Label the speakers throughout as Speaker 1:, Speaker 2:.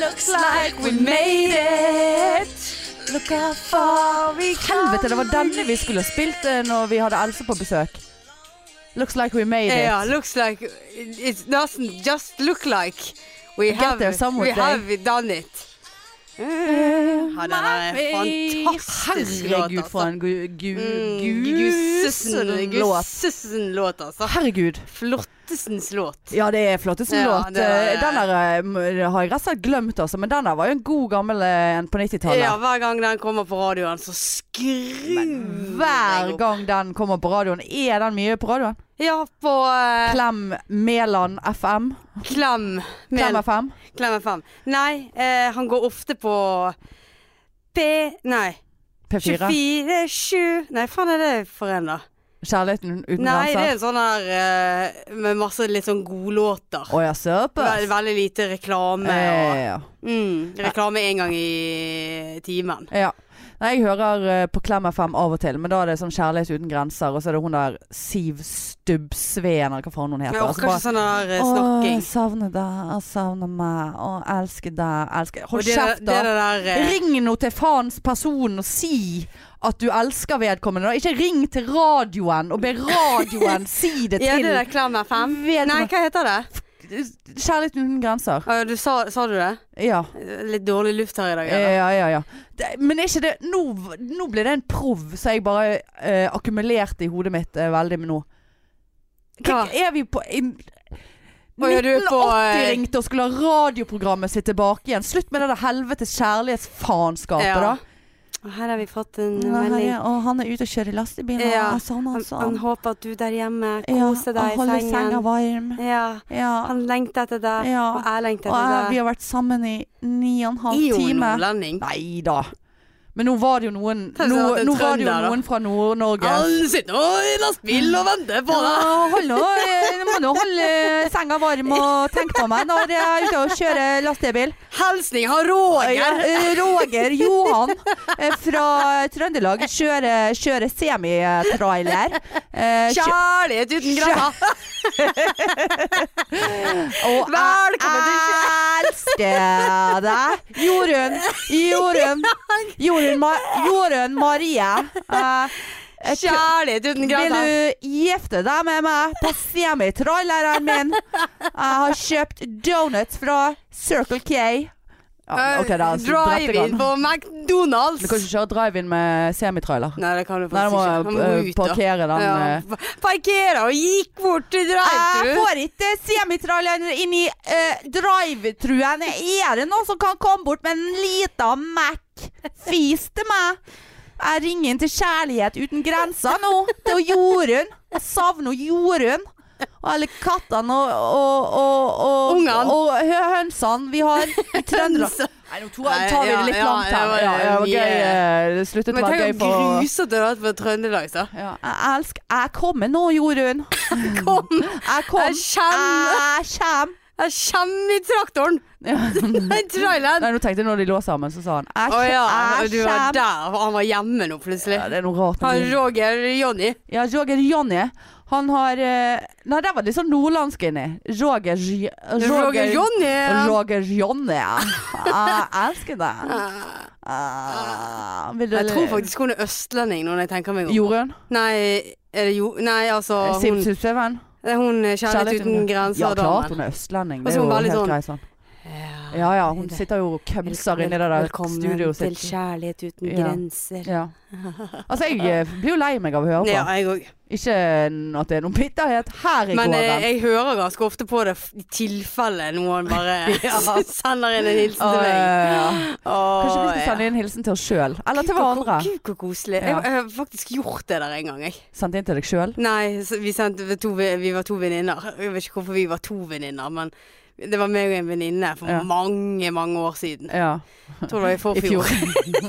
Speaker 1: Looks like we made it. Look how far we come.
Speaker 2: Helvete, det var denne vi skulle ha spilt eh, når vi hadde Else på besøk. Looks like we made it.
Speaker 1: Yeah, looks like it doesn't just look like we
Speaker 2: Get there
Speaker 1: have,
Speaker 2: some Uh,
Speaker 1: we
Speaker 2: day.
Speaker 1: have done it. Ja, den er fantastisk låt,
Speaker 2: Herregud, for
Speaker 1: altså.
Speaker 2: en gu, gu,
Speaker 1: Mm,
Speaker 2: gusen
Speaker 1: Gussesen-
Speaker 2: låt.
Speaker 1: Gussesen låt, altså.
Speaker 2: Herregud.
Speaker 1: Flottesens låt.
Speaker 2: Ja, det er flotteste
Speaker 1: Ja,
Speaker 2: låt.
Speaker 1: det er-
Speaker 2: Eh, Den her eh, m- har jeg rett og slett glemt, altså. Men den her var jo en god gammel eh, en på 90-tallet.
Speaker 1: Ja, hver gang den kommer på radioen, så skrur
Speaker 2: Hver gang den kommer på radioen. Er den mye på radioen?
Speaker 1: Ja, på eh,
Speaker 2: Klem Mæland FM. Klem
Speaker 1: Klem. Mel-
Speaker 2: FM.
Speaker 1: Klem FM. Nei, eh, han går ofte på P... Nei.
Speaker 2: P4.
Speaker 1: 24, 7 Nei, faen er det for en, da?
Speaker 2: Kjærligheten uten
Speaker 1: Nei, det er
Speaker 2: grenser.
Speaker 1: en sånn her eh, med masse litt sånn godlåter.
Speaker 2: Å ja,
Speaker 1: Veldig,
Speaker 2: såpass.
Speaker 1: veldig lite reklame.
Speaker 2: Eh,
Speaker 1: Og,
Speaker 2: ja.
Speaker 1: mm, reklame én gang i timen.
Speaker 2: Ja. Nei, jeg hører eh, på Klem FM av og til, men da er det sånn Kjærlighet uten grenser, og så er det hun der Siv Stubbsveen, eller hva faen hun
Speaker 1: Jeg
Speaker 2: heter.
Speaker 1: orker
Speaker 2: Altså bare,
Speaker 1: ikke sånn her eh,
Speaker 2: Åh, jeg
Speaker 1: snakking.
Speaker 2: savner deg, jeg savner meg, å, elsker deg, elsker
Speaker 1: Og
Speaker 2: Hold
Speaker 1: det,
Speaker 2: kjeft,
Speaker 1: det
Speaker 2: da!
Speaker 1: er det der eh,
Speaker 2: Ring nå til faens person og si at du elsker vedkommende. da. Ikke ring til radioen og be radioen si det
Speaker 1: Ja,
Speaker 2: til
Speaker 1: det der Klem FM.
Speaker 2: Vet
Speaker 1: Nei,
Speaker 2: man-
Speaker 1: hva heter det?
Speaker 2: Kjærligheten uten grenser.
Speaker 1: Å, du sa, sa du det?
Speaker 2: Ja. Eh,
Speaker 1: Litt dårlig luft her i dag. eller?
Speaker 2: Ja, ja, ja. Det, men er ikke det nå, nå ble det en prov som jeg bare eh, akkumulerte i hodet mitt eh, veldig med nå. Hva?
Speaker 1: Hva?
Speaker 2: Er vi på i,
Speaker 1: Å, ja, du er
Speaker 2: 1980
Speaker 1: på, eh,
Speaker 2: ringte og skulle ha radioprogrammet sitt tilbake igjen. Slutt med det der helvetes kjærlighetsfaenskapet,
Speaker 1: Ja.
Speaker 2: da.
Speaker 1: Og Her har vi fått en
Speaker 2: Ja, her
Speaker 1: melding.
Speaker 2: er- og han er ute og kjører lastebil, og
Speaker 1: Ja.
Speaker 2: jeg savner
Speaker 1: Han,
Speaker 2: han sånn.
Speaker 1: han håper at du der hjemme
Speaker 2: Ja,
Speaker 1: koser
Speaker 2: og
Speaker 1: deg i
Speaker 2: holder senga
Speaker 1: sengen.
Speaker 2: varm.
Speaker 1: Ja,
Speaker 2: Ja.
Speaker 1: han lengter etter deg,
Speaker 2: Ja.
Speaker 1: og jeg lengter
Speaker 2: Og jeg,
Speaker 1: etter
Speaker 2: vi
Speaker 1: deg.
Speaker 2: har vært sammen i ni og en halv
Speaker 1: Er jo
Speaker 2: time.
Speaker 1: nordlending.
Speaker 2: Nei da. Men nå var det jo noen Nå,
Speaker 1: Tenk at det er
Speaker 2: nå var det jo
Speaker 1: trønder, da.
Speaker 2: noen fra Nord-Norge.
Speaker 1: sitter nå i lastebil og venter
Speaker 2: Ja, hold nå, eh, må nå holde eh, senga varm og tenk på meg når jeg er ute og kjører lastebil.
Speaker 1: Hilsning har
Speaker 2: Ja,
Speaker 1: Roger!
Speaker 2: eh, Roger Johan eh, fra Trøndelag kjører, kjører semitrailer. Eh, kjø-
Speaker 1: Kjærlighet uten grenser!
Speaker 2: Og jeg
Speaker 1: Velkommen til
Speaker 2: elsker deg. Jorunn. Jorunn. Jorunn, Ma Jorunn Marie. Eh, eh,
Speaker 1: Kjærlighet uten
Speaker 2: Vil
Speaker 1: grenser!
Speaker 2: du gifte deg med meg på semitraileren min? Jeg har kjøpt donuts fra Circle K. Ja, ok da, så drepte jeg
Speaker 1: Eh,
Speaker 2: han.
Speaker 1: Drive-in på
Speaker 2: Du kan
Speaker 1: McDonald's!
Speaker 2: ikke kjøre drive-in med semitrailer.
Speaker 1: Nei, det kan
Speaker 2: Nei,
Speaker 1: du
Speaker 2: du
Speaker 1: faktisk
Speaker 2: må
Speaker 1: ikke. Han må
Speaker 2: eh,
Speaker 1: ut, da.
Speaker 2: parkere den. eh.
Speaker 1: Ja, Parkere og gikk bort til
Speaker 2: Jeg
Speaker 1: drive-thru.
Speaker 2: får ikke semitraileren inn i eh, drive-truen. Er det noen som kan komme bort med en liten Mac-fis til meg? Jeg ringer inn til Kjærlighet uten grenser nå, til Jorunn. Jeg savner Jorunn. Og alle kattene og, og, og, og,
Speaker 1: Ungene.
Speaker 2: og hø- hønsene vi har i Trøndelag.
Speaker 1: Hønse.
Speaker 2: Nei, nå tror jeg- tar vi det litt
Speaker 1: Ja, ja,
Speaker 2: langt her.
Speaker 1: det var
Speaker 2: Ja, det var
Speaker 1: mye.
Speaker 2: gøy. eh, Det sluttet å
Speaker 1: Men
Speaker 2: være gøy
Speaker 1: tenk å
Speaker 2: for
Speaker 1: gruse at du har vært på Trøndelag, så.
Speaker 2: ja, Jeg elsker Jeg kommer nå, Jorunn.
Speaker 1: Kom!
Speaker 2: Jeg kom.
Speaker 1: Jeg kjenner
Speaker 2: Jeg kommer.
Speaker 1: Jeg kommer i traktoren! Nei, traileren!
Speaker 2: Nei, nå tenkte jeg når de lå sammen, så sa han
Speaker 1: Å
Speaker 2: Æsj,
Speaker 1: ja, du
Speaker 2: æsj.
Speaker 1: var
Speaker 2: æsj.
Speaker 1: der. og Han var hjemme nå, plutselig.
Speaker 2: Ja, det er noe rart. med
Speaker 1: Han
Speaker 2: det.
Speaker 1: Roger Jonny.
Speaker 2: Ja, Roger Jonny, han har eh, Nei, der var det litt sånn nordlandsk inni. Roger J-
Speaker 1: Roger Jonny!
Speaker 2: Roger Jonny. Jeg elsker deg. Ah, vil du
Speaker 1: Jeg tror faktisk hun er østlending, når jeg tenker meg om.
Speaker 2: Jorunn?
Speaker 1: Nei, er det jo Nei, altså
Speaker 2: Siv
Speaker 1: Hun,
Speaker 2: Sipseven?
Speaker 1: det er hun er Kjærlighet uten grenser.
Speaker 2: Ja, klart
Speaker 1: damen.
Speaker 2: hun er østlending.
Speaker 1: Og
Speaker 2: Det
Speaker 1: så
Speaker 2: er jo
Speaker 1: hun veldig
Speaker 2: helt
Speaker 1: sånn-
Speaker 2: greit sånn.
Speaker 1: Ja.
Speaker 2: Ja ja, hun sitter jo og kømser inni det der studioet
Speaker 1: til
Speaker 2: sitt.
Speaker 1: Kjærlighet uten
Speaker 2: Ja.
Speaker 1: grenser.
Speaker 2: Ja. Altså, jeg eh, blir jo lei meg av å høre på.
Speaker 1: Ja, jeg òg.
Speaker 2: Ikke n- at det er noen bitterhet her i
Speaker 1: Men eh,
Speaker 2: gården.
Speaker 1: jeg hører ganske ofte på det f- i tilfelle noen bare
Speaker 2: Ja.
Speaker 1: sender inn en hilsen
Speaker 2: Åh,
Speaker 1: til
Speaker 2: ja, ja,
Speaker 1: meg.
Speaker 2: ja.
Speaker 1: Åh,
Speaker 2: Kanskje vi skal
Speaker 1: ja.
Speaker 2: sende inn hilsen til oss sjøl? Eller til
Speaker 1: Gud, hvor-
Speaker 2: hverandre?
Speaker 1: Gud, hvor koselig.
Speaker 2: Ja.
Speaker 1: Jeg, jeg har faktisk gjort det der en gang, jeg.
Speaker 2: Sendt inn til deg sjøl?
Speaker 1: Nei, så vi, sendte, vi, to, vi var to venninner. Jeg vet ikke hvorfor vi var to venninner, men det var meg og en venninne for
Speaker 2: Ja.
Speaker 1: mange, mange år siden.
Speaker 2: Ja.
Speaker 1: Jeg tror det var i
Speaker 2: I
Speaker 1: forfjor.
Speaker 2: fjor.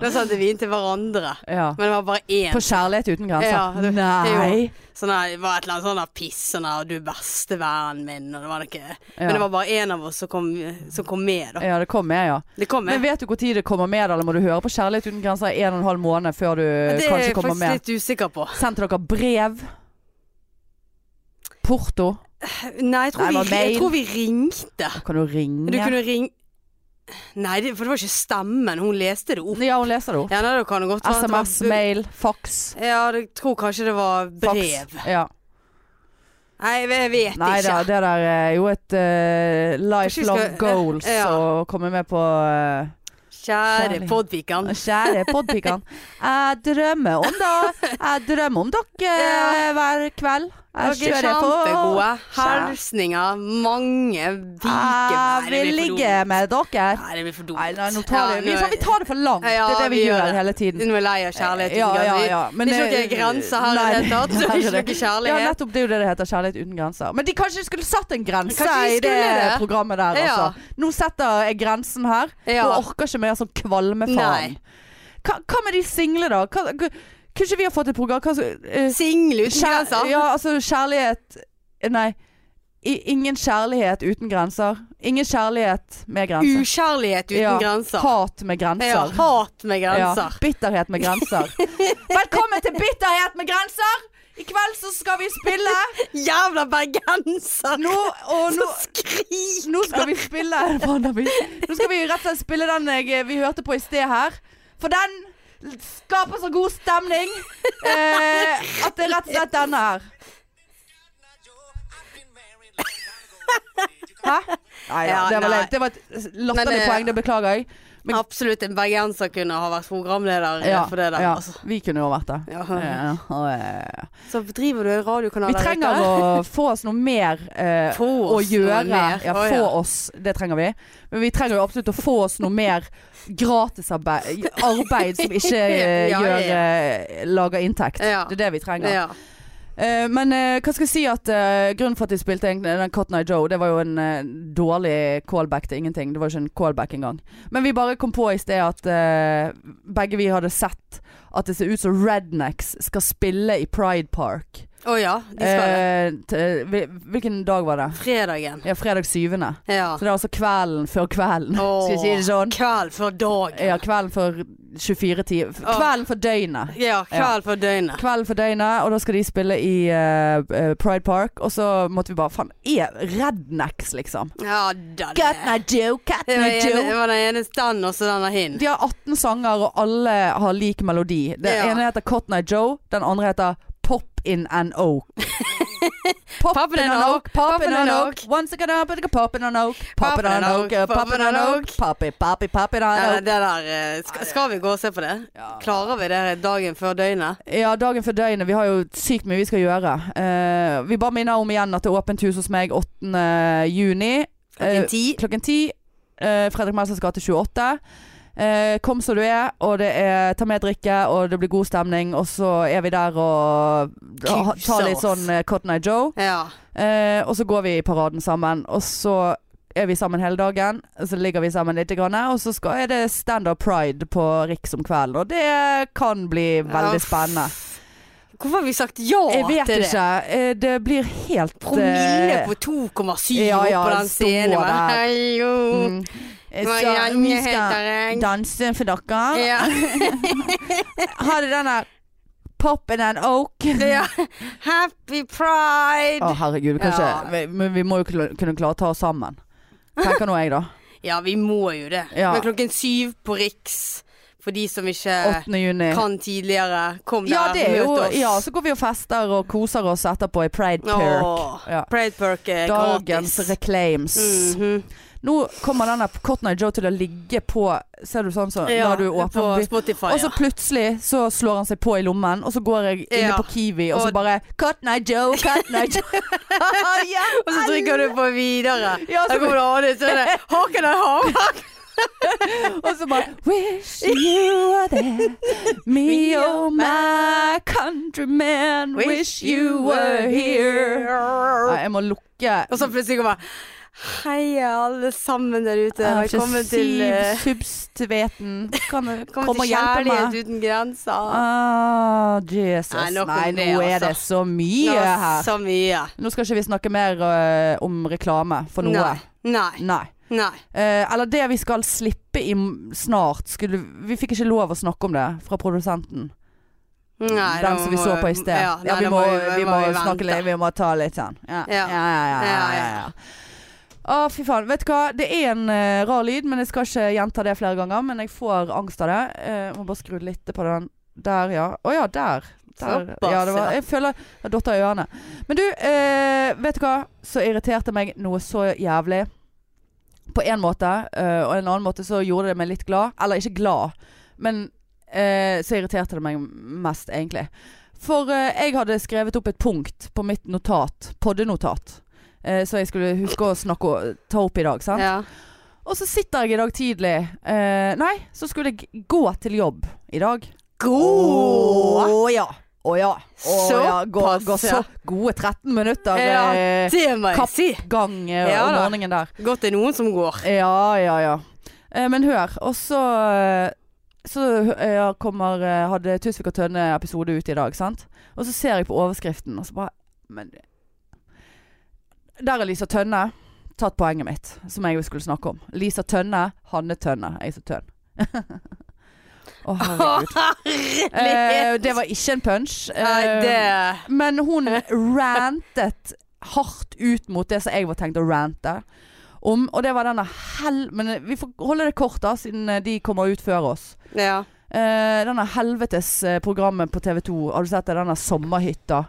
Speaker 1: da sendte vi inn til hverandre.
Speaker 2: Ja.
Speaker 1: Men det var bare én.
Speaker 2: På kjærlighet uten
Speaker 1: Ja,
Speaker 2: grenser?
Speaker 1: det- det
Speaker 2: Nei!
Speaker 1: Sånn der, det var et eller annet sånn der piss. Sånn der, du er beste vennen min, og det var noe Men det
Speaker 2: Ja.
Speaker 1: var bare én av oss som kom, som kom med, da.
Speaker 2: ja, det kom med, ja.
Speaker 1: Det kom
Speaker 2: Men
Speaker 1: med.
Speaker 2: vet du når det kommer med, eller må du høre på Kjærlighet uten grenser i en og en halv måned før du
Speaker 1: Det er
Speaker 2: kanskje
Speaker 1: jeg
Speaker 2: kommer
Speaker 1: faktisk
Speaker 2: med?
Speaker 1: litt usikker på.
Speaker 2: Sendt dere brev? Porto?
Speaker 1: Nei, jeg tror,
Speaker 2: Nei, det var
Speaker 1: vi, jeg
Speaker 2: mail.
Speaker 1: tror vi ringte.
Speaker 2: Kan du ringe?
Speaker 1: Du kunne ringe Nei, det, for det var ikke stemmen. Hun leste det opp.
Speaker 2: Ja, hun leser det opp.
Speaker 1: Ja, nei, det kan det godt være at det var
Speaker 2: SMS,
Speaker 1: bu-
Speaker 2: mail, fax.
Speaker 1: Ja, jeg tror kanskje det var
Speaker 2: fax.
Speaker 1: brev.
Speaker 2: Ja.
Speaker 1: Nei, jeg vet
Speaker 2: Nei
Speaker 1: ikke.
Speaker 2: da, det der er jo et eh, lifelong
Speaker 1: Kanskje vi skal-
Speaker 2: goals
Speaker 1: ja.
Speaker 2: å komme med på eh,
Speaker 1: Kjære
Speaker 2: Kjærlighet.
Speaker 1: podpikan.
Speaker 2: Kjære podpikene. Jeg drømmer om da Jeg drømmer om dere eh, hver kveld. Jeg
Speaker 1: Dere er
Speaker 2: kjører på-
Speaker 1: kjempegode.
Speaker 2: Kjære.
Speaker 1: Hilsninger mange
Speaker 2: Jeg
Speaker 1: vikemenn.
Speaker 2: Ah, vil ligge med dere.
Speaker 1: Nei, det blir for dumt.
Speaker 2: Nei, nei, nå tar
Speaker 1: Ja,
Speaker 2: det, vi,
Speaker 1: nå-
Speaker 2: faen, vi tar det for langt.
Speaker 1: Ja,
Speaker 2: det er det vi,
Speaker 1: vi gjør
Speaker 2: gjør
Speaker 1: det.
Speaker 2: hele tiden.
Speaker 1: Nå er vi lei av kjærlighet.
Speaker 2: Ja, ja,
Speaker 1: Vi-
Speaker 2: ja. Men
Speaker 1: det er ikke noen grenser her i
Speaker 2: Nei,
Speaker 1: det hele tatt. Det er ikke noe
Speaker 2: Ja,
Speaker 1: kjærlighet.
Speaker 2: nettopp. Det er jo det det heter. Kjærlighet uten grenser. Men de kanskje de skulle satt en grense
Speaker 1: Kanskje de
Speaker 2: i det,
Speaker 1: skulle det.
Speaker 2: programmet der,
Speaker 1: Ja.
Speaker 2: altså. Nå setter jeg grensen her,
Speaker 1: Ja.
Speaker 2: og orker ikke mer sånn kvalmefaen.
Speaker 1: Nei.
Speaker 2: Hva, hva med de single, da? Hva, hva- kunne ikke vi ha fått et program? Hva, så- eh,
Speaker 1: Single uten
Speaker 2: kjær-
Speaker 1: grenser.
Speaker 2: Ja, altså kjærlighet eh, Nei. I, ingen kjærlighet uten grenser. Ingen kjærlighet med grenser.
Speaker 1: Ukjærlighet uten
Speaker 2: Ja.
Speaker 1: grenser.
Speaker 2: Hat med grenser.
Speaker 1: Ja, hat med
Speaker 2: Ja,
Speaker 1: grenser.
Speaker 2: bitterhet med grenser. Velkommen til Bitterhet med grenser! I kveld så skal vi spille
Speaker 1: Jævla bergenser
Speaker 2: Nå, og nå,
Speaker 1: som skriker!
Speaker 2: nå skal vi spille Barnaby. Nå skal vi rett og slett spille den jeg, vi hørte på i sted her. For den skaper så god stemning eh, at det er rett og slett denne her. Hæ? Nei da,
Speaker 1: Ja,
Speaker 2: det var
Speaker 1: nei.
Speaker 2: leit. Det var et latterlig
Speaker 1: Men, eh,
Speaker 2: poeng, det beklager jeg. Men-
Speaker 1: Absolutt en bergenser kunne ha vært programleder eh, for det der.
Speaker 2: ja,
Speaker 1: Altså.
Speaker 2: vi kunne jo vært det.
Speaker 1: Ja.
Speaker 2: Ja, eh, ja, ja.
Speaker 1: Så driver du en radiokanal
Speaker 2: Vi
Speaker 1: der
Speaker 2: trenger
Speaker 1: ute?
Speaker 2: å få oss noe mer eh,
Speaker 1: Få
Speaker 2: å
Speaker 1: oss noe
Speaker 2: gjøre.
Speaker 1: mer.
Speaker 2: Ja,
Speaker 1: Å,
Speaker 2: få
Speaker 1: ja.
Speaker 2: oss, det trenger vi. Men vi trenger jo absolutt å få oss noe mer gratisarbeid arbeid som ikke eh,
Speaker 1: Ja, ja, ja.
Speaker 2: gjør, eh, lager inntekt.
Speaker 1: Ja.
Speaker 2: Det er det vi trenger.
Speaker 1: Ja.
Speaker 2: Eh, men eh, hva skal jeg si at eh, grunnen for at de spilte en- den Cotton Eye Joe, det var jo en eh, dårlig callback til ingenting. Det var jo ikke en callback engang. Men vi bare kom på i sted at eh, begge vi hadde sett at det ser ut som Rednecks skal spille i Pride Park.
Speaker 1: Å ja, de skal det.
Speaker 2: Eh, t- hvil- hvilken dag var det?
Speaker 1: Fredagen.
Speaker 2: Ja, fredag 7.
Speaker 1: Ja.
Speaker 2: Så det er altså kvelden før kvelden.
Speaker 1: Åh,
Speaker 2: Skal jeg si det sånn?
Speaker 1: Kveld for dagen.
Speaker 2: Ja, kvelden før 24 timer.
Speaker 1: Åh.
Speaker 2: Kvelden for døgnet.
Speaker 1: Ja, kveld for døgnet.
Speaker 2: Kvelden for døgnet, og da skal de spille i eh, eh, Pride Park. Og så måtte vi bare Faen, er rednecks, liksom?
Speaker 1: Ja da. det-
Speaker 2: Catna Joe,
Speaker 1: Det
Speaker 2: Catna
Speaker 1: var, ene, det
Speaker 2: Joe.
Speaker 1: var den ene stand, og så den der hin.
Speaker 2: De har 18 sanger, og alle har lik melodi. Den
Speaker 1: Ja.
Speaker 2: ene heter Cotton Eye Joe, den andre heter Pop in an Oak. Pop, in an oak, pop in an oak. Once I get up, I can pop in an oak. Pop in an oak, uh, pop in an oak. Pop it, pop it, pop it
Speaker 1: Ja,
Speaker 2: an
Speaker 1: det
Speaker 2: oak.
Speaker 1: der, eh, skal, skal vi gå og se på det? Klarer vi det dagen før døgnet?
Speaker 2: Ja, dagen for døgnet. Vi har jo sykt mye vi skal gjøre. Eh, vi bare minner om igjen at det er åpent hus hos meg 8. juni.
Speaker 1: Klokken
Speaker 2: Eh,
Speaker 1: ti?
Speaker 2: klokken 10. eh, Fredrik Melsers gate 28. Eh, kom som du er, og det er ta med drikke, og det blir god stemning. Og så er vi der og ha, tar litt
Speaker 1: Kuser oss.
Speaker 2: sånn eh, Cotton Eye Joe.
Speaker 1: Ja.
Speaker 2: Eh, og så går vi i paraden sammen, og så er vi sammen hele dagen. og Så ligger vi sammen litt, grann, og så skal, er det standup pride på Riks om kvelden. Og det kan bli veldig
Speaker 1: Ja.
Speaker 2: spennende.
Speaker 1: Hvorfor har vi sagt ja
Speaker 2: Jeg vet
Speaker 1: til det?
Speaker 2: ikke. eh, Det blir helt
Speaker 1: Promille
Speaker 2: eh,
Speaker 1: på 2,7
Speaker 2: ja, ja,
Speaker 1: opp på den
Speaker 2: stå
Speaker 1: scenen.
Speaker 2: der.
Speaker 1: bare, Hallo.
Speaker 2: mm. Eh, Så
Speaker 1: Marianne
Speaker 2: vi
Speaker 1: heter
Speaker 2: skal
Speaker 1: jeg.
Speaker 2: danse for dere.
Speaker 1: Ja.
Speaker 2: Har du den der Pop in an oak? Å
Speaker 1: ja. Happy pride.
Speaker 2: herregud, vi kan
Speaker 1: Ja.
Speaker 2: ikke- vi- men vi må jo kla- kunne klare å ta oss sammen. Tenker nå jeg, da.
Speaker 1: Ja, vi må jo det.
Speaker 2: Ja.
Speaker 1: Men klokken syv på Riks, for de som ikke
Speaker 2: 8. juni.
Speaker 1: Eh, kan tidligere, kom der,
Speaker 2: Ja, det er
Speaker 1: møt
Speaker 2: jo,
Speaker 1: oss.
Speaker 2: ja, så går vi og fester og koser oss etterpå i Pride Perk.
Speaker 1: Åh,
Speaker 2: Ja.
Speaker 1: Pride Perk er
Speaker 2: Dagens
Speaker 1: gratis.
Speaker 2: reclaims.
Speaker 1: Mhm.
Speaker 2: Nå kommer denne Cotton Eye Joe til å ligge på Ser du sånn, så
Speaker 1: Ja,
Speaker 2: lar du
Speaker 1: på
Speaker 2: åpne
Speaker 1: Spotify.
Speaker 2: Og så
Speaker 1: ja.
Speaker 2: plutselig så slår han seg på i lommen, og så går jeg inne
Speaker 1: Ja.
Speaker 2: på Kiwi og så
Speaker 1: Og-
Speaker 2: bare Cotton Eye Joe, Cotton Eye Joe. ja,
Speaker 1: Og så trykker du på videre.
Speaker 2: Ja, så-
Speaker 1: Da kommer det an, så er det Haken er haken!
Speaker 2: og så bare Wish you were there, me oh my countryman, wish you were here. Nei, jeg må lukke
Speaker 1: Og så plutselig kommer Hei, alle sammen der ute.
Speaker 2: Ja,
Speaker 1: Velkommen
Speaker 2: fra
Speaker 1: til, eh,
Speaker 2: Siv Substveten. Kan du
Speaker 1: velkommen
Speaker 2: komme og
Speaker 1: til
Speaker 2: hjelpe
Speaker 1: Kjærlighet
Speaker 2: meg?
Speaker 1: uten grenser.
Speaker 2: Ah, Jesus.
Speaker 1: Nei,
Speaker 2: Nei,
Speaker 1: nok om det,
Speaker 2: nå er
Speaker 1: altså.
Speaker 2: det så mye
Speaker 1: Ja,
Speaker 2: her.
Speaker 1: Så mye.
Speaker 2: Nå skal ikke vi snakke mer øh, om reklame for noe.
Speaker 1: Nei. Nei.
Speaker 2: Nei.
Speaker 1: Nei.
Speaker 2: Eh, eller det vi skal slippe i m- snart. Skulle, vi fikk ikke lov å snakke om det fra produsenten.
Speaker 1: Nei, da
Speaker 2: Den som vi
Speaker 1: må-
Speaker 2: så på i sted. Ja,
Speaker 1: nei,
Speaker 2: vi,
Speaker 1: da
Speaker 2: må,
Speaker 1: da
Speaker 2: vi må
Speaker 1: vi
Speaker 2: snakke
Speaker 1: vente.
Speaker 2: litt, vi må ta litt sånn. Ja,
Speaker 1: Ja.
Speaker 2: ja, ja. ja, ja,
Speaker 1: Ja,
Speaker 2: ja. Å, fy faen. Vet du hva, det er en eh, rar lyd, men jeg skal ikke gjenta det flere ganger. Men jeg får angst av det. Eh, må bare skru litt på den. Der, ja. Å ja, der. der.
Speaker 1: Såpass,
Speaker 2: Ja, det var,
Speaker 1: ja.
Speaker 2: jeg føler jeg datt av ørene. Men du, eh, vet du hva? Så irriterte meg noe så jævlig. På en måte, eh, og en annen måte så gjorde det meg litt glad. Eller ikke glad, men eh, så irriterte det meg mest, egentlig. For eh, jeg hadde skrevet opp et punkt på mitt notat, poddenotat, eh, som jeg skulle huske å snakke og ta opp i dag. Sant?
Speaker 1: Ja.
Speaker 2: Og så sitter jeg i dag tidlig eh, Nei, så skulle jeg gå til jobb i dag.
Speaker 1: God!
Speaker 2: Å ja. Å ja. Å, ja. Gå, gå
Speaker 1: Såpass, ja.
Speaker 2: så gode 13 minutter
Speaker 1: Ja,
Speaker 2: eh,
Speaker 1: det må jeg
Speaker 2: kapp-
Speaker 1: si.
Speaker 2: gang eh,
Speaker 1: Ja
Speaker 2: om
Speaker 1: da.
Speaker 2: morgenen der.
Speaker 1: Godt det er noen som går.
Speaker 2: Ja, ja, ja. Eh, men hør, og så eh, Så eh, kommer eh, Hadde Tusvik og Tønne episode ute i dag, sant? Og så ser jeg på overskriften, og så bare Men Der er Lisa Tønne tatt poenget mitt, som jeg skulle snakke om. Lisa Tønne, Hanne Tønne. Jeg er så tønn. Å, herregud. Eh, det var ikke en punch.
Speaker 1: Nei,
Speaker 2: Eh,
Speaker 1: det
Speaker 2: men hun rantet hardt ut mot det som jeg var tenkt å rante om. Og det var denne hel... Men eh, vi får holde det kort, da, siden eh, de kommer ut før oss.
Speaker 1: Ja.
Speaker 2: Eh, denne helvetes eh, programmet på TV 2. Har du sett det? Denne sommerhytta.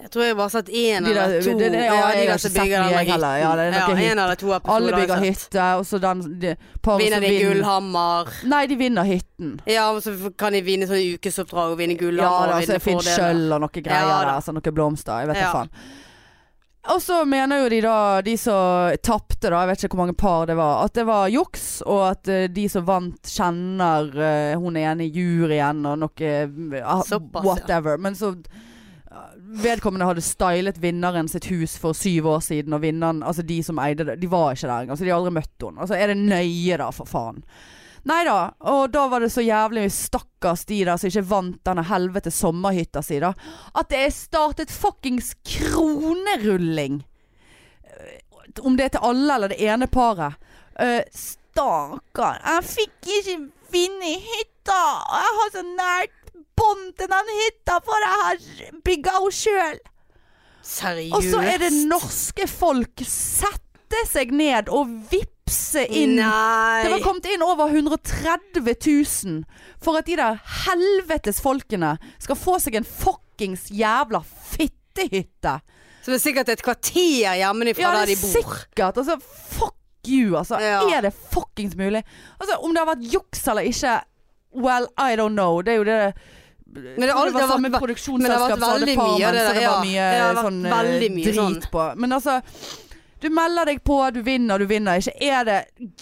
Speaker 1: Jeg tror jeg bare har sett én
Speaker 2: De der-
Speaker 1: eller to.
Speaker 2: det- det- ja, jeg har ikke
Speaker 1: som
Speaker 2: sett
Speaker 1: bygger den
Speaker 2: mye
Speaker 1: der
Speaker 2: heller. Ja, det er
Speaker 1: hytten.
Speaker 2: noen hytt-
Speaker 1: en eller to episoder.
Speaker 2: Alle bygger
Speaker 1: har jeg sett.
Speaker 2: hytte, og så den de, paret
Speaker 1: Vinner
Speaker 2: som
Speaker 1: de
Speaker 2: vinner-
Speaker 1: Gullhammer?
Speaker 2: Nei, de vinner hytten.
Speaker 1: Ja, og så kan de vinne sånne ukesoppdrag og vinne
Speaker 2: Ja,
Speaker 1: Gullhammer.
Speaker 2: da, så
Speaker 1: og vinne
Speaker 2: jeg finner
Speaker 1: fordeler.
Speaker 2: skjøll og noen greier
Speaker 1: Ja,
Speaker 2: der.
Speaker 1: da.
Speaker 2: Altså, noen blomster. Jeg vet ikke
Speaker 1: Ja.
Speaker 2: faen. Og så mener jo de da, de som tapte, da, jeg vet ikke hvor mange par det var, at det var juks, og at eh, de som vant, kjenner eh, hun er enig i juryen og noe eh,
Speaker 1: Såpass, ja.
Speaker 2: whatever. Men så eh, Vedkommende hadde stylet vinneren sitt hus for syv år siden, og vinneren, altså de som eide det, de var ikke der engang, så de har aldri møtt henne. Altså er det nøye, da, for faen. Nei da, og da var det så jævlig stakkars de der som ikke vant denne helvete sommerhytta si, da. At det er startet fuckings kronerulling! Eh, Om det er til alle eller det ene paret. Eh, stakkar, jeg fikk ikke vinne hytta! Og jeg har så nært bånd til den hytta, for jeg har bygga henne sjøl!
Speaker 1: Seriøst?
Speaker 2: Og så er det norske folk sette seg ned og vippse inn
Speaker 1: Nei.
Speaker 2: det var kommet inn over 130 000 for at de der helvetes folkene skal få seg en fuckings jævla fittehytte.
Speaker 1: Som er sikkert et kvarter hjemmefra
Speaker 2: Ja,
Speaker 1: der
Speaker 2: det
Speaker 1: de
Speaker 2: er
Speaker 1: bor.
Speaker 2: sikkert. Altså, fuck you, altså.
Speaker 1: Ja.
Speaker 2: Er det fuckings mulig? Altså, om det har vært juks eller ikke, well, I don't know. Det er jo det
Speaker 1: Men det, har
Speaker 2: det,
Speaker 1: alt- det
Speaker 2: var
Speaker 1: har
Speaker 2: samme
Speaker 1: vært, men det har vært
Speaker 2: produksjonsselskap som hadde
Speaker 1: veldig mye
Speaker 2: Farmen,
Speaker 1: av det
Speaker 2: så
Speaker 1: der.
Speaker 2: det var mye,
Speaker 1: ja. Det har vært
Speaker 2: sånn, eh,
Speaker 1: veldig mye
Speaker 2: drit
Speaker 1: sånn.
Speaker 2: på. Men altså, du melder deg på, du vinner, du vinner ikke. Er det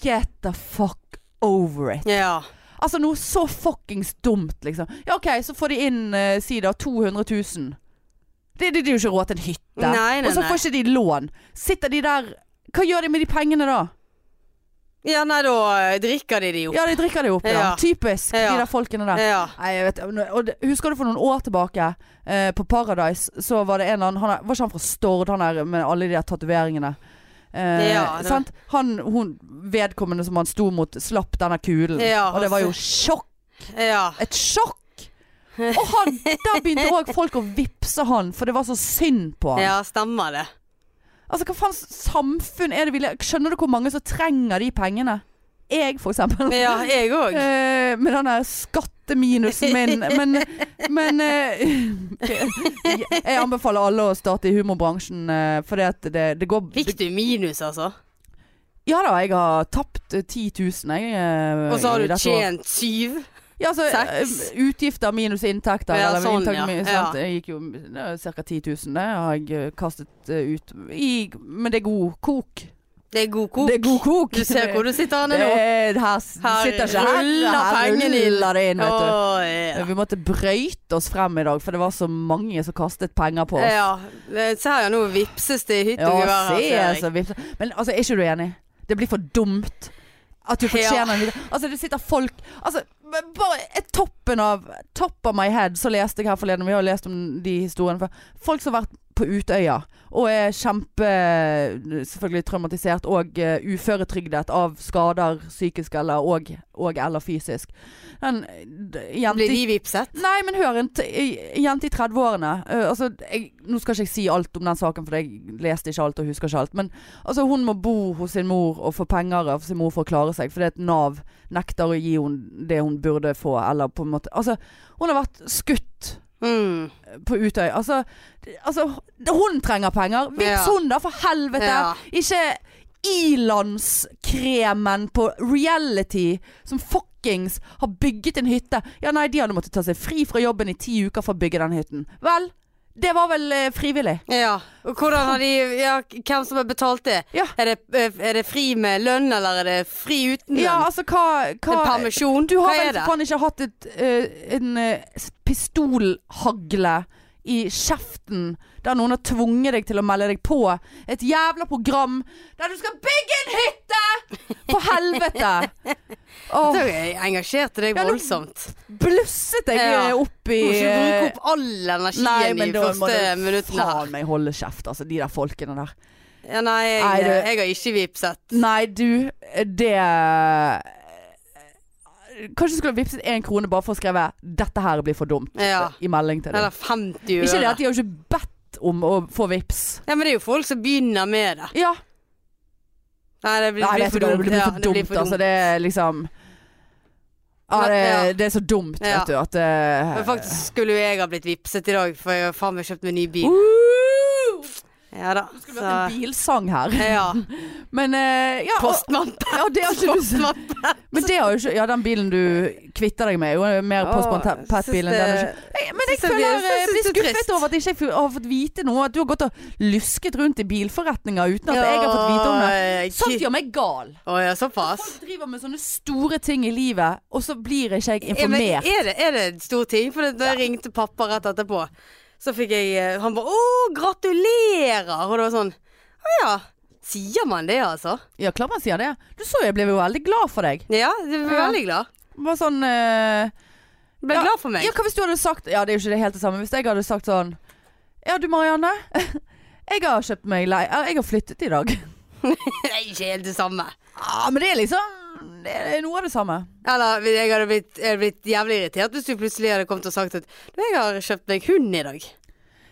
Speaker 2: get the fuck over it?
Speaker 1: Ja.
Speaker 2: Altså noe så fuckings dumt, liksom. Ja, OK, så får de inn, eh, si da, 200 000. Det det- det er jo ikke råd til en hytte.
Speaker 1: Nei, nei,
Speaker 2: og så
Speaker 1: nei.
Speaker 2: får ikke de lån. Sitter de der Hva gjør de med de pengene da?
Speaker 1: ja, nei, da eh, drikker de de jo.
Speaker 2: Ja, de drikker det jo opp, ja.
Speaker 1: Ja.
Speaker 2: Typisk de
Speaker 1: Ja.
Speaker 2: der folkene der.
Speaker 1: Ja.
Speaker 2: Nei, jeg vet og det, Husker du for noen år tilbake eh, På Paradise Så var det en eller annen han er, Var ikke han fra Stord Han er med alle de der tatoveringene eh,
Speaker 1: Ja, det-
Speaker 2: sant? Han, hun, vedkommende som han sto mot Slapp denne kulen
Speaker 1: Ja,
Speaker 2: Og det var jo
Speaker 1: altså.
Speaker 2: sjokk
Speaker 1: ja.
Speaker 2: Et sjokk Og han, der begynte også folk å vipse han For det var så synd på han
Speaker 1: Ja, stemmer det.
Speaker 2: Altså hva faen samfunn er det vi le- Skjønner du hvor mange som trenger de pengene? Jeg for eksempel
Speaker 1: Men ja, jeg òg.
Speaker 2: Eh, med den der skatteminusen min. Men, men eh, Jeg anbefaler alle å starte i humorbransjen, eh, for det, det, det går
Speaker 1: Fikk du minus, altså?
Speaker 2: Ja da, jeg har tapt eh, 10 000, jeg. eh,
Speaker 1: Og så har
Speaker 2: i
Speaker 1: du
Speaker 2: dette året.
Speaker 1: tjent syv?
Speaker 2: Ja, altså,
Speaker 1: seks.
Speaker 2: eh, utgifter minus inntekter.
Speaker 1: Ja,
Speaker 2: eller
Speaker 1: sånn,
Speaker 2: inntekter
Speaker 1: ja.
Speaker 2: minus- sant? Jeg gikk jo ca. 10 000. Det har jeg eh, kastet eh, ut. I, men det er god kok.
Speaker 1: Det er god kok.
Speaker 2: Det er god kok.
Speaker 1: Du ser hvor du sitter henne
Speaker 2: det
Speaker 1: nå.
Speaker 2: er, her s-
Speaker 1: Her
Speaker 2: sitter ikke her.
Speaker 1: ruller
Speaker 2: Her
Speaker 1: pengene inn.
Speaker 2: ruller det inn, vet du.
Speaker 1: Å, ja.
Speaker 2: Vi måtte brøyte oss frem i dag, for det var så mange som kastet penger på oss.
Speaker 1: ja. eh, Se her, nå vipses det i hytt
Speaker 2: Ja,
Speaker 1: og gevær her.
Speaker 2: se,
Speaker 1: ser jeg.
Speaker 2: altså, vips- Men altså, er ikke du enig? Det blir for dumt at du fortjener en liten- Altså, det sitter folk Altså, men bare et toppen av Top of my head, så leste jeg her forleden, vi har jo lest om de historiene før. Folk som har vært på Utøya. Og er kjempe selvfølgelig traumatisert og eh, uføretrygdet av skader psykisk eller og, og eller fysisk. Den eh, d- jente
Speaker 1: Blir de vipset?
Speaker 2: Nei, men hør, en t ei jente i 30-årene eh, altså, jeg, Nå skal ikke jeg si alt om den saken, for jeg leste ikke alt og husker ikke alt. Men altså, hun må bo hos sin mor og få penger av sin mor for å klare seg, fordi at Nav nekter å gi henne det hun burde få. Eller på en måte Altså, hun har vært skutt
Speaker 1: Mm.
Speaker 2: på Utøy. Altså, det- altså hun trenger penger. Vips
Speaker 1: Ja.
Speaker 2: hun, da, for helvete!
Speaker 1: Ja.
Speaker 2: Ikke ilandskremen på reality som fuckings har bygget en hytte. Ja, nei, de hadde måttet ta seg fri fra jobben i ti uker for å bygge den hytten. Vel, det var vel eh, frivillig.
Speaker 1: Ja. Og hvordan har de Ja, hvem som har betalt det?
Speaker 2: Ja.
Speaker 1: Er det, eh, er det fri med lønn, eller er det fri uten lønn?
Speaker 2: Ja, altså, hva,
Speaker 1: En
Speaker 2: hva
Speaker 1: permisjon?
Speaker 2: Du har
Speaker 1: Hva
Speaker 2: vel
Speaker 1: er det?
Speaker 2: for faen ikke hatt et, eh, en eh, s- pistolhagle i kjeften der noen har tvunget deg til å melde deg på et jævla program der du skal bygge en hytte! For helvete! Åh,
Speaker 1: Så jeg engasjerte deg
Speaker 2: Ja, nå-
Speaker 1: voldsomt.
Speaker 2: blusset jeg
Speaker 1: Ja.
Speaker 2: eh, opp i
Speaker 1: Du må ikke bruke
Speaker 2: eh,
Speaker 1: opp all energien
Speaker 2: Nei, men
Speaker 1: i
Speaker 2: da må
Speaker 1: første
Speaker 2: du
Speaker 1: minuttene her.
Speaker 2: faen meg holde kjeft, altså. De der folkene der.
Speaker 1: Ja, nei, jeg,
Speaker 2: Nei, du-
Speaker 1: jeg har ikke vipset.
Speaker 2: Nei, du, eh, det eh, Kanskje du skulle ha vippset én krone bare for å skrive 'Dette her blir for dumt'
Speaker 1: Ja.
Speaker 2: i melding til deg.
Speaker 1: Eller 50 øre.
Speaker 2: Ikke det at de har jo ikke bedt om å få vips.
Speaker 1: Nei, men det er jo folk som begynner med det.
Speaker 2: Ja.
Speaker 1: Nei, det blir,
Speaker 2: Nei,
Speaker 1: blir
Speaker 2: vet du hva, det blir
Speaker 1: Ja,
Speaker 2: for dumt. Altså, det er liksom ja,
Speaker 1: Men-
Speaker 2: det,
Speaker 1: ja.
Speaker 2: det er så dumt,
Speaker 1: Ja.
Speaker 2: vet du, at eh,
Speaker 1: Men faktisk skulle jo jeg ha blitt vipset i dag, for jeg har faen meg kjøpt meg ny bil.
Speaker 2: Uh. Woo! Det
Speaker 1: Ja da.
Speaker 2: skulle vært en bilsang her.
Speaker 1: ja.
Speaker 2: Men eh, ja, og,
Speaker 1: Postmann
Speaker 2: ja, det har ikke du
Speaker 1: Postmann
Speaker 2: Men det har jo ikke Ja, den bilen du kvitter deg med, er jo mer postmann Pat-bilen enn den du Nei, Men jeg
Speaker 1: Syns det blir-
Speaker 2: føler jeg
Speaker 1: syns
Speaker 2: blir
Speaker 1: det er
Speaker 2: skuffet
Speaker 1: trist.
Speaker 2: over at ikke jeg ikke har fått vite noe. At du har gått og lusket rundt i bilforretninger uten at
Speaker 1: Ja,
Speaker 2: jeg har fått vite om det. Sånn
Speaker 1: eh,
Speaker 2: Sånt
Speaker 1: ki-
Speaker 2: gjør meg gal.
Speaker 1: Å ja, såpass.
Speaker 2: Folk driver med sånne store ting i livet, og så blir ikke jeg
Speaker 1: Ja, men
Speaker 2: informert.
Speaker 1: er, det, er det en stor ting? For da jeg ringte pappa rett etterpå, så fikk jeg eh, Han bare 'Å, gratulerer!' Og det var sånn Å ja. Sier man det, altså?
Speaker 2: Ja, klar man sier det. Du så jeg ble jo veldig glad for deg.
Speaker 1: Ja, jeg ble
Speaker 2: Ja.
Speaker 1: veldig glad.
Speaker 2: Bare sånn eh,
Speaker 1: Jeg Ble
Speaker 2: Ja,
Speaker 1: glad for meg.
Speaker 2: Ja, hva hvis du hadde sagt Ja, det er jo ikke det helt det samme. Hvis jeg hadde sagt sånn Ja, du Marianne. Jeg har kjøpt meg lei... ja, Jeg har flyttet i dag.
Speaker 1: Det er ikke helt det samme.
Speaker 2: Ja, Ah, men det er liksom Det er noe av det samme.
Speaker 1: Eller jeg hadde blitt, jeg hadde blitt jævlig irritert hvis du plutselig hadde kommet og sagt at du, 'Jeg har kjøpt meg hund i dag'.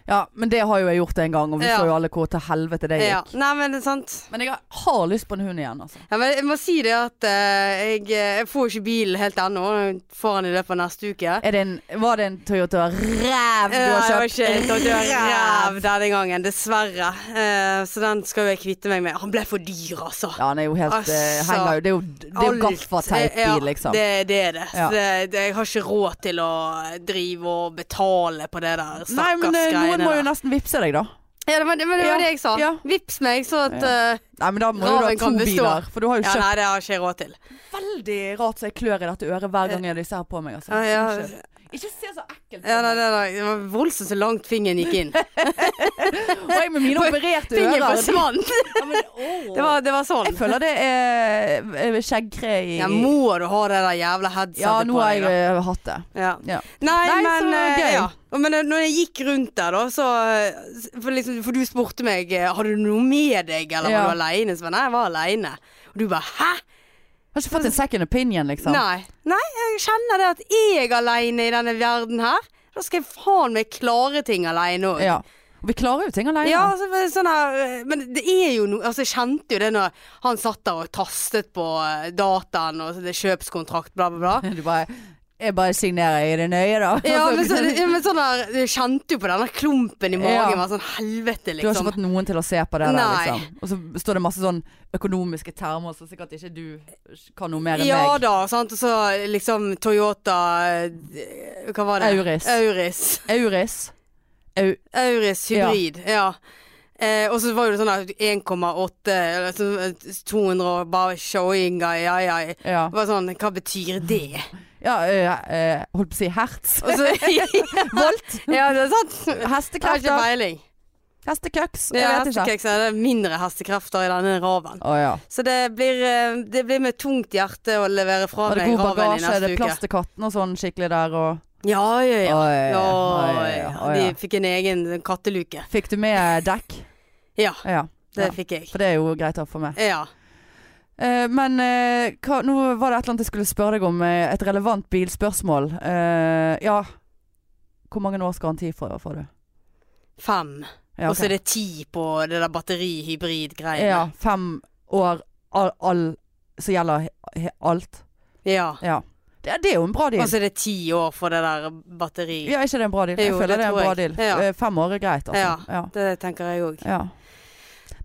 Speaker 2: Ja, men det har jo jeg gjort en gang, og vi
Speaker 1: Ja.
Speaker 2: så jo alle hvor til helvete det
Speaker 1: Ja.
Speaker 2: gikk.
Speaker 1: Nei, men det er sant.
Speaker 2: Men jeg har lyst på en hund igjen, altså.
Speaker 1: Ja, men jeg må si det at eh, jeg, eh, jeg får ikke bilen helt ennå. Jeg Får den i løpet av neste uke.
Speaker 2: Er det en, var det en Toyota Ræv du
Speaker 1: Ja,
Speaker 2: har
Speaker 1: det var
Speaker 2: kjøpt?
Speaker 1: ikke en Toyota ræv denne gangen, dessverre. Eh, så den skal jo jeg kvitte meg med. Han ble for dyr, altså.
Speaker 2: Ja, han er jo helt
Speaker 1: Altså,
Speaker 2: eh, henger jo Det er jo, det er jo
Speaker 1: Alt, eh, ja,
Speaker 2: gaffateipbil, liksom.
Speaker 1: Det, det er det.
Speaker 2: Ja.
Speaker 1: Så det, det. Jeg har ikke råd til å drive og betale på det der
Speaker 2: Nei, men eh,
Speaker 1: stakkars
Speaker 2: noen
Speaker 1: greiene.
Speaker 2: må jo
Speaker 1: der.
Speaker 2: nesten vippse deg, da.
Speaker 1: Ja, det var, det, men det,
Speaker 2: Ja,
Speaker 1: var det jeg sa.
Speaker 2: ja.
Speaker 1: Vips meg, så at
Speaker 2: Ja.
Speaker 1: eh,
Speaker 2: Nei, men da må du ha
Speaker 1: Raven
Speaker 2: to
Speaker 1: kan bestå.
Speaker 2: biler. For du har jo
Speaker 1: Ja,
Speaker 2: kjøpt
Speaker 1: nei, det har ikke jeg råd til.
Speaker 2: veldig rart så jeg klør i dette øret hver gang jeg har disse her på meg. Altså.
Speaker 1: Eh, Ja, ja,
Speaker 2: Unnskyld. Ikke se så ekkelt på
Speaker 1: ja, nei,
Speaker 2: meg.
Speaker 1: nei, nei. Det var voldsomt så langt fingeren gikk inn.
Speaker 2: Og jeg med mine opererte
Speaker 1: Fingeren
Speaker 2: ører.
Speaker 1: forsvant.
Speaker 2: Ja, men, åh.
Speaker 1: Det var, det var sånn.
Speaker 2: Jeg føler det er eh, skjeggkre i
Speaker 1: Ja, må du ha det der jævla headsetet
Speaker 2: Ja, nå
Speaker 1: på
Speaker 2: har
Speaker 1: deg? da?
Speaker 2: jeg eh, hatt det.
Speaker 1: Ja.
Speaker 2: Ja.
Speaker 1: Nei,
Speaker 2: Nei,
Speaker 1: men
Speaker 2: så
Speaker 1: eh,
Speaker 2: gøy.
Speaker 1: Ja. Og Men eh, når jeg gikk rundt der, da, så eh, For, liksom, for du spurte meg eh, Har du noe med deg, eller
Speaker 2: Ja.
Speaker 1: var du aleine? Så jeg bare, nei, jeg var aleine. Og du bare hæ?
Speaker 2: Har ikke fått en second opinion, liksom.
Speaker 1: Nei. Nei, jeg kjenner det at jeg er aleine i denne verden her. Da skal jeg faen meg klare ting aleine òg.
Speaker 2: Ja. Og vi klarer jo ting alene.
Speaker 1: Ja, altså, men sånn her, eh, men det er jo noe Altså, jeg kjente jo det når han satt der og tastet på eh, dataen og det kjøpskontrakt, bla, bla, bla.
Speaker 2: Du bare Jeg bare signerer i det nøye, da.
Speaker 1: Ja,
Speaker 2: Altså,
Speaker 1: men, så, ja, men sånn der, jeg kjente jo på denne klumpen i
Speaker 2: Ja.
Speaker 1: magen. Var sånn helvete,
Speaker 2: Du har ikke
Speaker 1: liksom.
Speaker 2: fått noen til å se på det der,
Speaker 1: Nei.
Speaker 2: liksom. Og så står det masse sånn økonomiske termer som sikkert ikke du kan noe mer enn
Speaker 1: Ja
Speaker 2: meg.
Speaker 1: da, sant. Og så liksom Toyota eh, Hva var det?
Speaker 2: Auris.
Speaker 1: Auris.
Speaker 2: Auris.
Speaker 1: Auris
Speaker 2: Ja.
Speaker 1: hybrid. Ja. Eh, og så var jo det sånn der 1,8 eller sånn, eh, 200 og bare showinga, ja ja. Det
Speaker 2: Ja.
Speaker 1: var sånn, hva betyr det?
Speaker 2: ja eh, eh, holdt på å si hertz.
Speaker 1: Og så,
Speaker 2: Volt.
Speaker 1: Altså, ja, det er sant. Jeg har ikke
Speaker 2: Hestekrefter.
Speaker 1: peiling.
Speaker 2: Hestekøks.
Speaker 1: Det
Speaker 2: Jeg
Speaker 1: er,
Speaker 2: vet ikke.
Speaker 1: hestekeks, det er mindre hestekrefter i denne raven.
Speaker 2: Å ja.
Speaker 1: Så det blir, eh, det blir med tungt hjerte å levere fra
Speaker 2: Var det
Speaker 1: meg
Speaker 2: god
Speaker 1: Raven i
Speaker 2: bagasje? Er
Speaker 1: neste
Speaker 2: det
Speaker 1: uke.
Speaker 2: plass til katten og sånn skikkelig der og
Speaker 1: Ja, ja, ja.
Speaker 2: Oi,
Speaker 1: ja,
Speaker 2: oi,
Speaker 1: ja.
Speaker 2: oi,
Speaker 1: De
Speaker 2: ja.
Speaker 1: fikk en egen katteluke.
Speaker 2: Fikk du med dekk?
Speaker 1: Ja,
Speaker 2: Ja.
Speaker 1: det
Speaker 2: ja.
Speaker 1: fikk jeg.
Speaker 2: For det er jo greit å ha for meg.
Speaker 1: Ja.
Speaker 2: Eh, men eh, hva, nå var det et eller annet jeg skulle spørre deg om. eh, et relevant bilspørsmål. Eh, ja. Hvor mange års garanti får, får du?
Speaker 1: Fem.
Speaker 2: Ja,
Speaker 1: Og så
Speaker 2: ok.
Speaker 1: er det ti på det der batteri-hybrid-greiene.
Speaker 2: ja, fem år all, all, som gjelder he- he- alt.
Speaker 1: Ja.
Speaker 2: Ja. Det, det er jo en bra
Speaker 1: Og
Speaker 2: deal.
Speaker 1: så er det ti år for det der batteri.
Speaker 2: Ja, er ikke det en bra deal? Jeg
Speaker 1: Altså, Jo,
Speaker 2: føler
Speaker 1: det
Speaker 2: det er en
Speaker 1: tror
Speaker 2: bra
Speaker 1: jeg.
Speaker 2: deal.
Speaker 1: Ja.
Speaker 2: Eh, Fem år er greit,
Speaker 1: Ja.
Speaker 2: altså. Ja.
Speaker 1: Det tenker jeg òg.
Speaker 2: ja.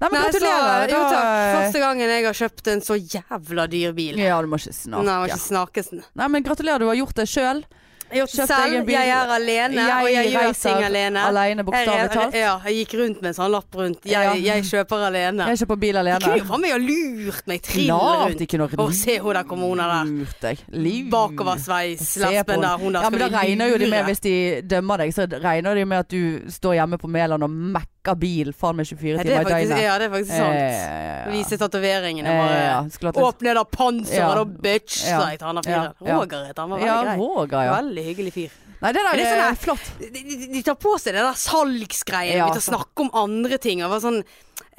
Speaker 2: Nei, men
Speaker 1: Nei, så-
Speaker 2: gratulerer.
Speaker 1: Jo
Speaker 2: Da- eh,
Speaker 1: takk. Første gangen jeg har kjøpt en så jævla dyr bil.
Speaker 2: Ja, du må ikke snakke.
Speaker 1: Nei, det var ikke snakesen.
Speaker 2: Nei, men gratulerer, du har gjort det sjøl.
Speaker 1: Jeg har gjort det
Speaker 2: Kjøpt egen
Speaker 1: selv.
Speaker 2: bil.
Speaker 1: Jeg er alene, og jeg gjør ting alene.
Speaker 2: alene, bokstavelig
Speaker 1: Jeg-
Speaker 2: talt.
Speaker 1: Ja, jeg gikk rundt med en sånn lapp rundt. Jeg,
Speaker 2: Ja.
Speaker 1: jeg kjøper alene.
Speaker 2: Jeg er ikke på bil
Speaker 1: De kunne
Speaker 2: alene.
Speaker 1: jo faen meg ha lurt meg trill
Speaker 2: Klart
Speaker 1: rundt.
Speaker 2: ikke noe
Speaker 1: Å, se hun der kom, hun er der.
Speaker 2: Lurt deg. Lur.
Speaker 1: Bakoversveis,
Speaker 2: Se på
Speaker 1: lesben
Speaker 2: henne.
Speaker 1: der, hun der.
Speaker 2: Ja, men
Speaker 1: Skal
Speaker 2: da
Speaker 1: vi
Speaker 2: regner jo de med,
Speaker 1: lure?
Speaker 2: hvis de dømmer deg, så regner de med at du står hjemme på Mæland og mekker bil faen meg 24
Speaker 1: ja, det er
Speaker 2: timer i Eh,
Speaker 1: faktisk,
Speaker 2: døgnet. eh,
Speaker 1: ja, det er faktisk sant. Vise tatoveringene bare.
Speaker 2: bare
Speaker 1: Åpne da panseret,
Speaker 2: Ja.
Speaker 1: da, bitch,
Speaker 2: Ja.
Speaker 1: sa jeg til han der
Speaker 2: Ja.
Speaker 1: fyren. Roger het han, var
Speaker 2: Ja,
Speaker 1: veldig grei.
Speaker 2: Roger, ja.
Speaker 1: Veldig hyggelig fyr.
Speaker 2: Nei, det
Speaker 1: Men
Speaker 2: der
Speaker 1: det er sånn her-
Speaker 2: er flott.
Speaker 1: De, de, de tar på seg det der salgsgreiene.
Speaker 2: Ja,
Speaker 1: Vi tar
Speaker 2: sant.
Speaker 1: snakke om andre ting. Og var sånn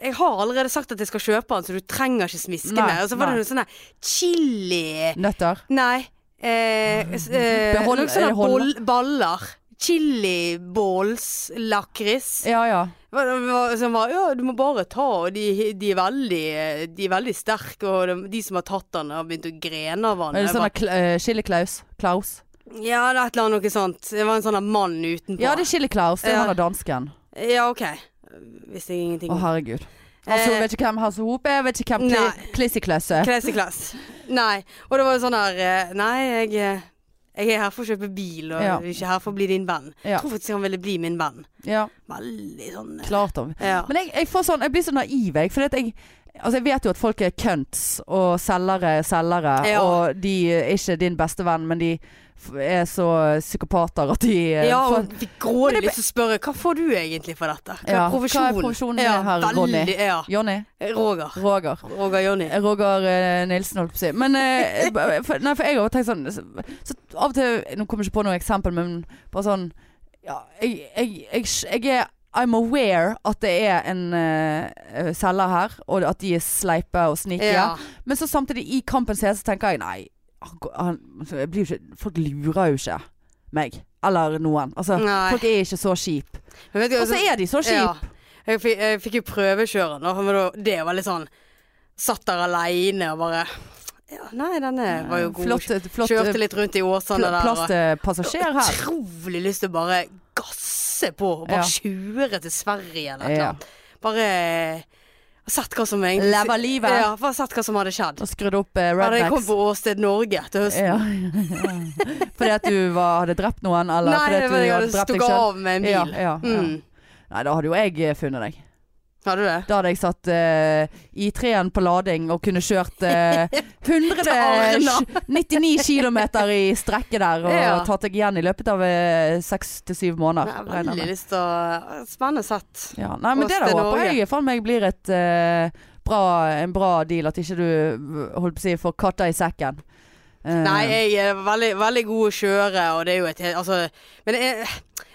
Speaker 1: jeg har allerede sagt at jeg skal kjøpe den, så du trenger ikke smiske
Speaker 2: Nei,
Speaker 1: mer. Og så var
Speaker 2: nei.
Speaker 1: det noe sånn her chili
Speaker 2: Nøtter.
Speaker 1: Nei. Eh, s- eh,
Speaker 2: Behold-
Speaker 1: noe
Speaker 2: er
Speaker 1: sånn
Speaker 2: det
Speaker 1: boll,
Speaker 2: holde?
Speaker 1: baller. Chili balls, lakris.
Speaker 2: Ja, ja.
Speaker 1: Hva- hva- Som var Ja, du må bare ta, og de, de er veldig eh, De er veldig sterke, og de, de som har tatt den, har begynt å grene av
Speaker 2: Er
Speaker 1: den.
Speaker 2: det
Speaker 1: Jeg
Speaker 2: sånn
Speaker 1: bare,
Speaker 2: der kl- eh, Chili Klaus? Klaus?
Speaker 1: Ja, det er et eller annet noe sånt. Det var en sånn der mann utenpå.
Speaker 2: Ja, det er Chili Klaus. Det er
Speaker 1: Ja.
Speaker 2: han er dansken.
Speaker 1: Ja, OK. Visste jeg ingenting
Speaker 2: Å,
Speaker 1: om.
Speaker 2: herregud. Altså,
Speaker 1: Eh,
Speaker 2: vet ikke hvem Hasse Hop er, vet ikke hvem
Speaker 1: Nei.
Speaker 2: Kli- Klissikløss er.
Speaker 1: Classy class. Nei. Og det var jo sånn her eh, Nei, jeg, eh, jeg er her for å kjøpe bil, og
Speaker 2: Ja.
Speaker 1: ikke her for å bli din venn.
Speaker 2: Ja.
Speaker 1: Jeg tror faktisk han ville bli min venn.
Speaker 2: Ja,
Speaker 1: Veldig sånn eh,
Speaker 2: klart om.
Speaker 1: ja.
Speaker 2: Men jeg, jeg får sånn, jeg blir så naiv, jeg. For jeg, altså jeg vet jo at folk er cunts og selgere er selgere.
Speaker 1: Ja.
Speaker 2: Og de er ikke din beste venn, men de f- er så psykopater at de eh,
Speaker 1: Ja,
Speaker 2: får-
Speaker 1: og fikk grådig
Speaker 2: Men det
Speaker 1: lyst til å spørre hva får du egentlig for dette? Hva
Speaker 2: Ja,
Speaker 1: er
Speaker 2: hva er
Speaker 1: profesjonen?
Speaker 2: profesjonen
Speaker 1: ja,
Speaker 2: her, Ronny?
Speaker 1: veldig- Ja.
Speaker 2: Jonny?
Speaker 1: Roger.
Speaker 2: Roger.
Speaker 1: Roger Jonny.
Speaker 2: Roger eh, Nilsen, holdt på å si. Men eh, b- for, nei, for jeg har jo tenkt sånn så, så Av og til Nå kommer jeg ikke på noe eksempel, men bare sånn Ja, jeg, jeg, jeg, jeg er I'm aware at det er en eh, selger her, og at de er sleipe og snike.
Speaker 1: Ja.
Speaker 2: Men så samtidig, i kampens hese, tenker jeg nei han, går- han, altså, jeg blir jo ikke, Folk lurer jo ikke meg. Eller noen. Altså,
Speaker 1: Nei.
Speaker 2: folk er ikke så kjip.
Speaker 1: Men vet du, altså-
Speaker 2: Og så er de så
Speaker 1: Ja.
Speaker 2: kjip.
Speaker 1: Jeg fikk, jeg fikk jo prøvekjøre den, da, men da- det var litt sånn Satt der aleine og bare Ja, nei, denne var jo god.
Speaker 2: Flott, flott
Speaker 1: Kjørte litt rundt i åsene
Speaker 2: pl
Speaker 1: der.
Speaker 2: plass
Speaker 1: og-
Speaker 2: til passasjer her.
Speaker 1: Utrolig lyst til å bare gasse på og
Speaker 2: Ja.
Speaker 1: bare kjøre til Sverige eller
Speaker 2: Ja.
Speaker 1: noe. Bare sett hva som egentlig
Speaker 2: Leve livet.
Speaker 1: Ja, bare sett hva som hadde skjedd.
Speaker 2: Og skrudde opp eh,
Speaker 1: Hadde jeg kommet
Speaker 2: rednecks.
Speaker 1: på åsted Norge til høsten
Speaker 2: Ja. fordi at du var, hadde drept noen, eller
Speaker 1: Nei,
Speaker 2: fordi
Speaker 1: det
Speaker 2: at du
Speaker 1: var jeg
Speaker 2: hadde
Speaker 1: hadde
Speaker 2: drept deg
Speaker 1: stukket
Speaker 2: sjøl?
Speaker 1: av med en bil.
Speaker 2: Ja, ja, ja.
Speaker 1: Mm.
Speaker 2: Nei, da hadde jo jeg eh, funnet deg.
Speaker 1: Hadde du det?
Speaker 2: Da hadde jeg satt eh, i treen på lading og kunne kjørt eh, 199 km i strekket der og
Speaker 1: Ja.
Speaker 2: tatt deg igjen i løpet av eh, seks til syv måneder.
Speaker 1: Nei,
Speaker 2: regner jeg
Speaker 1: veldig
Speaker 2: med.
Speaker 1: lyst til å Spennende sett.
Speaker 2: Ja. Nei, men det
Speaker 1: Åsted
Speaker 2: der håper
Speaker 1: Norge.
Speaker 2: jeg faen meg blir et eh, bra, en bra deal, at ikke du holdt på å si får katta i sekken. Eh,
Speaker 1: Nei, jeg er veldig, veldig god å kjøre, og det er jo et helt Altså Men jeg,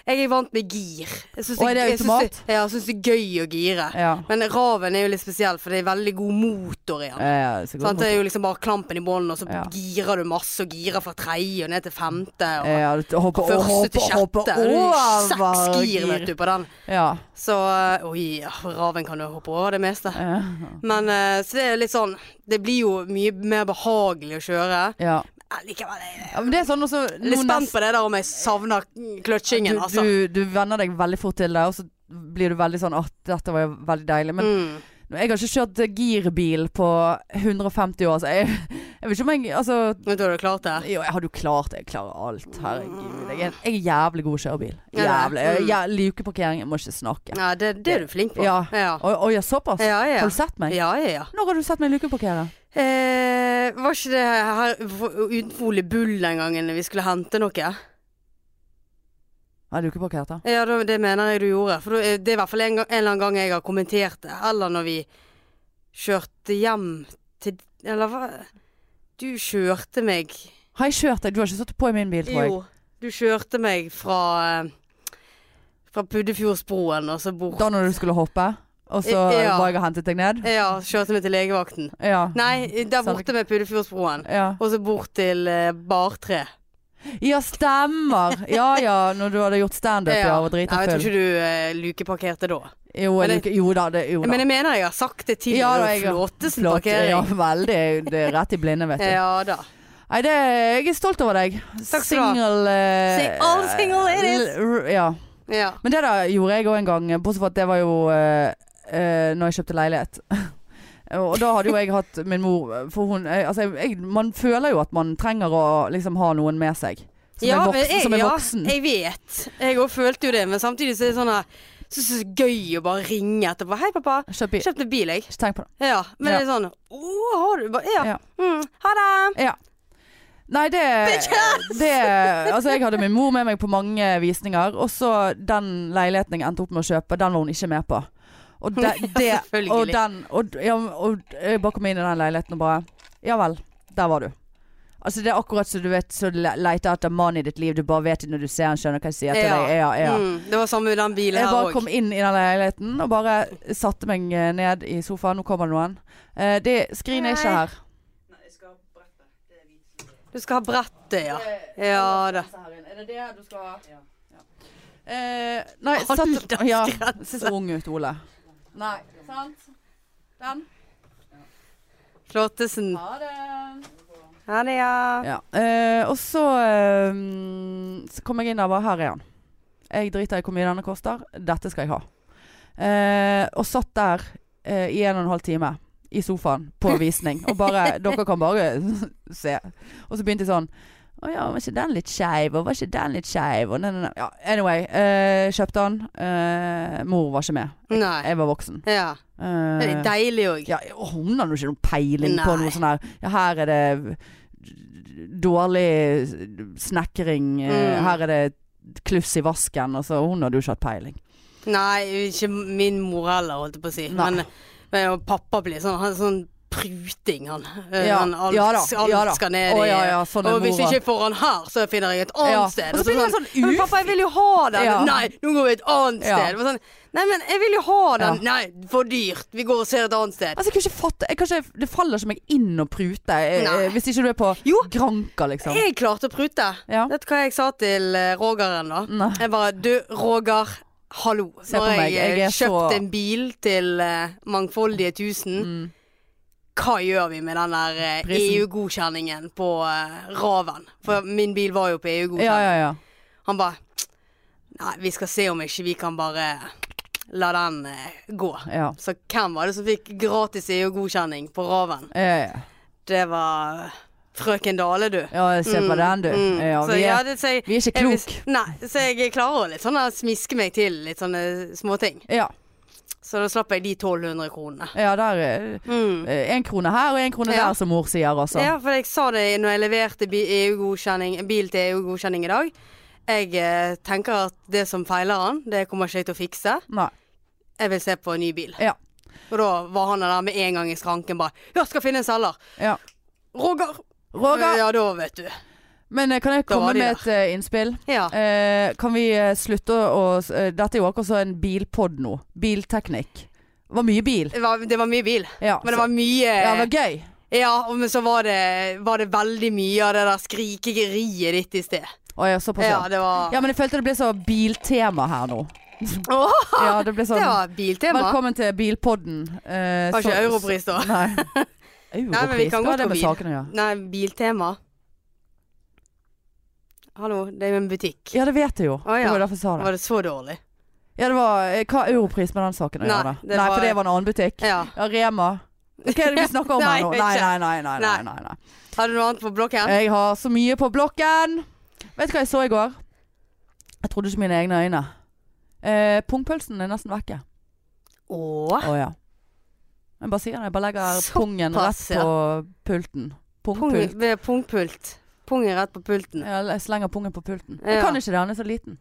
Speaker 1: jeg er vant med gir. Jeg syns
Speaker 2: Og er det
Speaker 1: jeg syns det, ja, jeg syns det er gøy å gire.
Speaker 2: ja.
Speaker 1: Men Raven er jo litt spesiell, for det er veldig god motor i den.
Speaker 2: Eh, så
Speaker 1: Sant?
Speaker 2: godt.
Speaker 1: Det er jo liksom bare klampen i bånden, og så
Speaker 2: Ja.
Speaker 1: girer du masse, og girer fra tredje og ned til femte. Og
Speaker 2: Ja, du hopper,
Speaker 1: første
Speaker 2: hopper,
Speaker 1: til
Speaker 2: hopper
Speaker 1: sjette. Og det er jo
Speaker 2: over
Speaker 1: seks gir, vet du, på den.
Speaker 2: Ja.
Speaker 1: Så øh, Oi, ja, Raven kan jo hoppe over det meste.
Speaker 2: eh,
Speaker 1: Men øh, så det er jo litt sånn Det blir jo mye mer behagelig å kjøre.
Speaker 2: ja.
Speaker 1: Men Likevel jeg er
Speaker 2: Ja, men det er sånn også
Speaker 1: jeg litt
Speaker 2: nå
Speaker 1: spent
Speaker 2: nest-
Speaker 1: på det der om jeg savner kløtsjingen,
Speaker 2: du,
Speaker 1: altså.
Speaker 2: du, du venner deg veldig fort til det, og så blir du veldig sånn Å, dette var jo veldig deilig. Men
Speaker 1: mm.
Speaker 2: jeg har ikke kjørt eh, girbil på 150 år, så jeg, jeg vet ikke om jeg Altså
Speaker 1: Vet du hva du klarte?
Speaker 2: jo, jeg hadde jo klart det. Jeg klarer alt. Herregud. Jeg er, jeg er jævlig god å kjøre bil.
Speaker 1: Ja, ja.
Speaker 2: Jævlig. Jeg, jeg, lukeparkering, jeg må ikke snakke.
Speaker 1: Ja, det, det er du flink på.
Speaker 2: Ja.
Speaker 1: Ja,
Speaker 2: Å å, ja, såpass?
Speaker 1: ja. ja.
Speaker 2: Har du sett meg?
Speaker 1: ja, ja, ja.
Speaker 2: Når har du sett meg lukeparkere?
Speaker 1: Eh, var ikke det her utenfor Ole Bull den gangen vi skulle hente noe?
Speaker 2: Har jeg lukeparkert, da?
Speaker 1: Ja, da- det mener jeg du gjorde. For da- eh, det er i hvert fall en, gang, en eller annen gang jeg har kommentert det. Eller når vi kjørte hjem til Eller hva? Du kjørte meg
Speaker 2: Har jeg kjørt deg? Du har ikke satt på i min bil, tror jeg.
Speaker 1: Jo. Du kjørte meg fra eh, Fra Puddefjordsbroen og så bort
Speaker 2: Da når du skulle hoppe, og så
Speaker 1: Ja.
Speaker 2: var jeg og hentet deg ned?
Speaker 1: Ja, kjørte meg til legevakten.
Speaker 2: Ja.
Speaker 1: Nei, der
Speaker 2: Sandvik.
Speaker 1: borte med Puddefjordsbroen.
Speaker 2: Ja.
Speaker 1: Og så bort til eh, Bartre.
Speaker 2: ja, stemmer. Ja ja, når du hadde gjort standup ja, og drita
Speaker 1: Nei, Jeg tror
Speaker 2: full.
Speaker 1: ikke du eh, lukeparkerte da.
Speaker 2: Jo,
Speaker 1: Men
Speaker 2: jeg,
Speaker 1: det-
Speaker 2: liker- jo da, det, jo da.
Speaker 1: Men jeg mener jeg har sagt det til
Speaker 2: Ja,
Speaker 1: ja,
Speaker 2: da, jeg-
Speaker 1: Flåtesen
Speaker 2: Flott. Ja,
Speaker 1: parkering.
Speaker 2: veldig. Det er rett i blinde, vet du.
Speaker 1: Ja, da.
Speaker 2: Nei, det, jeg er stolt over deg.
Speaker 1: Takk skal du ha.
Speaker 2: Single, eh,
Speaker 1: Sing- all single it is.
Speaker 2: l- r- Ja.
Speaker 1: Ja.
Speaker 2: Men det da gjorde jeg òg en gang, bortsett fra at det var jo eh, eh, når jeg kjøpte leilighet. Og da hadde jo jeg hatt min mor For hun eh, Altså, jeg, jeg, man føler jo at man trenger å liksom ha noen med seg. Som
Speaker 1: ja,
Speaker 2: er
Speaker 1: men
Speaker 2: voksen.
Speaker 1: jeg,
Speaker 2: som er
Speaker 1: ja,
Speaker 2: voksen.
Speaker 1: jeg vet. Jeg òg følte jo det, men samtidig så er det sånn her Syns det er så gøy å bare ringe etterpå. 'Hei, pappa.
Speaker 2: Kjøp bil.
Speaker 1: Kjøpte bil, jeg.'
Speaker 2: Ikke tenk på det.
Speaker 1: Ja. Men
Speaker 2: Ja.
Speaker 1: det er sånn 'Å, har du bare Ja.
Speaker 2: Ja.
Speaker 1: Mm, ha det.
Speaker 2: Ja. Nei, det, det Altså, jeg hadde min mor med meg på mange visninger, og så den leiligheten jeg endte opp med å kjøpe, den var hun ikke med på. Og, de, det,
Speaker 1: selvfølgelig.
Speaker 2: og den og, ja, og jeg bare kom inn i den leiligheten og bare Ja vel, der var du. Altså Det er akkurat som du vet Så le- leter etter mannen i ditt liv. Du bare vet det når du ser han skjønner hva jeg sier til
Speaker 1: Ja.
Speaker 2: deg. Ja, ja.
Speaker 1: Mm, det var samme med den bilen
Speaker 2: Jeg
Speaker 1: her
Speaker 2: bare
Speaker 1: òg.
Speaker 2: kom inn i den leiligheten og bare satte meg eh, ned i sofaen. Nå kommer det noen. Eh, det skrinet er ikke
Speaker 1: Hei.
Speaker 2: her.
Speaker 1: Du skal ha brettet, ja. Ja da.
Speaker 2: Eh, Er det det du skal ha? Ja. Eh, nei, satt
Speaker 1: Aldersgrense.
Speaker 2: ja, Ser så ung ut, Ole. Nei, sant? Den. eh,
Speaker 1: Flåttesen.
Speaker 2: Ha det.
Speaker 1: Ha det, ja.
Speaker 2: Ja. Eh, og så, eh, så kom jeg inn der og bare Her er han. Jeg driter i hvor mye denne koster. Dette skal jeg ha. Eh, og satt der eh, i en og en halv time i sofaen på visning. Og bare Dere kan bare se. Og så begynte jeg sånn Å ja, var ikke den litt skeiv? Og var ikke den litt skeiv? Og nei, nei, nei. Ja, anyway. eh, kjøpte han. Eh, mor var ikke med.
Speaker 1: Nei.
Speaker 2: Jeg var voksen.
Speaker 1: Ja.
Speaker 2: Eh,
Speaker 1: Det er deilig òg.
Speaker 2: ja, og hun har jo ikke noen peiling på
Speaker 1: Nei.
Speaker 2: noe sånn her Ja, her er det dårlig snekring, eh,
Speaker 1: Mm.
Speaker 2: her er det kluss i vasken. Altså, hun hadde jo ikke hatt peiling.
Speaker 1: Nei, ikke min mor heller, holdt jeg på å si.
Speaker 2: Nei.
Speaker 1: Men, men og pappa blir sånn, han er sånn pruting, han. Eh,
Speaker 2: Ja,
Speaker 1: han alt,
Speaker 2: ja da,
Speaker 1: alt
Speaker 2: ja da.
Speaker 1: skal ned i
Speaker 2: Å ja, ja, sånn er
Speaker 1: Og hvis
Speaker 2: mora.
Speaker 1: ikke jeg får han her, så finner jeg et annet
Speaker 2: Ja,
Speaker 1: sted.
Speaker 2: og så blir han sånn
Speaker 1: «Ja, Men pappa, jeg vil jo ha den.
Speaker 2: Ja.
Speaker 1: Nei, nå går vi et annet
Speaker 2: Ja.
Speaker 1: sted. Og Sånn, Nei, men jeg vil jo ha den.
Speaker 2: Ja.
Speaker 1: Nei, for dyrt. Vi går og ser et annet sted.
Speaker 2: Altså, jeg kunne ikke fatte jeg kan ikke, Det faller ikke meg inn å prute eh,
Speaker 1: Nei.
Speaker 2: eh, hvis ikke du er på
Speaker 1: Jo.
Speaker 2: Granka, liksom.
Speaker 1: Jeg klarte å prute.
Speaker 2: Ja.
Speaker 1: Vet du hva jeg sa til eh, Rogeren da?
Speaker 2: Nei.
Speaker 1: Jeg bare Du, Roger. Hallo.
Speaker 2: Se på
Speaker 1: Når
Speaker 2: meg,
Speaker 1: jeg,
Speaker 2: jeg er
Speaker 1: eh, kjøpte
Speaker 2: så-
Speaker 1: en bil til eh, mangfoldige tusen.
Speaker 2: Mm.
Speaker 1: Hva gjør vi med den der eh,
Speaker 2: Prisen.
Speaker 1: EU-godkjenningen på eh, Raven? For min bil var jo på EU-godkjenning.
Speaker 2: Ja, ja, ja.
Speaker 1: Han bare Nei, vi skal se om ikke vi kan bare eh, la den eh, gå.
Speaker 2: ja.
Speaker 1: Så hvem var det som fikk gratis EU-godkjenning på Raven?
Speaker 2: Ja, ja,
Speaker 1: Det var eh, frøken Dale, du.
Speaker 2: ja. ja se på den, du.
Speaker 1: Mm.
Speaker 2: Ja,
Speaker 1: Så
Speaker 2: vi,
Speaker 1: ja,
Speaker 2: er,
Speaker 1: det, så jeg,
Speaker 2: vi er ikke
Speaker 1: jeg vil-
Speaker 2: klok.
Speaker 1: Nei, så jeg klarer å litt sånn eh, smiske meg til litt sånne småting.
Speaker 2: Ja,
Speaker 1: Så da slapp jeg de 1200 kronene.
Speaker 2: ja der er
Speaker 1: Mm.
Speaker 2: eh, En krone her og en krone
Speaker 1: Ja.
Speaker 2: der, som mor sier, altså.
Speaker 1: Ja, for jeg sa det når jeg leverte bi- EU-godkjenning, bil til EU-godkjenning i dag. Jeg eh, tenker at det som feiler han, det kommer ikke jeg til å fikse.
Speaker 2: Nei.
Speaker 1: Jeg vil se på en ny bil.
Speaker 2: Ja.
Speaker 1: Og da var han der med en gang i skranken bare Ja, skal finne en selger.
Speaker 2: Ja.
Speaker 1: Roger.
Speaker 2: Roger!
Speaker 1: Ja, da vet du.
Speaker 2: Men eh, kan jeg
Speaker 1: Da
Speaker 2: komme
Speaker 1: var de
Speaker 2: med et eh, innspill?
Speaker 1: Ja.
Speaker 2: Eh, kan vi eh, slutte å eh, Dette er jo akkurat som en bilpod nå. Bilteknikk. Det var mye bil.
Speaker 1: Det var, det var mye bil.
Speaker 2: Ja,
Speaker 1: Men det
Speaker 2: så-
Speaker 1: var mye
Speaker 2: ja, det var gøy.
Speaker 1: Ja, og men så var det, var det veldig mye av det der skrikegeriet ditt i sted.
Speaker 2: Å ja, såpass,
Speaker 1: Ja,
Speaker 2: ja.
Speaker 1: det var
Speaker 2: Ja, men jeg følte det ble så biltema her nå.
Speaker 1: Åh,
Speaker 2: Ja, det ble sånn
Speaker 1: det var biltema.
Speaker 2: Velkommen til bilpodden. Eh,
Speaker 1: Var
Speaker 2: så-
Speaker 1: ikke europris da?
Speaker 2: Nei.
Speaker 1: Nei, men vi
Speaker 2: Europris,
Speaker 1: kan
Speaker 2: hva har
Speaker 1: godt
Speaker 2: det med
Speaker 1: gå bil.
Speaker 2: sakene å gjøre?
Speaker 1: Nei, biltema. Hallo, det er jo en butikk.
Speaker 2: Ja, det vet jeg jo.
Speaker 1: Å, ja.
Speaker 2: Det var derfor jeg sa det.
Speaker 1: Var det så dårlig?
Speaker 2: Ja, det var, eh, hva har europris med den saken å
Speaker 1: Nei,
Speaker 2: gjøre?
Speaker 1: det
Speaker 2: Nei,
Speaker 1: var-
Speaker 2: for det var en annen butikk.
Speaker 1: Ja.
Speaker 2: Ja, Rema. Hva er det vi snakker om
Speaker 1: Nei,
Speaker 2: her nå?
Speaker 1: jeg
Speaker 2: Nei,
Speaker 1: vet
Speaker 2: nei, nei. nei, nei,
Speaker 1: Nei.
Speaker 2: nei, nei.
Speaker 1: Har du noe annet på blokken?
Speaker 2: Jeg har så mye på blokken. Vet du hva jeg så i går? Jeg trodde ikke mine egne øyne. Eh, pungpølsen er nesten vekke.
Speaker 1: Åh.
Speaker 2: Å ja. Jeg bare sier det. Jeg bare legger
Speaker 1: Ah. Såpass,
Speaker 2: pungen rett
Speaker 1: ja.
Speaker 2: på pulten.
Speaker 1: Pung,
Speaker 2: Pungpult.
Speaker 1: ved pungpult. Pung er rett på pulten.
Speaker 2: Ja, Jeg slenger pungen på pulten.
Speaker 1: Ja. Ah,
Speaker 2: Jeg kan ikke det, han er så liten.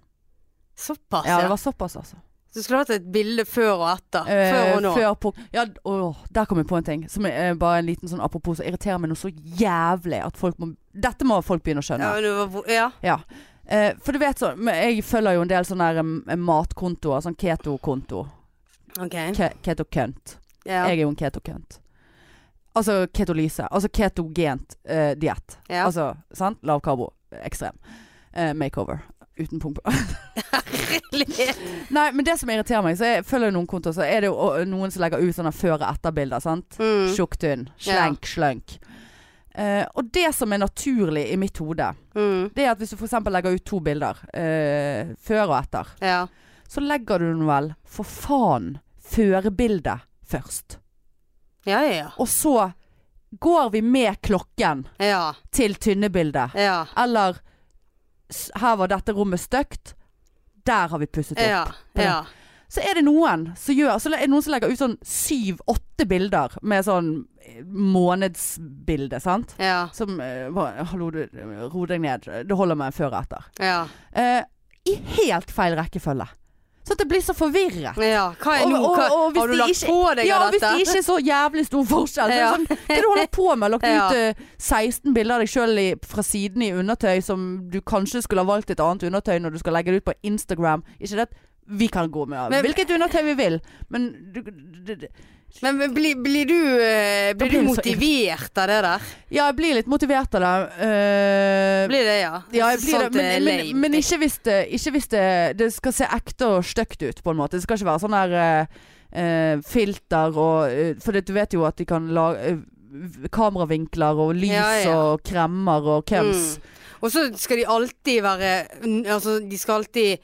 Speaker 1: Såpass,
Speaker 2: Ja,
Speaker 1: ja.
Speaker 2: det var såpass, altså.
Speaker 1: Du skulle hatt et bilde før og etter.
Speaker 2: Eh,
Speaker 1: Ah, Før og nå.
Speaker 2: før pung... Ja, åh, der kom jeg på en ting som er eh, bare en liten sånn apropos som irriterer meg noe så jævlig at folk må Dette må folk begynne å
Speaker 1: Ja,
Speaker 2: skjønne.
Speaker 1: men det var, ja.
Speaker 2: Ja. Eh, for du vet sånn men Jeg følger jo en del sånne her, eh, matkontoer. Sånn keto-konto.
Speaker 1: OK.
Speaker 2: Ke keto-kønt.
Speaker 1: Ja.
Speaker 2: Jeg er jo en keto-kønt. Altså ketolyse. Altså ketogent eh, diett.
Speaker 1: Ja.
Speaker 2: Altså, sant? Lav karbo. Ekstrem. Eh, makeover. Uten pumpe. Nei, men det som irriterer meg, så jeg følger jo noen kontoer, så er det jo å, noen som legger ut sånne før- og etterbilder, sant?
Speaker 1: Mm.
Speaker 2: Tjukk, tynn. Slenk, slønk. Eh, og det som er naturlig i mitt hode,
Speaker 1: Mm.
Speaker 2: det er at hvis du f.eks. legger ut to bilder, eh, før og etter,
Speaker 1: Ja.
Speaker 2: så legger du den vel for faen førbildet først.
Speaker 1: Ja, ja,
Speaker 2: Og så går vi med klokken
Speaker 1: ja. Ja.
Speaker 2: til tynnebildet.
Speaker 1: Ja.
Speaker 2: Eller s- her var dette rommet stygt. Der har vi pusset opp.
Speaker 1: Ja. ja.
Speaker 2: Så er det noen som gjør Så er det noen som legger ut sånn syv-åtte bilder med sånn månedsbilde, sant?
Speaker 1: ja.
Speaker 2: Som eh, bare, Hallo, du, ro deg ned. Det holder med en før og etter.
Speaker 1: ja.
Speaker 2: Eh, I helt feil rekkefølge. Så at det blir så forvirret.
Speaker 1: Ja, hva er nå?
Speaker 2: Og- og-
Speaker 1: Hva,
Speaker 2: og hvis
Speaker 1: har du
Speaker 2: de
Speaker 1: lagt
Speaker 2: ikke-
Speaker 1: på deg
Speaker 2: Ja,
Speaker 1: av
Speaker 2: hvis
Speaker 1: dette?
Speaker 2: det ikke er så jævlig stor forskjell. Så er det
Speaker 1: Ja.
Speaker 2: sånn, hva er det du holder på med? Lagt
Speaker 1: Ja.
Speaker 2: ut eh, 16 bilder av deg sjøl fra siden i undertøy som du kanskje skulle ha valgt et annet undertøy når du skal legge det ut på Instagram. Ikke det at vi kan gå med
Speaker 1: Men-
Speaker 2: hvilket undertøy vi vil, men du, du, du,
Speaker 1: Men men blir, blir du, eh, blir
Speaker 2: blir
Speaker 1: du
Speaker 2: det så
Speaker 1: motivert av det der?
Speaker 2: Ja, jeg blir litt motivert av det. eh,
Speaker 1: Blir det, ja?
Speaker 2: ja, jeg blir det,
Speaker 1: Sånt er
Speaker 2: men, men,
Speaker 1: lame.
Speaker 2: men ikke hvis det Ikke hvis det, det skal se ekte og stygt ut, på en måte. Det skal ikke være sånn der eh, eh, filter og eh, For det, du vet jo at de kan lage eh, v- kameravinkler og lys
Speaker 1: Ja, ja. Mm,
Speaker 2: og kremmer og kems.
Speaker 1: liksom. Og så skal de alltid være n- Altså, de skal alltid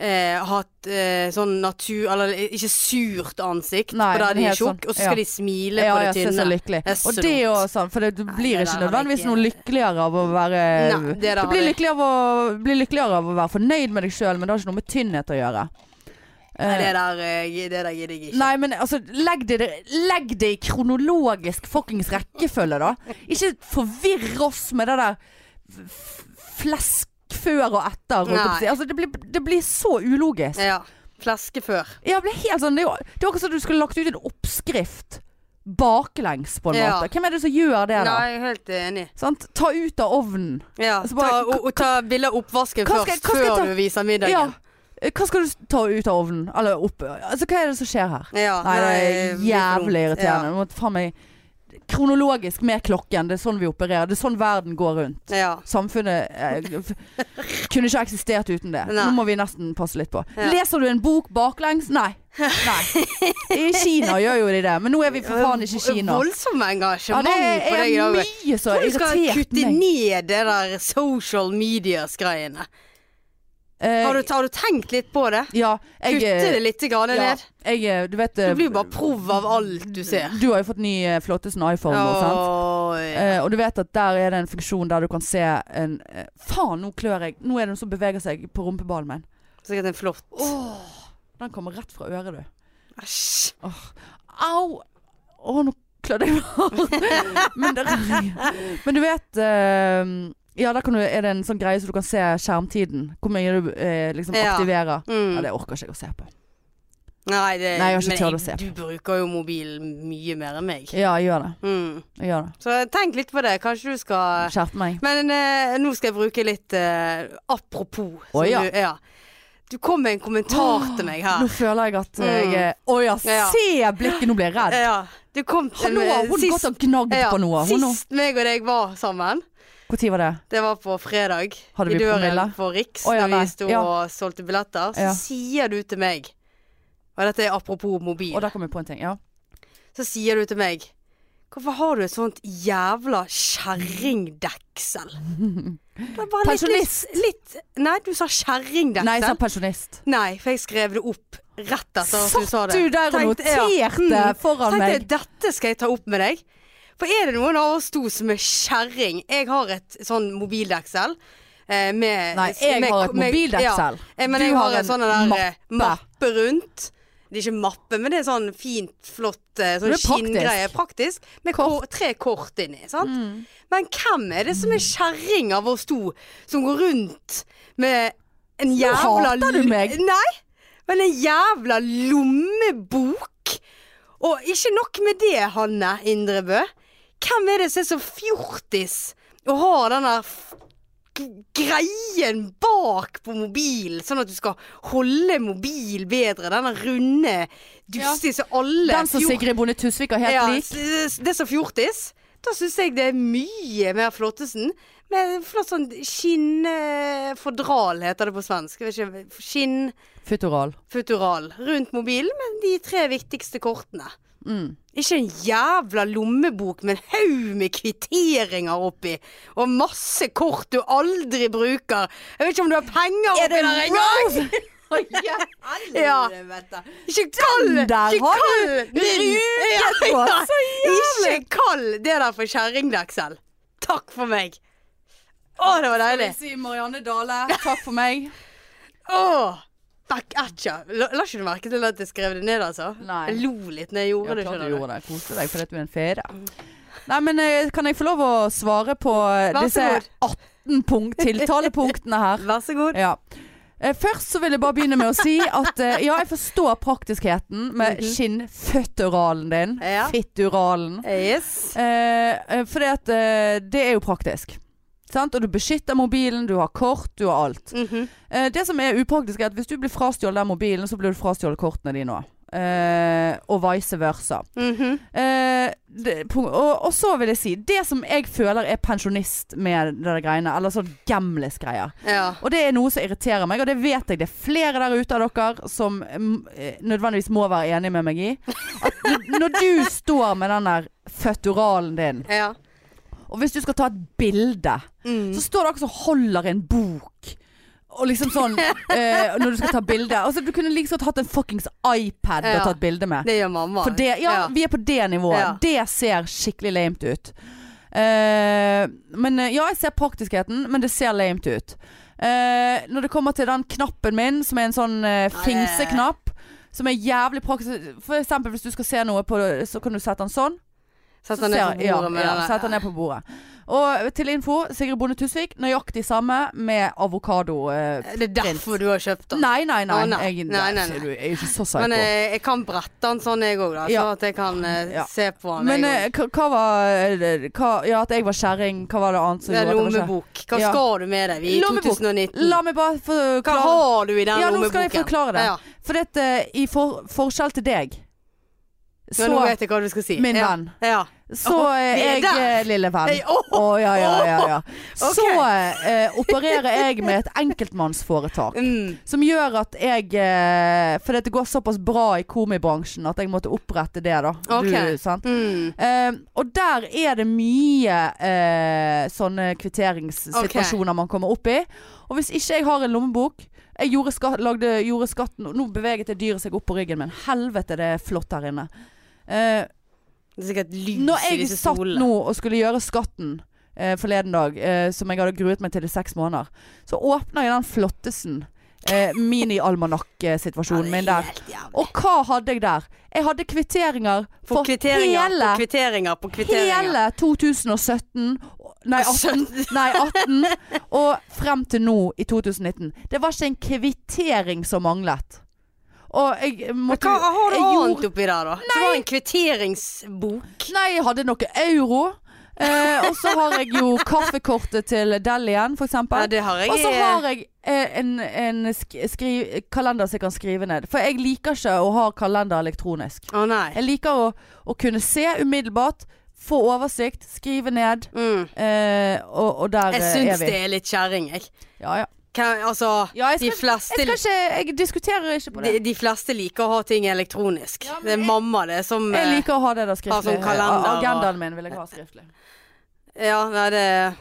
Speaker 1: eh, ha et eh, sånn natur... Eller ikke surt ansikt
Speaker 2: Nei,
Speaker 1: på der de
Speaker 2: helt
Speaker 1: er tjukk,
Speaker 2: sånn,
Speaker 1: og så skal
Speaker 2: ja.
Speaker 1: de smile
Speaker 2: Ja,
Speaker 1: på
Speaker 2: ja,
Speaker 1: det
Speaker 2: se så
Speaker 1: tynne.
Speaker 2: lykkelig.
Speaker 1: Det er så
Speaker 2: Og det er jo
Speaker 1: dumt.
Speaker 2: sånn, for det, du blir
Speaker 1: det
Speaker 2: ikke
Speaker 1: der har jeg
Speaker 2: nødvendigvis
Speaker 1: ikke-
Speaker 2: noe lykkeligere av å være
Speaker 1: Nei, det der
Speaker 2: Du
Speaker 1: har
Speaker 2: blir
Speaker 1: jeg-
Speaker 2: lykkeligere av å, blir lykkeligere av å være fornøyd med deg sjøl, men det har ikke noe med tynnhet å gjøre.
Speaker 1: Nei,
Speaker 2: Eh,
Speaker 1: det der, eh, det der gidder jeg ikke.
Speaker 2: Nei, men altså, legg det, legg det i kronologisk fuckings rekkefølge, da. Ikke forvirr oss med det der f- flesk før og etter. holdt jeg på å
Speaker 1: Nei.
Speaker 2: si. Altså, det, blir, det blir så ulogisk.
Speaker 1: Ja. Fleske før.
Speaker 2: Ja, det blir helt sånn, det er jo det er akkurat som du skulle lagt ut en oppskrift baklengs, på en
Speaker 1: Ja.
Speaker 2: måte. Hvem er det som gjør det, da?
Speaker 1: Nei, jeg er helt enig.
Speaker 2: Sant? Ta ut av ovnen.
Speaker 1: Ja,
Speaker 2: Altså,
Speaker 1: ta,
Speaker 2: bare-
Speaker 1: og, og ta bilde av oppvasken
Speaker 2: Hva skal-
Speaker 1: først,
Speaker 2: hva skal jeg ta-
Speaker 1: før du viser
Speaker 2: Ja.
Speaker 1: middagen.
Speaker 2: Eh, Hva skal du s- ta ut av ovnen? Eller opp Altså, hva er det som skjer her?
Speaker 1: Ja.
Speaker 2: Nei, det
Speaker 1: det
Speaker 2: er
Speaker 1: blir for dumt.
Speaker 2: jævlig irriterende. Nå må faen meg Kronologisk med klokken. Det er sånn vi opererer. Det er sånn verden går rundt.
Speaker 1: Ja. ja.
Speaker 2: Samfunnet eh, f- kunne ikke eksistert uten det.
Speaker 1: Nei.
Speaker 2: Nå må vi nesten passe litt på.
Speaker 1: Ja.
Speaker 2: Leser du en bok baklengs? Nei. Nei. I Kina gjør jo de det, men nå er vi for faen ikke i Kina.
Speaker 1: Voldsomt
Speaker 2: Ja,
Speaker 1: engasjement
Speaker 2: det
Speaker 1: på
Speaker 2: er
Speaker 1: deg i dag.
Speaker 2: mye så
Speaker 1: Tror du skal
Speaker 2: irritert
Speaker 1: kutte
Speaker 2: meg.
Speaker 1: ned det der social medias-greiene.
Speaker 2: Eh,
Speaker 1: Har, du- har du tenkt litt på det?
Speaker 2: ja, jeg,
Speaker 1: Kutte det
Speaker 2: eh,
Speaker 1: litt grann
Speaker 2: ja,
Speaker 1: ned?
Speaker 2: jeg, eh, du vet eh,
Speaker 1: Du blir jo bare prov av alt du ser.
Speaker 2: Du har jo fått ny eh, flottesen iPhone nå, sant?
Speaker 1: Oi.
Speaker 2: Eh, og du vet at der er det en funksjon der du kan se en eh, Faen, nå klør jeg. Nå er det noe som beveger seg på rumpeballen min.
Speaker 1: Sikkert en flott
Speaker 2: Den kommer rett fra øret, du.
Speaker 1: Æsj.
Speaker 2: Au! Å, nå klødde jeg hardt. Men, der- men du vet eh, Ja, der kan du, er det en sånn greie så du kan se skjermtiden. Hvor mye du eh, liksom
Speaker 1: Ja.
Speaker 2: aktiverer. Ja,
Speaker 1: Mm.
Speaker 2: det orker ikke jeg å se på.
Speaker 1: Nei, det,
Speaker 2: Nei, jeg har ikke
Speaker 1: men
Speaker 2: tørt å se
Speaker 1: Du bruker jo mobilen mye mer enn meg.
Speaker 2: Ja, jeg gjør det.
Speaker 1: Mm.
Speaker 2: Jeg gjør det.
Speaker 1: Så tenk litt på det. Kanskje du skal
Speaker 2: Skjerp meg.
Speaker 1: Men eh, nå skal jeg bruke litt eh, apropos. som
Speaker 2: Å, ja.
Speaker 1: Du, ja. du kom med en kommentar til meg her.
Speaker 2: Nå føler jeg at jeg
Speaker 1: Mm.
Speaker 2: er Å ja,
Speaker 1: Ja.
Speaker 2: se blikket! Nå blir jeg redd.
Speaker 1: Ja, du kom eh,
Speaker 2: Har- Nå har hun gått og gnagd
Speaker 1: ja,
Speaker 2: på noe. Hun nå-
Speaker 1: sist meg og deg var sammen,
Speaker 2: Når var det?
Speaker 1: det var på fredag,
Speaker 2: Hadde
Speaker 1: i
Speaker 2: vi
Speaker 1: døren
Speaker 2: promille?
Speaker 1: på Riks,
Speaker 2: Å, ja,
Speaker 1: når
Speaker 2: nei,
Speaker 1: vi sto
Speaker 2: ja.
Speaker 1: og solgte billetter, så
Speaker 2: Ja.
Speaker 1: sier du til meg Og dette er apropos mobil.
Speaker 2: Og der kom jeg på en ting. Ja.
Speaker 1: Så sier du til meg Hvorfor har du et sånt jævla kjerringdeksel? Det er bare litt-
Speaker 2: Pensjonist.
Speaker 1: Litt, litt Nei, du sa kjerringdeksel.
Speaker 2: Nei, jeg sa pensjonist.
Speaker 1: Nei, for jeg skrev det opp rett etter at du sa
Speaker 2: Satt
Speaker 1: det.
Speaker 2: du der og
Speaker 1: Tenkte, ja,
Speaker 2: noterte
Speaker 1: mm.
Speaker 2: foran
Speaker 1: Tenkte jeg,
Speaker 2: meg?
Speaker 1: dette skal jeg ta opp med deg. For er det noen av oss to som er kjerring? Jeg har et sånn mobildeksel. eh, Med,
Speaker 2: Nei, jeg
Speaker 1: med-
Speaker 2: har et
Speaker 1: med-
Speaker 2: mobildeksel.
Speaker 1: Ja, eh, men
Speaker 2: Du
Speaker 1: jeg
Speaker 2: har
Speaker 1: har en
Speaker 2: en
Speaker 1: sånn der eh,
Speaker 2: mappe.
Speaker 1: mappe rundt. Det er ikke mappe, men det er sånn fint, flott eh, sånn
Speaker 2: Det er praktisk.
Speaker 1: skinngreie. Praktisk. Med kor tre kort inni. sant? Men hvem er det som er kjerring av oss to, som går rundt med en jævla
Speaker 2: hater du meg.
Speaker 1: Nei, men en jævla lommebok. Og ikke nok med det, Hanne Indrebø. Hvem er det som er så fjortis og har den der f- g- greien bak på mobilen, sånn at du skal holde mobil bedre. Denne runde dustig som alle
Speaker 2: Den som
Speaker 1: fjor-
Speaker 2: Sigrid Bonde Tusvik har helt
Speaker 1: ja,
Speaker 2: lik.
Speaker 1: s- s- Det som fjortis. Da syns jeg det er mye mer Flottesen. Med flott sånn skinnfodral, heter det på svensk. Jeg vet ikke, Skinnfutural.
Speaker 2: Futural.
Speaker 1: Rundt mobilen med de tre viktigste kortene.
Speaker 2: Mm.
Speaker 1: Ikke en jævla lommebok med en haug med kvitteringer oppi, og masse kort du aldri bruker. Jeg vet ikke om du har penger
Speaker 2: Er det
Speaker 1: oppi der engang! Ja. Ikke kall
Speaker 2: Den der
Speaker 1: ikke
Speaker 2: har du
Speaker 1: kall min-
Speaker 2: ruket
Speaker 1: Ja,
Speaker 2: på
Speaker 1: ja.
Speaker 2: så
Speaker 1: Ikke kall det der for kjerringdeksel. Takk for meg. Å, det var deilig.
Speaker 2: Si Marianne Dale, takk for meg.
Speaker 1: Å! Back at ya. La, la ikke du merke til at jeg skrev det ned, altså?
Speaker 2: Nei.
Speaker 1: Jeg lo litt når jeg
Speaker 2: Ja,
Speaker 1: gjorde det.
Speaker 2: klart du
Speaker 1: skjønner du.
Speaker 2: gjorde det. Koste deg fordi at du er en fede. Nei, men eh, kan jeg få lov å svare på eh,
Speaker 1: Vær så
Speaker 2: disse
Speaker 1: god.
Speaker 2: 18 punkt, tiltalepunktene her?
Speaker 1: Vær så god.
Speaker 2: Ja. Eh, Først så vil jeg bare begynne med å si at eh, ja, jeg forstår praktiskheten med skinnføtteralen din.
Speaker 1: Ja.
Speaker 2: Fitturalen.
Speaker 1: Yes.
Speaker 2: Eh, for det, at, eh, det er jo praktisk. Sant? Og du beskytter mobilen, du har kort, du har alt.
Speaker 1: Mhm.
Speaker 2: Eh, det som er upraktisk, er at hvis du blir frastjålet den mobilen, så blir du frastjålet kortene dine òg. Eh, og vice versa.
Speaker 1: Mhm.
Speaker 2: Eh, det, punk- og, og så vil jeg si Det som jeg føler er pensjonist med det der greiene, eller sånn gamlis-greier.
Speaker 1: Ja.
Speaker 2: Og det er noe som irriterer meg, og det vet jeg det er flere der ute av dere som mm, eh, nødvendigvis må være enig med meg i. At n- når du står med den der føtturalen din,
Speaker 1: Ja.
Speaker 2: og hvis du skal ta et bilde,
Speaker 1: Mm.
Speaker 2: så står dere som holder en bok. Og liksom sånn eh, Når du skal ta bilde. Altså, du kunne like så godt hatt en fuckings iPad
Speaker 1: Ja.
Speaker 2: og tatt bilde med.
Speaker 1: Det gjør mamma.
Speaker 2: For det, ja, vi er på det nivået.
Speaker 1: Ja.
Speaker 2: Det ser skikkelig lamet ut. Eh, men eh, ja, jeg ser praktiskheten, men det ser lamet ut. Eh, når det kommer til den knappen min, som er en sånn eh, fingseknapp, som er jævlig praktisk For eksempel hvis du skal se noe, på, så kan du sette den sånn.
Speaker 1: Sett
Speaker 2: Så
Speaker 1: den ned
Speaker 2: ser-
Speaker 1: på bordet
Speaker 2: ja,
Speaker 1: med
Speaker 2: ja,
Speaker 1: denne.
Speaker 2: sett den ned på bordet. Og til info, Sigrid Bonde Tusvik, nøyaktig samme med avokado. eh,
Speaker 1: Det er derfor du har kjøpt den.
Speaker 2: Nei, nei, nei.
Speaker 1: Å, nei.
Speaker 2: Jeg,
Speaker 1: Nei, nei, nei.
Speaker 2: Du er jo ikke så psyko.
Speaker 1: Men eh, jeg kan brette den sånn jeg òg, da. Så
Speaker 2: Ja.
Speaker 1: at jeg kan eh,
Speaker 2: Ja.
Speaker 1: se på den.
Speaker 2: Men
Speaker 1: jeg
Speaker 2: eh,
Speaker 1: også.
Speaker 2: hva, hva var eh, hva, Ja, at jeg var kjerring. Hva var det annet som
Speaker 1: det er
Speaker 2: gjorde at jeg var kjerring?
Speaker 1: lommebok. Hva
Speaker 2: Ja.
Speaker 1: skal du med deg? Vi er i
Speaker 2: Lommebok.
Speaker 1: 2019.
Speaker 2: La meg bare
Speaker 1: Hva
Speaker 2: forklare.
Speaker 1: har du i den
Speaker 2: Ja, nå
Speaker 1: lommeboken?
Speaker 2: skal jeg forklare det.
Speaker 1: Ja, ja.
Speaker 2: For dette, i for, forskjell til deg, så,
Speaker 1: Men nå vet jeg hva du skal si.
Speaker 2: min
Speaker 1: ja.
Speaker 2: venn,
Speaker 1: Ja.
Speaker 2: så
Speaker 1: Å,
Speaker 2: er
Speaker 1: vi er
Speaker 2: jeg
Speaker 1: der.
Speaker 2: eh, lille venn.
Speaker 1: Hey, åh,
Speaker 2: Å, ja, ja, ja. ja. Så
Speaker 1: Ok.
Speaker 2: eh, opererer jeg med et enkeltmannsforetak.
Speaker 1: Mm.
Speaker 2: Som gjør at jeg eh, For det går såpass bra i komibransjen at jeg måtte opprette det, da.
Speaker 1: Ok.
Speaker 2: Du, sant?
Speaker 1: Mm.
Speaker 2: Eh, og der er det mye eh, sånne kvitteringssituasjoner man kommer opp i. Og hvis ikke jeg har en lommebok Jeg gjorde, skatt, lagde, gjorde skatten Nå beveget det dyret seg opp på ryggen min. Helvete, det er flott her inne. Eh,
Speaker 1: Det er sikkert
Speaker 2: når
Speaker 1: lys i
Speaker 2: jeg
Speaker 1: disse
Speaker 2: satt nå
Speaker 1: stolene.
Speaker 2: og skulle gjøre skatten eh, forleden dag, eh, som jeg hadde gruet meg til i seks måneder, så åpner jeg den flottesen. Eh, Mini-almanakk-situasjonen min der. Og hva hadde jeg der? Jeg hadde kvitteringer
Speaker 1: På
Speaker 2: for
Speaker 1: kvitteringer,
Speaker 2: hele
Speaker 1: på kvitteringer, på kvitteringer.
Speaker 2: Hele 2017 Nei, 18. Nei, 18 og frem til nå i 2019. Det var ikke en kvittering som manglet. Og jeg
Speaker 1: Men
Speaker 2: måtte
Speaker 1: hva har du
Speaker 2: jeg gjorde-
Speaker 1: annet oppi der, da? Så var det en kvitteringsbok.
Speaker 2: Nei, jeg hadde noe euro. Eh, og så har jeg jo kaffekortet til Delien, for
Speaker 1: Ja,
Speaker 2: eksempel.
Speaker 1: det har jeg.
Speaker 2: Og så har jeg eh, en, en sk skri kalender som jeg kan skrive ned. For jeg liker ikke å ha kalender elektronisk.
Speaker 1: Å nei.
Speaker 2: Jeg liker å, å kunne se umiddelbart, få oversikt, skrive ned.
Speaker 1: Mm.
Speaker 2: Eh, og, og der
Speaker 1: Jeg
Speaker 2: eh,
Speaker 1: syns
Speaker 2: er vi.
Speaker 1: det er litt kjerring, jeg.
Speaker 2: Ja, ja.
Speaker 1: Kan, altså,
Speaker 2: Ja, jeg
Speaker 1: de,
Speaker 2: skal-
Speaker 1: fleste,
Speaker 2: Jeg, skal ikke, jeg diskuterer ikke på det.
Speaker 1: de, de fleste liker å ha ting elektronisk.
Speaker 2: Ja, men
Speaker 1: det er
Speaker 2: jeg-
Speaker 1: mamma det som
Speaker 2: Jeg
Speaker 1: eh,
Speaker 2: liker å ha det der skriftlig.
Speaker 1: sånn
Speaker 2: A-
Speaker 1: kalender og-
Speaker 2: Agendaen min vil jeg ha skriftlig.
Speaker 1: Ja, nei, det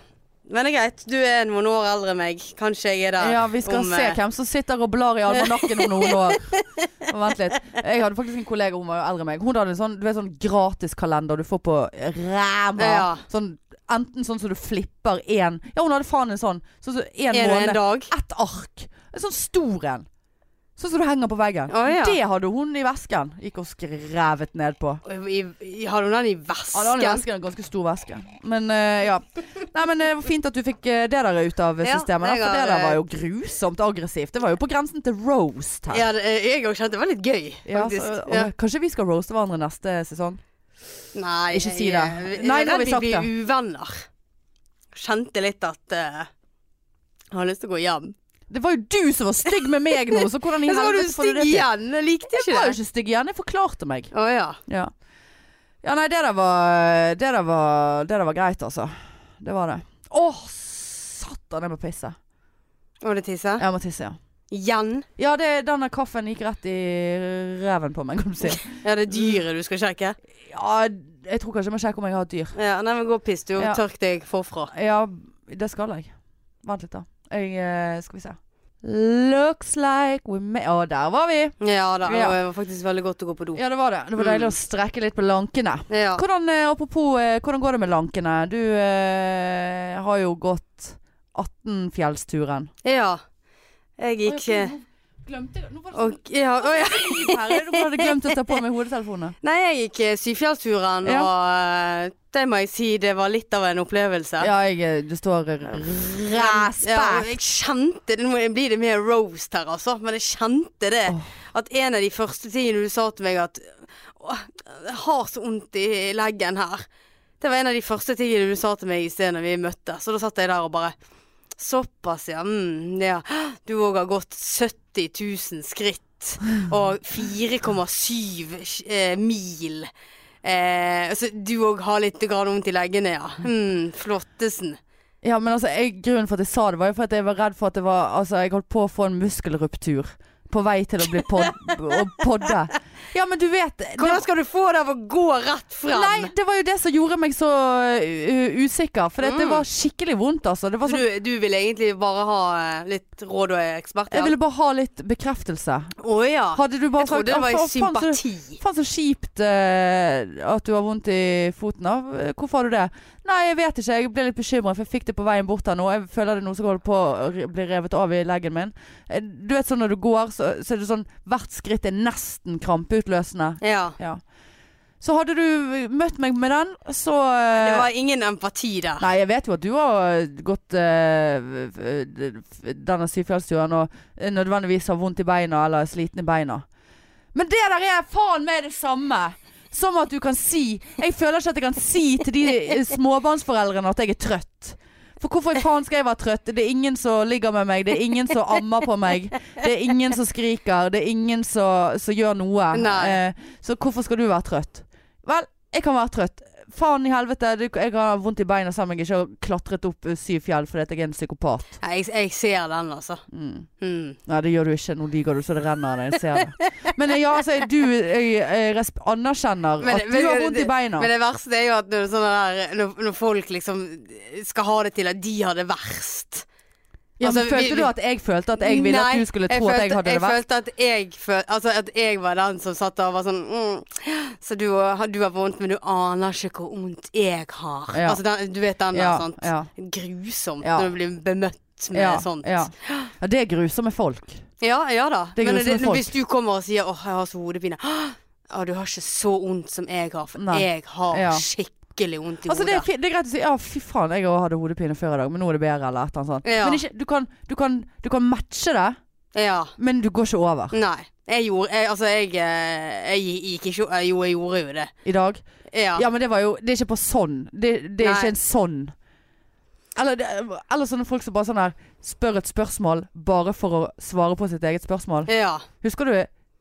Speaker 1: Men det er greit. Du er noen år eldre enn meg. Kanskje jeg er der
Speaker 2: Ja, vi skal
Speaker 1: om,
Speaker 2: se
Speaker 1: eh,
Speaker 2: hvem som sitter og blar i almanakken om noen år. Og Vent litt. Jeg hadde faktisk en kollega, hun var jo eldre enn meg. Hun hadde en sånn, du vet, sånn gratiskalender du får på ræva.
Speaker 1: Ja.
Speaker 2: Sånn, enten sånn som du flipper én Ja, hun hadde faen en sånn. Sånn som én
Speaker 1: en, en
Speaker 2: måned.
Speaker 1: dag.
Speaker 2: Ett ark. En sånn stor en. Sånn som du henger på veggen.
Speaker 1: Å, ja.
Speaker 2: Det hadde hun i vesken. Gikk og skrevet ned på.
Speaker 1: I, i, har du den i
Speaker 2: Ja, det var
Speaker 1: vesken?
Speaker 2: en veske, en ganske stor veske. Men eh, ja. Nei, men det var fint at du fikk eh, det der ut av
Speaker 1: Ja,
Speaker 2: systemet. da,
Speaker 1: jeg
Speaker 2: for
Speaker 1: har,
Speaker 2: det der
Speaker 1: eh,
Speaker 2: var jo grusomt aggressivt. Det var jo på grensen til roast her.
Speaker 1: Ja, det, jeg òg kjente det var litt gøy,
Speaker 2: Ja, så,
Speaker 1: faktisk.
Speaker 2: og, Kanskje vi skal roaste hverandre neste sesong?
Speaker 1: Nei,
Speaker 2: Ikke si
Speaker 1: jeg-
Speaker 2: det.
Speaker 1: jeg-
Speaker 2: Nei, nå har
Speaker 1: jeg
Speaker 2: vi
Speaker 1: er redd
Speaker 2: sagt
Speaker 1: blir uvenner. Kjente litt at eh, Jeg har lyst til å gå hjem.
Speaker 2: Det var jo du som var stygg med meg nå, så hvordan i
Speaker 1: Men så var du
Speaker 2: helvete får du
Speaker 1: stygg
Speaker 2: det til?
Speaker 1: igjen. Jeg likte
Speaker 2: Jeg
Speaker 1: ikke
Speaker 2: var jo
Speaker 1: det.
Speaker 2: ikke stygg igjen, jeg forklarte meg.
Speaker 1: Å ja.
Speaker 2: Ja, ja nei, det der var Det der var, det der var greit, altså. Det var det. Åh, satan, jeg må pisse.
Speaker 1: Å, det tisser?
Speaker 2: Jeg må tisse, ja.
Speaker 1: Igjen?
Speaker 2: Ja, det, denne kaffen gikk rett i reven på meg, kan du si.
Speaker 1: Ja, det er dyret du skal sjekke?
Speaker 2: Ja, jeg tror kanskje jeg må sjekke om jeg har et dyr.
Speaker 1: Ja, nei, men gå og piss, du. og
Speaker 2: Ja.
Speaker 1: Tørk deg forfra.
Speaker 2: Ja, det skal jeg. Vent litt, da. Jeg, eh, skal vi se. Looks like we may Å, der var vi!
Speaker 1: Ja da.
Speaker 2: Ja.
Speaker 1: og Det var faktisk veldig godt å gå på do.
Speaker 2: Ja, det var det. Det var deilig å strekke litt på lankene.
Speaker 1: Ja.
Speaker 2: Hvordan, eh, apropos, eh, hvordan går det med lankene? Du eh, har jo gått 18-fjellsturen.
Speaker 1: ja. Jeg gikk eh,
Speaker 2: Glemte det. Nå var
Speaker 1: og, ja, å, ja.
Speaker 2: Du hadde glemt å ta på meg hodetelefonene.
Speaker 1: Nei, jeg gikk eh, Syfjellsturen,
Speaker 2: Ja.
Speaker 1: og eh, det må jeg si det var litt av en opplevelse.
Speaker 2: Ja, jeg, eh, det står eh,
Speaker 1: Ja, og
Speaker 2: respekt.
Speaker 1: jeg kjente det, Nå blir det mer roast her, altså, men jeg kjente det.
Speaker 2: Åh.
Speaker 1: At en av de første tingene du sa til meg at Åh, jeg har så vondt i leggen her. Det var en av de første tingene du sa til meg i sted når vi møttes. Så da satt jeg der og bare Såpass, ja. Mm, ja. Du òg har gått 70 000 skritt og 4,7 eh, mil. Eh, så du òg har litt grann vondt i leggene, ja. Mm, flottesen.
Speaker 2: Ja, men altså, jeg, grunnen for at jeg sa det var jo for at jeg var redd for at det var Altså, jeg holdt på å få en muskelruptur på vei til å bli pod å podde. Ja, men du vet det,
Speaker 1: Hvordan skal du få det av å gå rett frem?
Speaker 2: Nei, det var jo det som gjorde meg så uh, usikker. For det
Speaker 1: Mm.
Speaker 2: var skikkelig vondt, altså. Det var
Speaker 1: Så
Speaker 2: så,
Speaker 1: du, du vil egentlig bare ha eh, litt råd og eksperthjelp?
Speaker 2: jeg ville bare ha litt bekreftelse.
Speaker 1: Å ja.
Speaker 2: Hadde du bare
Speaker 1: Jeg trodde det var
Speaker 2: «Å,
Speaker 1: i
Speaker 2: faen, så-
Speaker 1: sympati.
Speaker 2: Faen så kjipt eh, at du har vondt i foten. Da. Hvorfor har du det? Nei, jeg vet ikke. Jeg ble litt bekymra, for jeg fikk det på veien bort her nå. Jeg føler det er noe som holder på å re- bli revet av i leggen min. Eh, Du vet sånn når du går, så, så er det sånn hvert skritt er nesten krampeutløsende.
Speaker 1: Ja.
Speaker 2: Ja. Så hadde du møtt meg med den, så eh,
Speaker 1: Det var ingen empati der.
Speaker 2: Nei, jeg vet jo at du har gått eh, f- f- denne syvfjellsturen og eh, nødvendigvis har vondt i beina eller slitne beina. Men det der er faen meg det samme som at du kan si Jeg føler ikke at jeg kan si til de eh, småbarnsforeldrene at jeg er trøtt. For hvorfor i faen skal jeg være trøtt? Det er ingen som ligger med meg, det er ingen som ammer på meg. Det er ingen som skriker, det er ingen som, som gjør noe.
Speaker 1: Nei.
Speaker 2: Eh, så hvorfor skal du være trøtt? Vel, jeg kan være trøtt. Faen i helvete, du, jeg har vondt i beina selv om jeg ikke har klatret opp eh, syv fjell fordi at jeg er en psykopat.
Speaker 1: Nei, jeg, jeg ser den, altså.
Speaker 2: Mm.
Speaker 1: Mm.
Speaker 2: Nei, det gjør du ikke. Nå liker du så det renner av deg. Jeg ser det. Men eh, ja, altså, du jeg, jeg resp anerkjenner
Speaker 1: Men-
Speaker 2: at du
Speaker 1: men-
Speaker 2: har vondt i beina.
Speaker 1: Men det verste er jo at når, sånne der, når, når folk liksom skal ha det til at de har det verst
Speaker 2: ja, men
Speaker 1: altså, vi-
Speaker 2: følte du
Speaker 1: vi-
Speaker 2: at jeg følte at jeg ville at
Speaker 1: Nei,
Speaker 2: du skulle tro at jeg hadde det verst?
Speaker 1: følte at jeg, føl, altså at jeg var den som satt der og var sånn mm, Så du, har- du har vondt, men du aner ikke hvor vondt jeg har.
Speaker 2: Ja.
Speaker 1: Altså den, du vet den der,
Speaker 2: Ja,
Speaker 1: sant.
Speaker 2: ja.
Speaker 1: Grusomt
Speaker 2: Ja.
Speaker 1: når du blir bemøtt med sånt.
Speaker 2: ja. ja, det er grusomme folk.
Speaker 1: ja, ja da.
Speaker 2: Det er
Speaker 1: men
Speaker 2: grusomme folk.
Speaker 1: hvis du kommer og sier 'Åh, jeg har så hodepine'. «Åh, Ja, du har ikke så vondt som jeg har, for
Speaker 2: Nei.
Speaker 1: jeg har
Speaker 2: Ja.
Speaker 1: skikkelig vondt i
Speaker 2: Altså, det, er,
Speaker 1: hodet.
Speaker 2: fi- det er greit å si ja, fy faen, jeg også hadde hodepine før i dag, men nå er det bedre, eller et eller annet sånt.
Speaker 1: Ja.
Speaker 2: Men ikke, du, kan, du, kan, du kan matche det,
Speaker 1: Ja.
Speaker 2: men du går ikke over
Speaker 1: Nei. Jeg gjorde jeg, Altså, jeg, eh, jeg gikk ikke Jo, jeg gjorde jo det.
Speaker 2: i dag.
Speaker 1: Ja.
Speaker 2: Ja, men det var jo Det er ikke på sånn. Det, det er
Speaker 1: Nei.
Speaker 2: ikke en sånn. Eller, det, eller sånne folk som bare sånn her spør et spørsmål bare for å svare på sitt eget spørsmål.
Speaker 1: ja.
Speaker 2: Husker du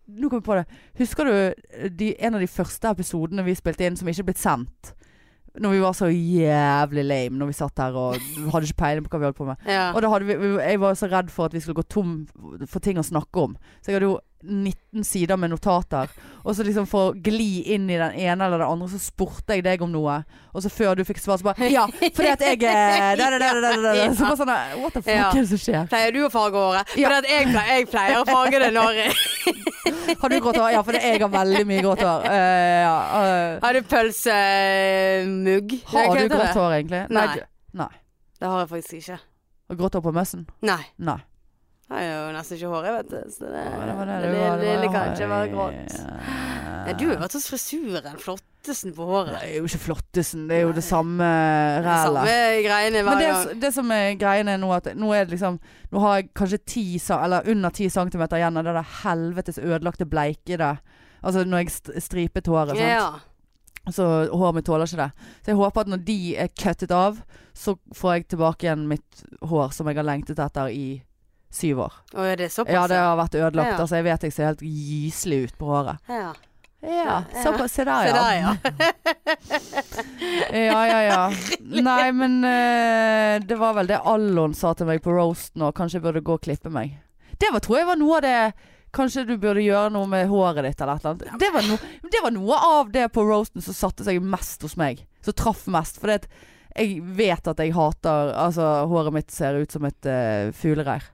Speaker 2: Nå kom jeg på det. Husker du eh, de, en av de første episodene vi spilte inn som ikke er blitt sendt? Når vi var så jævlig lame når vi satt her og hadde ikke peiling på hva vi holdt på med.
Speaker 1: ja.
Speaker 2: Og da hadde vi, vi- jeg var så redd for at vi skulle gå tom for ting å snakke om. Så jeg hadde jo 19 sider med notater. Og så liksom for å gli inn i den ene eller den andre, så spurte jeg deg om noe. Og så før du fikk svar, så bare Ja, fordi at jeg eh, da, da, da, da, da, da, da. Så bare sånn eh, What the fuck
Speaker 1: Ja.
Speaker 2: er det som skjer?
Speaker 1: Pleier du å farge håret?
Speaker 2: Ja.
Speaker 1: For at jeg, pleier, jeg pleier å farge det når
Speaker 2: Har du grått hår? Ja, for det- jeg har veldig mye grått hår. Eh, ja, eh,
Speaker 1: Har du eh, pølsemugg? Hva
Speaker 2: har du
Speaker 1: heter det?
Speaker 2: grått hår, egentlig? Nei.
Speaker 1: Nei.
Speaker 2: du- Nei.
Speaker 1: Det har jeg faktisk ikke.
Speaker 2: Har du Grått hår på møssen?
Speaker 1: Nei.
Speaker 2: Nei.
Speaker 1: Jeg har jo nesten ikke hår, jeg, vet du. Så det,
Speaker 2: Ja,
Speaker 1: det,
Speaker 2: var
Speaker 1: det,
Speaker 2: du var-
Speaker 1: det,
Speaker 2: var-
Speaker 1: kan ikke være grått.
Speaker 2: Ja.
Speaker 1: Ja, du har vært hos frisøren. Flottesen på håret.
Speaker 2: Det er jo ikke flottesen. Det er jo det samme rælet.
Speaker 1: Samme greiene
Speaker 2: Men
Speaker 1: hver gang.
Speaker 2: det, det som er greien er nå at nå er det liksom Nå har jeg kanskje 10 sa- eller under 10 cm igjen av det der helvetes ødelagte bleike det. Altså når jeg st- stripet håret. Sant?
Speaker 1: Ja.
Speaker 2: Så håret mitt tåler ikke det. Så jeg håper at når de er cuttet av, så får jeg tilbake igjen mitt hår som jeg har lengtet etter i syv år.
Speaker 1: Å, er det såpass?
Speaker 2: Ja, det har vært ødelagt.
Speaker 1: Ja.
Speaker 2: Altså, jeg vet jeg ser helt gyselig ut på håret.
Speaker 1: Ja.
Speaker 2: Ja, såpass. Se der,
Speaker 1: Se
Speaker 2: ja.
Speaker 1: der, ja.
Speaker 2: Ja, ja, ja. Nei, men eh, det var vel det Allon sa til meg på roasten òg. Kanskje jeg burde gå og klippe meg. Det var, tror jeg var noe av det Kanskje du burde gjøre noe med håret ditt eller et eller annet. Det var, no, det var noe av det på roasten som satte seg mest hos meg. Som traff mest. For jeg vet at jeg hater Altså, håret mitt ser ut som et uh, fuglereir.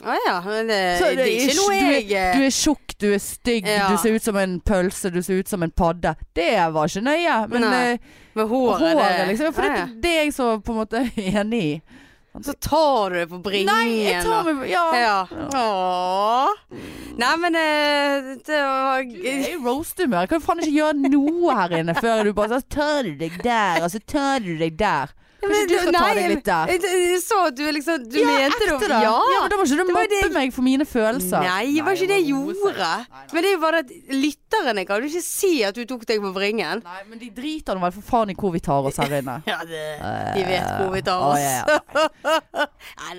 Speaker 1: Å ja. Men det,
Speaker 2: Så
Speaker 1: det er ikke noe jeg
Speaker 2: du, er, du er tjukk, du er stygg,
Speaker 1: Ja.
Speaker 2: du ser ut som en pølse, du ser ut som en padde. Det var ikke nøye, men
Speaker 1: Nei,
Speaker 2: eh,
Speaker 1: Med håret,
Speaker 2: håret,
Speaker 1: det
Speaker 2: liksom. For
Speaker 1: Ja, ja.
Speaker 2: det, det er jeg så på en måte enig i.
Speaker 1: Så tar du det på bringen.
Speaker 2: Nei, jeg tar
Speaker 1: og-
Speaker 2: meg Ja.
Speaker 1: Ja. Åh. Nei, men eh, det var
Speaker 2: Du er i roast-humør. Jeg kan faen ikke gjøre noe her inne før du bare sånn Tar du deg der, og så tar du deg der. Kanskje
Speaker 1: Men
Speaker 2: du skal ta
Speaker 1: nei,
Speaker 2: deg litt der.
Speaker 1: Jeg, jeg, jeg så at du liksom Du mente det.
Speaker 2: ekte da.
Speaker 1: Ja.
Speaker 2: ja, men da må ikke du
Speaker 1: Det var
Speaker 2: mobbe
Speaker 1: det altså. jeg-
Speaker 2: meg for mine følelser.
Speaker 1: Nei, det var ikke det jeg
Speaker 2: noe
Speaker 1: gjorde.
Speaker 2: seriøst. Nei, nei.
Speaker 1: Men det er jo bare at lytterne kan jo ikke si at du tok deg på bringen.
Speaker 2: Nei, men de driter nå vel for faen i hvor vi tar oss her inne. Eh,
Speaker 1: Ja, det, de vet hvor vi tar
Speaker 2: Å,
Speaker 1: oss.
Speaker 2: ja, ja.
Speaker 1: Nei,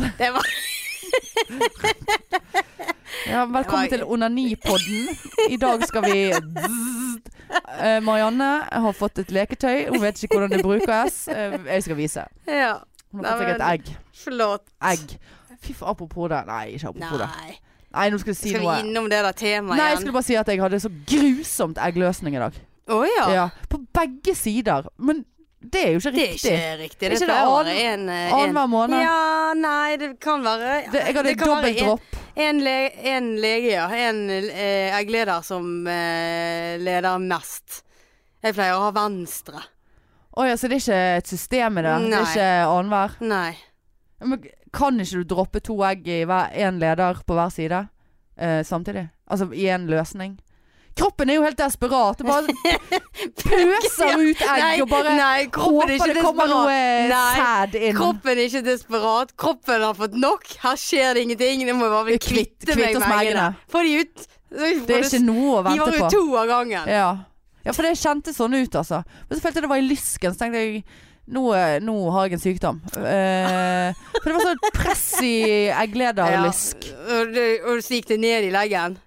Speaker 1: nei. Det var
Speaker 2: Ja, velkommen
Speaker 1: Det
Speaker 2: til Onanipodden. I dag skal vi Eh, Marianne har fått et leketøy. Hun vet ikke hvordan det brukes. Eh, Jeg skal vise.
Speaker 1: Ja.
Speaker 2: Hun har fått seg et
Speaker 1: Nei,
Speaker 2: egg.
Speaker 1: Flott.
Speaker 2: Egg. Fy faen, apropos det. Nei, ikke apropos det.
Speaker 1: Nei.
Speaker 2: Nei, nå skal jeg si
Speaker 1: Skal vi
Speaker 2: noe.
Speaker 1: innom det der temaet
Speaker 2: Nei, jeg
Speaker 1: igjen?
Speaker 2: skulle bare si at jeg hadde så grusomt eggløsning i dag.
Speaker 1: Å ja.
Speaker 2: Ja, På begge sider. Men det er jo ikke
Speaker 1: Det er
Speaker 2: riktig.
Speaker 1: ikke riktig. Det
Speaker 2: ikke det
Speaker 1: pleier å være
Speaker 2: annen-
Speaker 1: en, eh, en
Speaker 2: Annenhver måned.
Speaker 1: Ja, nei, det kan være
Speaker 2: Det, jeg hadde
Speaker 1: kan være
Speaker 2: dobbelt
Speaker 1: en-
Speaker 2: dropp.
Speaker 1: En, le, en lege, ja. En eh, eggleder som eh, leder mest. Jeg pleier å ha venstre.
Speaker 2: Å ja, så det er ikke et system i det? Det
Speaker 1: Nei.
Speaker 2: er ikke annenhver?
Speaker 1: Nei.
Speaker 2: Ja, Men kan ikke du droppe to egg i hver, en leder på hver side eh, samtidig? Altså i en løsning? Kroppen er jo helt desperat. Det bare pøser ut egg og bare
Speaker 1: nei, kroppen
Speaker 2: håper
Speaker 1: er
Speaker 2: det
Speaker 1: ikke
Speaker 2: kommer
Speaker 1: desperat.
Speaker 2: noe
Speaker 1: Nei,
Speaker 2: sæd inn.
Speaker 1: Kroppen er ikke desperat. Kroppen har fått nok. Her skjer det ingenting. Jeg må bare bli
Speaker 2: Kvitt-
Speaker 1: kvitte
Speaker 2: kvitt
Speaker 1: meg
Speaker 2: oss
Speaker 1: med
Speaker 2: med
Speaker 1: eggene.
Speaker 2: eggene.
Speaker 1: Få de ut.
Speaker 2: Det er ikke noe å
Speaker 1: De var
Speaker 2: vente
Speaker 1: jo
Speaker 2: på.
Speaker 1: to av gangen.
Speaker 2: Ja. ja, for det kjentes sånn ut, altså. Men så følte jeg det var i lysken. Så tenkte jeg nå, eh, nå har jeg en sykdom. Eh, for det var sånn press i egglederlysk.
Speaker 1: Og, det- og så gikk det ned i leggen.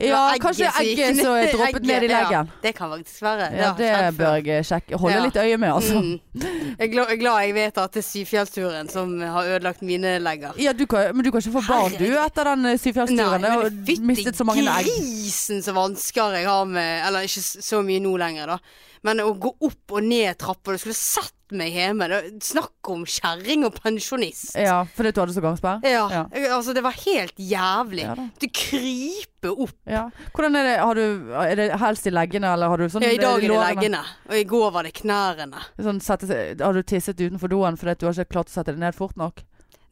Speaker 2: Ja,
Speaker 1: Det var
Speaker 2: kanskje
Speaker 1: som gikk
Speaker 2: egget som er
Speaker 1: ned-
Speaker 2: droppet ned i
Speaker 1: egget,
Speaker 2: leggen.
Speaker 1: Ja, det kan faktisk være.
Speaker 2: Ja,
Speaker 1: har
Speaker 2: det
Speaker 1: skjedd før.
Speaker 2: bør jeg sjekke. Holde
Speaker 1: Ja.
Speaker 2: litt øye med, altså.
Speaker 1: Mm. Jeg er glad, jeg er glad jeg vet at det er Syfjellsturen som har ødelagt mine legger.
Speaker 2: Ja, du kan, men du kan ikke få barn du etter den eh, syvfjellsturen.
Speaker 1: Nei,
Speaker 2: Jeg
Speaker 1: men
Speaker 2: har mistet så mange egg.
Speaker 1: grisen så vansker jeg har med Eller ikke s- så mye nå lenger, da. Men å gå opp og ned trapper Du skulle sett meg hjemme. Det- Snakk om kjerring og pensjonist.
Speaker 2: Ja, fordi du hadde så gangsperre?
Speaker 1: Ja,
Speaker 2: Ja.
Speaker 1: jeg- altså det var helt jævlig.
Speaker 2: Ja da.
Speaker 1: du kryper opp.
Speaker 2: Ja. Hvordan er det, har du, er det helst i leggene, eller har du sånn
Speaker 1: Ja, I dag er det
Speaker 2: lårene?
Speaker 1: leggene, og i går var det knærne.
Speaker 2: Sånn, sette, seg- har du tisset utenfor doen fordi at du har ikke klart å sette det ned fort nok?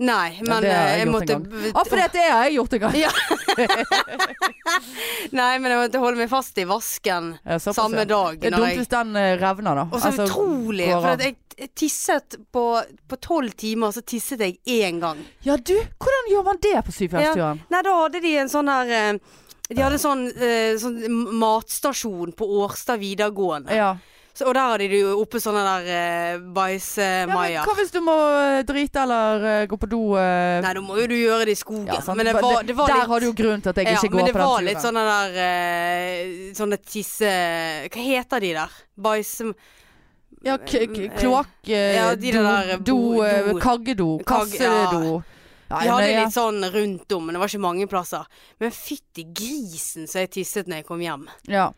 Speaker 1: Nei,
Speaker 2: Ja,
Speaker 1: men
Speaker 2: det har
Speaker 1: eh,
Speaker 2: jeg
Speaker 1: jeg
Speaker 2: gjort
Speaker 1: måtte
Speaker 2: en gang. Ja, for det har jeg gjort en gang.
Speaker 1: Ja. Nei, men jeg måtte holde meg fast i vasken
Speaker 2: Ja, såpass, ja.
Speaker 1: samme dag.
Speaker 2: Det er
Speaker 1: når
Speaker 2: dumt
Speaker 1: jeg-
Speaker 2: hvis den eh, revner, da.
Speaker 1: Og så
Speaker 2: Altså,
Speaker 1: utrolig,
Speaker 2: går
Speaker 1: for
Speaker 2: av.
Speaker 1: at jeg jeg tisset på på tolv timer, så tisset jeg én gang.
Speaker 2: Ja, du, hvordan gjør man det på syvfjellsturen?
Speaker 1: Nei, da hadde de en sånn her eh, De hadde en sånn, eh, sånn matstasjon på Årstad videregående.
Speaker 2: Ja.
Speaker 1: Så, og der hadde de jo oppe sånne der eh,
Speaker 2: ja, men
Speaker 1: bæsjemaier.
Speaker 2: hva hvis du må eh, drite eller eh, gå på do? eh,
Speaker 1: Nei, da må jo du gjøre det i skogen.
Speaker 2: Ja, sant.
Speaker 1: men det var, det var
Speaker 2: Der
Speaker 1: litt
Speaker 2: har du jo grunn til at jeg
Speaker 1: ja,
Speaker 2: ikke
Speaker 1: men
Speaker 2: går
Speaker 1: det
Speaker 2: på den
Speaker 1: var
Speaker 2: turen.
Speaker 1: litt sånn- sånne der eh, Sånne tisse... Hva heter de der? Bæsje...
Speaker 2: ja, k k kloakk, eh,
Speaker 1: Mm, Ja, de
Speaker 2: do,
Speaker 1: der, eh,
Speaker 2: do,
Speaker 1: bo-
Speaker 2: eh,
Speaker 1: do.
Speaker 2: kaggedo,
Speaker 1: Kagge- ja.
Speaker 2: kassedo. Nei,
Speaker 1: Vi hadde
Speaker 2: men jeg-
Speaker 1: litt sånn rundt om, men det var ikke mange plasser. Men fytti grisen så jeg tisset når jeg kom hjem.
Speaker 2: ja.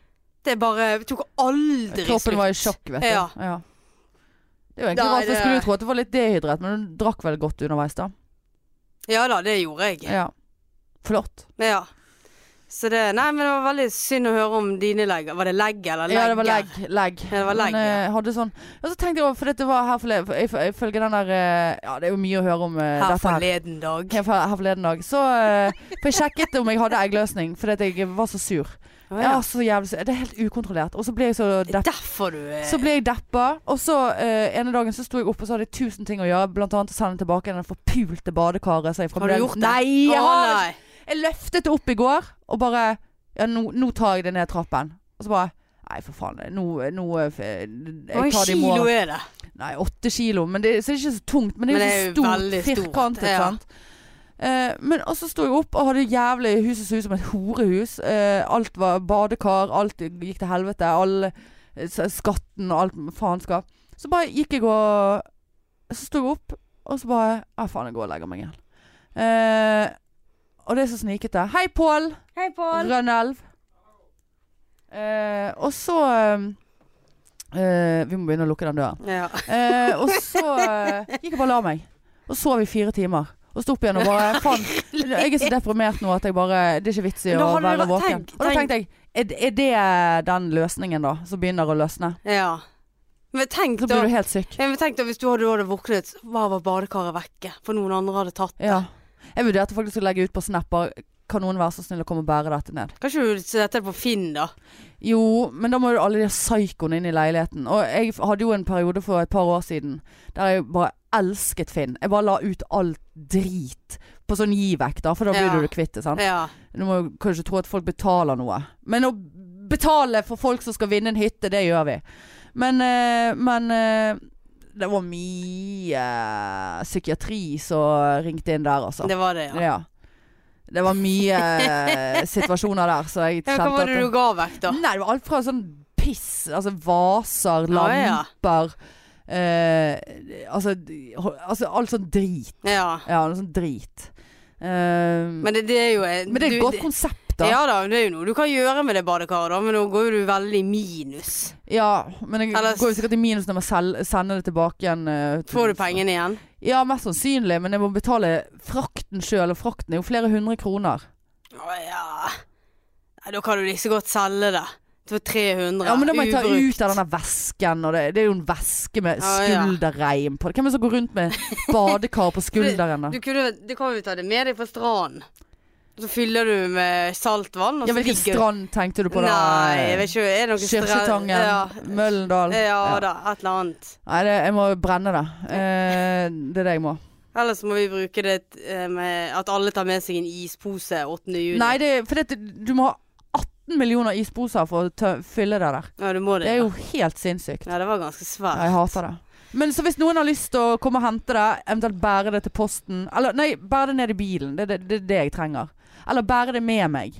Speaker 1: Det bare tok aldri
Speaker 2: Kroppen
Speaker 1: slutt.
Speaker 2: var i sjokk, vet du.
Speaker 1: Ja.
Speaker 2: Ja. Det er jo egentlig
Speaker 1: Nei,
Speaker 2: rart, jeg
Speaker 1: det-
Speaker 2: skulle jo tro at du var litt dehydrert, men du drakk vel godt underveis, da.
Speaker 1: Ja da, det gjorde jeg.
Speaker 2: Ja. Flott.
Speaker 1: Ja. Så det Nei, men det var veldig synd å høre om dine legger. Var det legg eller legger?
Speaker 2: Ja, det var legg. legg.
Speaker 1: Ja, det var legg,
Speaker 2: men,
Speaker 1: ja.
Speaker 2: eh, hadde sånn Og så tenkte jeg òg, for dette var her forleden for- jeg- Ifølge den der eh, Ja, det er jo mye å høre om eh,
Speaker 1: Her
Speaker 2: dette her.
Speaker 1: forleden dag.
Speaker 2: Her for- her forleden dag. Så eh, For jeg sjekket om jeg hadde eggløsning, fordi at jeg var så sur.
Speaker 1: Å,
Speaker 2: Ja, så jævlig Det er helt ukontrollert. Og så ble jeg så
Speaker 1: Det er
Speaker 2: deppa.
Speaker 1: derfor du eh,
Speaker 2: Så ble jeg deppa, og så eh, ene dagen så sto jeg oppe og så hadde jeg tusen ting å gjøre. Blant annet å sende tilbake den forpulte badekaret. Så jeg
Speaker 1: Har du gjort det?
Speaker 2: Nei,
Speaker 1: Å,
Speaker 2: jeg, har,
Speaker 1: nei.
Speaker 2: ikke- jeg løftet det opp i går og bare Ja, nå, nå tar jeg det ned trappen. Og så bare Nei, for faen. Nå, nå eh,
Speaker 1: Hvor
Speaker 2: jeg
Speaker 1: mange
Speaker 2: tar det i
Speaker 1: kilo
Speaker 2: morgen.
Speaker 1: er det?
Speaker 2: Nei, åtte kilo. Men det, så er det ikke så tungt. Men det er jo
Speaker 1: Men det
Speaker 2: så
Speaker 1: er jo
Speaker 2: stort,
Speaker 1: veldig stort,
Speaker 2: firkantet.
Speaker 1: ja.
Speaker 2: Sant? Eh, men og så sto jeg opp og hadde jævlig huset så ut som et horehus. Eh, alt var badekar, alt gikk til helvete. Alle, eh, s- skatten og alt faenskap. Så bare gikk jeg og Så sto jeg opp, og så bare Ja, faen, jeg går og legger meg igjen. Eh, og det er så snikete. Hei, Pål!
Speaker 1: Hei, Pål.
Speaker 2: Rønnelv. Eh, og så eh, eh, Vi må begynne å lukke den døren.
Speaker 1: Ja.
Speaker 2: Eh, og så eh, gikk jeg bare og la meg. Og sov i fire timer. Og sto opp igjen og bare Faen, jeg er så deprimert nå at jeg bare Det er ikke vits i
Speaker 1: Men
Speaker 2: å
Speaker 1: da har du
Speaker 2: være
Speaker 1: vært-
Speaker 2: våken.
Speaker 1: tenk-
Speaker 2: Og da tenkte jeg er, det- er det den løsningen, da? Som begynner å løsne?
Speaker 1: ja. Men tenk
Speaker 2: Så
Speaker 1: da
Speaker 2: blir du helt syk.
Speaker 1: Ja, men tenk da, Hvis du hadde, du hadde våknet, så var var badekaret vekke. For noen andre hadde tatt det.
Speaker 2: Ja. Jeg vurderte faktisk å legge ut på Snap bare Kan noen være så snill å komme og bære dette ned?
Speaker 1: Kanskje du setter det på Finn, da.
Speaker 2: Jo, men da må jo alle de psykoene inn i leiligheten. Og jeg f- hadde jo en periode for et par år siden der jeg bare elsket Finn. Jeg bare la ut alt drit på sånn gi vekk, da, for da blir
Speaker 1: Ja.
Speaker 2: du det kvitt det, sant?
Speaker 1: Ja.
Speaker 2: Du må jo kanskje tro at folk betaler noe. Men å betale for folk som skal vinne en hytte, det gjør vi. Men, eh, men eh, det var mye psykiatri som ringte inn der, altså.
Speaker 1: Det var det, ja.
Speaker 2: ja. Det var mye eh, situasjoner der, så jeg
Speaker 1: ja men
Speaker 2: kjente
Speaker 1: hva var det
Speaker 2: at
Speaker 1: du ga vekk, da?
Speaker 2: Nei, det var alt fra sånn piss, altså vaser,
Speaker 1: Ja, ja.
Speaker 2: lamper eh, altså, d- ho- altså alt sånn drit.
Speaker 1: Ja.
Speaker 2: Ja, noe sånn drit. Eh, men,
Speaker 1: Men det, det er jo eh,
Speaker 2: det er et
Speaker 1: du-
Speaker 2: godt konsept, da.
Speaker 1: Ja da, det er jo noe du kan gjøre med det badekaret, da, men nå går jo du veldig i minus.
Speaker 2: Ja, men jeg
Speaker 1: Ellers-
Speaker 2: går jo sikkert i minus når jeg selv- sender det tilbake igjen. eh, til-
Speaker 1: Får du pengene igjen?
Speaker 2: Ja, mest sannsynlig, men jeg må betale frakten sjøl, og frakten er jo flere hundre kroner.
Speaker 1: Å ja. Nei, da kan du like så godt selge det. For 300.
Speaker 2: Ja, men da må jeg ta
Speaker 1: ubrukt.
Speaker 2: ut av denne vesken, og det, det er jo en veske med
Speaker 1: Ja, ja.
Speaker 2: skulderreim på det. Hvem er det som går rundt med badekar på skulderen? da?
Speaker 1: Du, kunne, du kan jo ta det med deg på stranden. Og Så fyller du med saltvann. Og
Speaker 2: Ja,
Speaker 1: så
Speaker 2: hvilken
Speaker 1: ligger-
Speaker 2: strand tenkte du på da?
Speaker 1: Nei, jeg vet ikke. Er det noe strand-
Speaker 2: Kirketangen,
Speaker 1: Ja.
Speaker 2: Møllendal.
Speaker 1: ja da, et eller annet.
Speaker 2: Nei, det, jeg må brenne det. Eh, det er det jeg må.
Speaker 1: Ellers må vi bruke det eh, med at alle tar med seg en ispose 8. juni.
Speaker 2: Nei, det, for dette, du må ha 18 millioner isposer for å tø fylle det der.
Speaker 1: ja, du må det.
Speaker 2: Det er
Speaker 1: ja.
Speaker 2: jo helt sinnssykt.
Speaker 1: Ja, det var ganske
Speaker 2: Ja,
Speaker 1: svært.
Speaker 2: jeg hater det. Men så hvis noen har lyst til å komme og hente det, eventuelt bære det til posten Eller nei, bære det ned i bilen. Det er det, det, er det jeg trenger. Eller bære det med meg.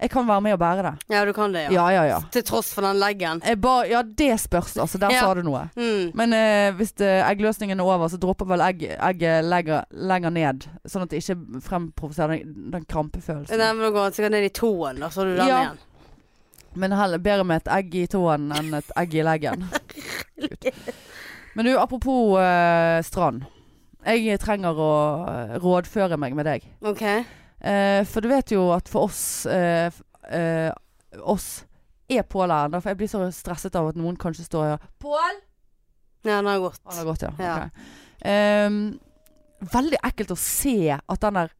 Speaker 2: Jeg kan være med og bære det.
Speaker 1: Ja, du kan det, ja.
Speaker 2: Ja, ja, ja.
Speaker 1: Til tross for den leggen.
Speaker 2: Jeg ba, ja, det spørs, altså. Der
Speaker 1: Ja.
Speaker 2: sa du noe.
Speaker 1: Mm.
Speaker 2: Men eh, hvis det, eggløsningen er over, så dropper vel egg, egget legger, lenger ned. Sånn at det ikke fremprovoserer den, den krampefølelsen.
Speaker 1: Nei, men da går den sikkert ned i tåen, da, så har du den
Speaker 2: Ja.
Speaker 1: igjen.
Speaker 2: Men heller bedre med et egg i tåen enn et egg i leggen. Gud. Men du, apropos eh, strand. Jeg trenger å eh, rådføre meg med deg.
Speaker 1: OK?
Speaker 2: Eh, for du vet jo at for oss eh, f- eh, oss er Pål her ennå. For jeg blir så stresset av at noen kanskje står her. Pål!
Speaker 1: Ja, den har gått.
Speaker 2: Han har gått, ja.
Speaker 1: Ja.
Speaker 2: Ok. Ehm, veldig ekkelt å se at den der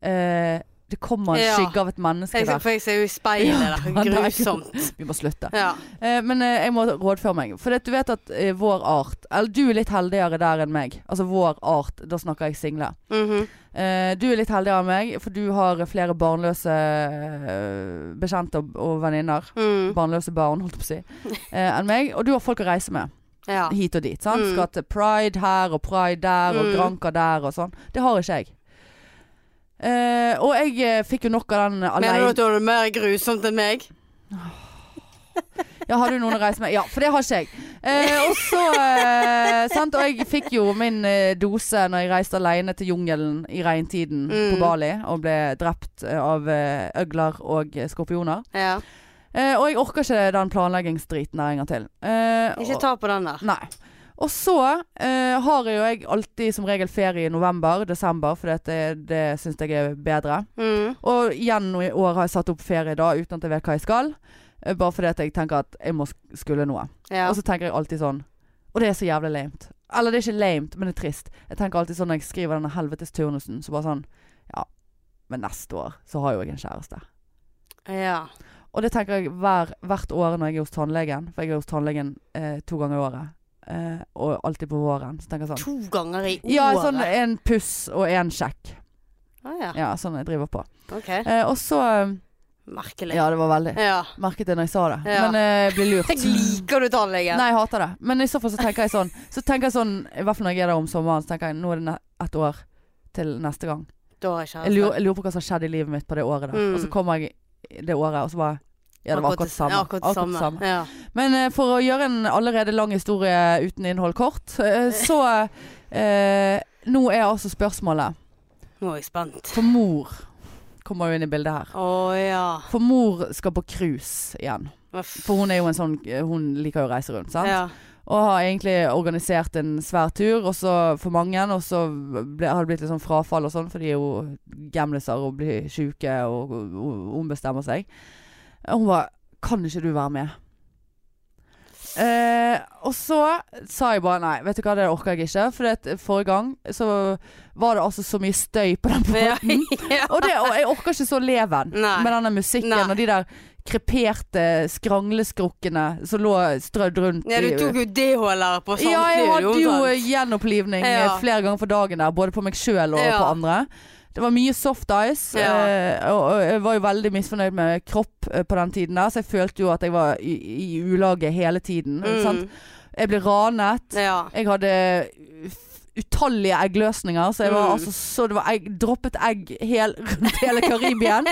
Speaker 2: eh, Det kommer en
Speaker 1: Ja.
Speaker 2: skygge av et menneske
Speaker 1: Jeg,
Speaker 2: der.
Speaker 1: for jeg ser jo i speilet
Speaker 2: Ja,
Speaker 1: der.
Speaker 2: den der.
Speaker 1: Grusomt.
Speaker 2: Vi må slutte.
Speaker 1: Ja.
Speaker 2: Eh, men eh, jeg må rådføre meg. For det, du vet at eh, vår art Eller du er litt heldigere der enn meg. Altså vår art, da snakker jeg single.
Speaker 1: Mhm.
Speaker 2: Eh, du er litt heldigere enn meg, for du har flere barnløse eh, bekjente og, og venninner.
Speaker 1: mm.
Speaker 2: Barnløse barn, holdt jeg på å si. Eh, enn meg. Og du har folk å reise med.
Speaker 1: Ja.
Speaker 2: Hit og dit. Sant?
Speaker 1: Mm.
Speaker 2: Skal til pride her og pride der og
Speaker 1: Mm.
Speaker 2: Granca der og sånn. Det har ikke jeg. Eh, og jeg eh, fikk jo nok av den
Speaker 1: Mener du
Speaker 2: aleine
Speaker 1: at du har det mer grusomt enn meg?
Speaker 2: Ja, har du noen å reise med? Ja, for det har ikke jeg. Eh, og så eh, sant? Og jeg fikk jo min eh, dose når jeg reiste alene til jungelen i regntiden på
Speaker 1: Mm.
Speaker 2: Bali og ble drept eh, av eh, øgler og eh, skorpioner.
Speaker 1: Ja.
Speaker 2: Eh, og jeg orker ikke den planleggingsdriten der en gang til. Eh,
Speaker 1: Ikke
Speaker 2: og-
Speaker 1: ta på den der.
Speaker 2: Nei. Og så eh, har jo jeg alltid som regel ferie i november, desember, for det, det syns jeg er bedre.
Speaker 1: Mm.
Speaker 2: Og igjen nå i år har jeg satt opp ferie da uten at jeg vet hva jeg skal. Eh, Bare fordi at jeg tenker at jeg må sk- skulle noe.
Speaker 1: Ja.
Speaker 2: Og så tenker jeg alltid sånn Og det er så jævlig lamet. Eller det er ikke lamet, men det er trist. Jeg tenker alltid sånn når jeg skriver denne helvetes turnusen, så bare sånn Ja, men neste år så har jo jeg en kjæreste. Altså-
Speaker 1: ja.
Speaker 2: Og det tenker jeg hver, hvert år når jeg er hos tannlegen. For jeg er hos tannlegen eh, to ganger i året. Eh, og alltid på våren. Så tenker jeg sånn
Speaker 1: To ganger i året?
Speaker 2: Ja, sånn en puss og en sjekk.
Speaker 1: Å, Ah, ja.
Speaker 2: Ja, sånn jeg driver på.
Speaker 1: Ok.
Speaker 2: Eh, og så eh,
Speaker 1: Merkelig.
Speaker 2: Ja, det var veldig.
Speaker 1: Ja.
Speaker 2: Merket det når jeg sa det.
Speaker 1: Ja.
Speaker 2: Men eh, jeg blir lurt.
Speaker 1: Jeg liker du tannlegen.
Speaker 2: Nei, jeg hater det. Men i så fall så tenker jeg sånn. Så tenker jeg sånn, I hvert fall når jeg er der om sommeren, så tenker jeg nå er det ne ett år til neste gang.
Speaker 1: Da har jeg kjæreste.
Speaker 2: Jeg lurer, jeg lurer på hva som har skjedd i livet mitt på det året der.
Speaker 1: Mm.
Speaker 2: Og så kommer jeg det året, og så bare Ja, det var akkurat det samme.
Speaker 1: Ja, akkurat det samme. Ja.
Speaker 2: Men eh, for å gjøre en allerede lang historie uten innhold kort, eh, så eh, Nå er altså spørsmålet
Speaker 1: Nå er jeg spent.
Speaker 2: For mor kommer jo inn i bildet her.
Speaker 1: Å ja.
Speaker 2: For mor skal på cruise igjen.
Speaker 1: Uff.
Speaker 2: For hun er jo en sånn Hun liker jo å reise rundt, sant?
Speaker 1: Ja.
Speaker 2: Og har egentlig organisert en svær tur og så for mange, og så ble, har det blitt litt sånn frafall og sånn, for de er jo gamliser og blir syke og, og, og ombestemmer seg. Og hun bare 'Kan ikke du være med?' Eh, og så sa jeg bare nei, vet du hva, det orker jeg ikke. For det, at forrige gang så var det altså så mye støy på den
Speaker 1: Ja.
Speaker 2: båten. Og, det, og jeg orker ikke så leven
Speaker 1: Nei.
Speaker 2: med denne musikken
Speaker 1: Nei.
Speaker 2: og de der kreperte skrangleskrukkene som lå strødd rundt
Speaker 1: ja, du
Speaker 2: i-
Speaker 1: tok jo D-håler på
Speaker 2: ja, jeg
Speaker 1: samtlige,
Speaker 2: hadde jo
Speaker 1: omtrent.
Speaker 2: gjenopplivning eh,
Speaker 1: Ja.
Speaker 2: flere ganger for dagen der, både på meg sjøl og
Speaker 1: Ja.
Speaker 2: på andre. Det var mye soft ice,
Speaker 1: Ja.
Speaker 2: eh, og, og jeg var jo veldig misfornøyd med kropp eh, på den tiden der, så jeg følte jo at jeg var i, i ulage hele tiden.
Speaker 1: Mm.
Speaker 2: Sant? Jeg ble ranet.
Speaker 1: Ja.
Speaker 2: Jeg hadde f- utallige eggløsninger, så jeg var
Speaker 1: Mm.
Speaker 2: altså så det var egg, droppet egg hel, rundt hele Karibien.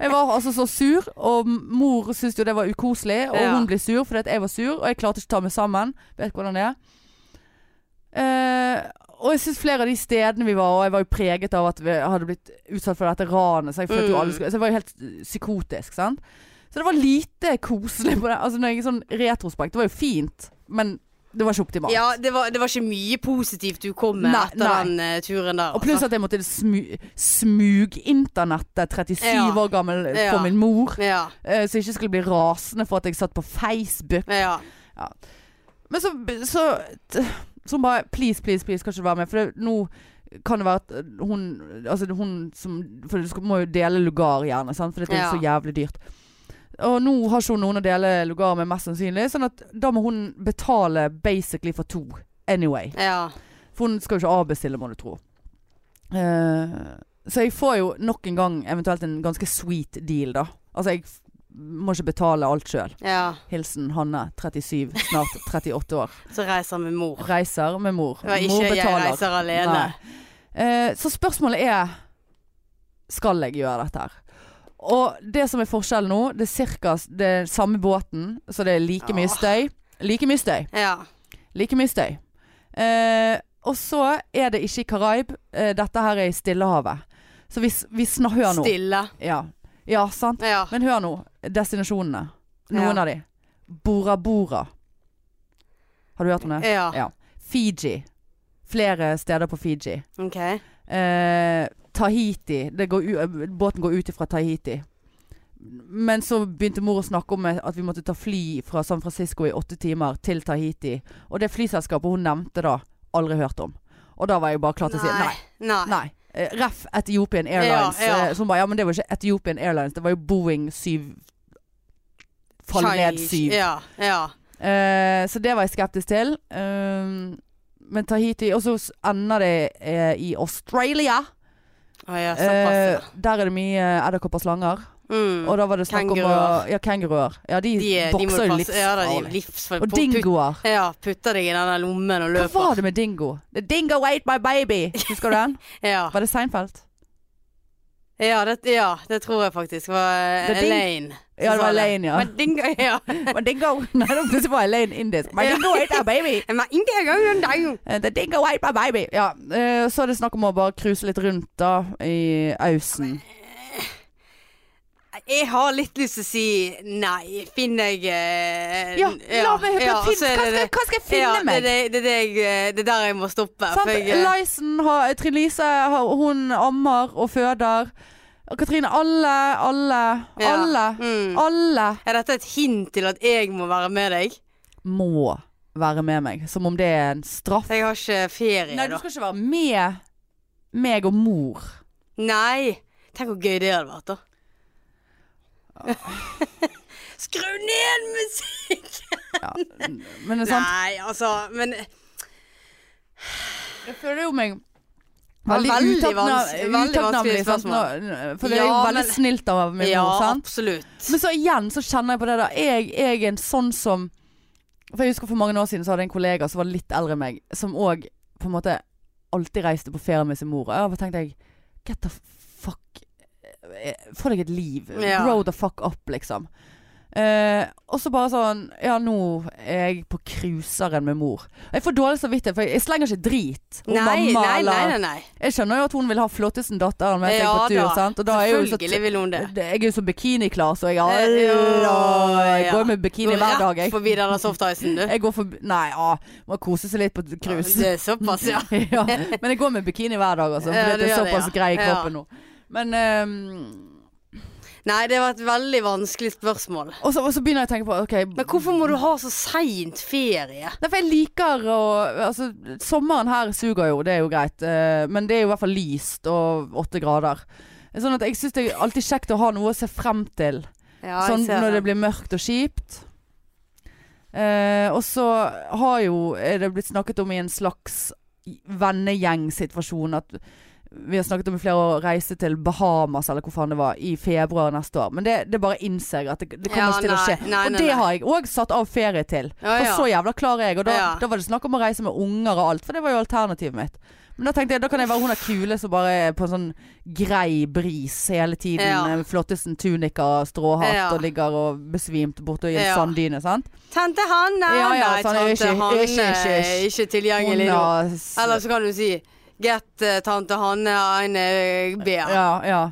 Speaker 2: Jeg var altså så sur, og m- mor syntes jo det var ukoselig, og
Speaker 1: Ja.
Speaker 2: hun ble sur fordi at jeg var sur, og jeg klarte ikke å ta meg sammen. Vet hvordan det er. Eh, og jeg syns flere av de stedene vi var, og jeg var jo preget av at vi hadde blitt utsatt for dette ranet, så jeg følte jo
Speaker 1: Mm.
Speaker 2: alle skulle Så jeg var jo helt eh, psykotisk, sant. Så det var lite koselig på det. Altså når jeg sånn retrospekt, det var jo fint, men det var ikke optimalt.
Speaker 1: ja det, var, det var ikke mye positivt du kom med
Speaker 2: Nei,
Speaker 1: etter
Speaker 2: nei.
Speaker 1: den eh, turen der.
Speaker 2: Og pluss
Speaker 1: altså.
Speaker 2: at jeg måtte smu smuginternettet 37
Speaker 1: Ja.
Speaker 2: år gammel eh, for
Speaker 1: Ja.
Speaker 2: min mor,
Speaker 1: Ja.
Speaker 2: eh, så jeg ikke skulle bli rasende for at jeg satt på Facebook.
Speaker 1: Ja.
Speaker 2: Men så, så, t- så hun bare Please, please, please, kan ikke du være med? For det, nå kan det være at hun Altså hun som For du skal, må jo dele lugar, gjerne, sant? for det er
Speaker 1: Ja.
Speaker 2: jo så jævlig dyrt. Og nå har ikke hun noen å dele lugar med, mest sannsynlig, sånn at da må hun betale basically for to anyway.
Speaker 1: ja.
Speaker 2: For hun skal jo ikke avbestille, må du tro. Eh, så jeg får jo nok en gang eventuelt en ganske sweet deal, da. Altså, jeg f- må ikke betale alt sjøl.
Speaker 1: ja.
Speaker 2: Hilsen Hanne, 37, snart 38 år.
Speaker 1: Så reiser med mor.
Speaker 2: Reiser med mor.
Speaker 1: Det var ikke
Speaker 2: mor
Speaker 1: jeg
Speaker 2: betaler.
Speaker 1: reiser alene.
Speaker 2: Nei. Eh, så spørsmålet er Skal jeg gjøre dette her? Og det som er forskjellen nå, det er cirka s- det er samme båten, så det er like mye
Speaker 1: Åh.
Speaker 2: støy. Like mye støy.
Speaker 1: Ja.
Speaker 2: Like mye støy. Eh, og så er det ikke i Karaib. Eh, dette her er i Stillehavet. Så vi, s- vi snak- Hør nå.
Speaker 1: Stille.
Speaker 2: Ja. ja, sant.
Speaker 1: Ja.
Speaker 2: Men hør nå. Destinasjonene. Noen
Speaker 1: Ja.
Speaker 2: av de. Bora Bora. Har du hørt om det?
Speaker 1: Ja.
Speaker 2: Ja. Fiji. Flere steder på Fiji.
Speaker 1: OK.
Speaker 2: Eh, Tahiti. Det går u eh, båten går ut fra Tahiti. Men så begynte mor å snakke om at vi måtte ta fly fra San Francisco i åtte timer til Tahiti. Og det flyselskapet hun nevnte da, aldri hørt om. Og da var jeg bare klar til å si nei.
Speaker 1: Nei.
Speaker 2: nei. Eh, Ref Ethiopian Airlines.
Speaker 1: Ja, ja.
Speaker 2: eh, Som bare Ja, men det var ikke Ethiopian Airlines, det var jo Boeing 7 Fall ned 7.
Speaker 1: Ja. Ja.
Speaker 2: Eh, så det var jeg skeptisk til. Um, men Tahiti Og så s- ender det eh, i Australia.
Speaker 1: Å ja, såpass, ja.
Speaker 2: Eh, der er det mye eh, edderkopper og slanger.
Speaker 1: Mm.
Speaker 2: Og da var det snakk om å
Speaker 1: Kenguruer.
Speaker 2: Ja, kenguruer. Ja, de,
Speaker 1: De, er- de må
Speaker 2: bokser
Speaker 1: du
Speaker 2: jo
Speaker 1: passe Ja da, de er
Speaker 2: livsfarlig.
Speaker 1: livsfarlig.
Speaker 2: Og dingoer.
Speaker 1: Ja, putter deg i den der lommen og
Speaker 2: Hva
Speaker 1: løper.
Speaker 2: var det med dingo? The dingo ate my baby! Husker du den?
Speaker 1: Ja,
Speaker 2: Var det Seinfeld?
Speaker 1: ja, det, ja, det tror jeg faktisk var eh,
Speaker 2: Det er ding-
Speaker 1: Elaine. som
Speaker 2: Ja, det
Speaker 1: sa
Speaker 2: var Elaine, ja.
Speaker 1: Men dingo, ja.
Speaker 2: My dingo Nei, da plutselig var Elaine indisk. My dingo ate my baby!
Speaker 1: Men ikke engang den dagen.
Speaker 2: Eh, The dingo ate my baby! Ja, eh, så er det snakk om å bare cruise litt rundt, da, i Ausen.
Speaker 1: Jeg har litt lyst til å si nei. Finner jeg eh,
Speaker 2: Ja,
Speaker 1: ja,
Speaker 2: la meg hva,
Speaker 1: ja,
Speaker 2: finnes-
Speaker 1: så er
Speaker 2: hva,
Speaker 1: det
Speaker 2: skal,
Speaker 1: det.
Speaker 2: hva skal jeg
Speaker 1: Ja,
Speaker 2: finne meg?
Speaker 1: Det, er det, det, er det, jeg, eh, det er der jeg må stoppe.
Speaker 2: Sant?
Speaker 1: For jeg, eh,
Speaker 2: Lysen har Trine Lise har- hun ammer og føder. Og Katrine, alle, alle,
Speaker 1: ja.
Speaker 2: alle,
Speaker 1: Mm.
Speaker 2: alle
Speaker 1: Er dette et hint til at jeg må være med deg?
Speaker 2: må være med meg. Som om det er en straff.
Speaker 1: Jeg har ikke ferie,
Speaker 2: Nei, du
Speaker 1: da.
Speaker 2: skal ikke være med meg og mor.
Speaker 1: Nei. Tenk hvor gøy det hadde vært, da.
Speaker 2: Ah.
Speaker 1: Skru ned musikk!
Speaker 2: Ja. Men det er sant.
Speaker 1: Nei, altså, men
Speaker 2: Jeg føler jo meg
Speaker 1: Veldig
Speaker 2: utakknemlig-
Speaker 1: vans- veldig vanskelig
Speaker 2: utakknemlig, sant?
Speaker 1: spørsmål.
Speaker 2: Nå- For det er jo
Speaker 1: Ja,
Speaker 2: veldig
Speaker 1: men-
Speaker 2: snilt av min
Speaker 1: ja,
Speaker 2: mor, sant?
Speaker 1: absolutt.
Speaker 2: Men så igjen så kjenner jeg på det da Jeg, jeg er en sånn som For jeg husker for mange år siden så hadde jeg en kollega som var litt eldre enn meg Som også på en måte alltid reiste på ferie med sin mor Og jeg bare tenkte jeg Get the fuck eh, Få deg et liv
Speaker 1: Ja.
Speaker 2: Grow the fuck up liksom Eh, og så bare sånn Ja nå er jeg på kruseren med mor Jeg får dårlig samvittighet For jeg, jeg slenger ikke drit om
Speaker 1: Nei, nei,
Speaker 2: mamma,
Speaker 1: nei,
Speaker 2: eller-
Speaker 1: nei, nei.
Speaker 2: Jeg skjønner jo at hun vil ha flottesten datteren med seg
Speaker 1: Ja
Speaker 2: på tur
Speaker 1: da,
Speaker 2: sant? Og da er jo så
Speaker 1: Selvfølgelig vil hun det. Eh,
Speaker 2: det- Jeg er jo så bikiniklar, så jeg,
Speaker 1: Ja, ja.
Speaker 2: jeg går med bikini
Speaker 1: Går
Speaker 2: hver dag.
Speaker 1: rett
Speaker 2: Jeg,
Speaker 1: forbi den der softicen, du.
Speaker 2: jeg går forbi Nei, ja, må kose seg litt på cruise.
Speaker 1: Det er såpass, ja.
Speaker 2: ja. Men jeg går med bikini hver dag, altså. For
Speaker 1: Ja,
Speaker 2: det,
Speaker 1: du
Speaker 2: er
Speaker 1: gjør det,
Speaker 2: såpass
Speaker 1: ja.
Speaker 2: grei i
Speaker 1: Ja.
Speaker 2: kroppen nå. Men ehm,
Speaker 1: Nei, det var et veldig vanskelig spørsmål.
Speaker 2: og, så, og så begynner jeg å tenke på OK
Speaker 1: Men hvorfor må du ha så seint ferie?
Speaker 2: Nei, for jeg liker å Altså, sommeren her suger jo, det er jo greit. eh, men det er jo i hvert fall lyst og åtte grader. Sånn at jeg syns det er alltid kjekt å ha noe å se frem til.
Speaker 1: Ja, jeg
Speaker 2: sånn
Speaker 1: ser
Speaker 2: når det
Speaker 1: den.
Speaker 2: blir mørkt og kjipt. Eh, og så har jo er det blitt snakket om i en slags vennegjengsituasjon at vi har snakket om i flere år å reise til Bahamas eller hvor faen det var, i februar neste år. Men det, det bare innser jeg at det, det kommer
Speaker 1: Ja,
Speaker 2: ikke til å
Speaker 1: nei,
Speaker 2: skje.
Speaker 1: nei,
Speaker 2: og
Speaker 1: nei,
Speaker 2: det
Speaker 1: nei.
Speaker 2: har jeg òg satt av ferie til.
Speaker 1: Ja,
Speaker 2: For
Speaker 1: ja.
Speaker 2: så jævla klar er jeg. Og da,
Speaker 1: Ja.
Speaker 2: da var det snakk om å reise med unger og alt, for det var jo alternativet mitt. Men da tenkte jeg, da kan jeg være hun der kule som bare er på en sånn grei bris hele tiden.
Speaker 1: Ja.
Speaker 2: med Flottesten tunika og stråhatt
Speaker 1: Ja.
Speaker 2: og ligger og besvimt borte i en
Speaker 1: Ja.
Speaker 2: sanddyne, sant?
Speaker 1: Tante Hanne!
Speaker 2: Ja, ja,
Speaker 1: Nei,
Speaker 2: sånn,
Speaker 1: tante
Speaker 2: ikke-
Speaker 1: Hanne
Speaker 2: ikke- ikke-
Speaker 1: er ikke
Speaker 2: Hun
Speaker 1: tilgjengelig nå.
Speaker 2: har s-
Speaker 1: Eller så kan du si Get eh, tante Hanne en eh, bea.
Speaker 2: Ja, ja.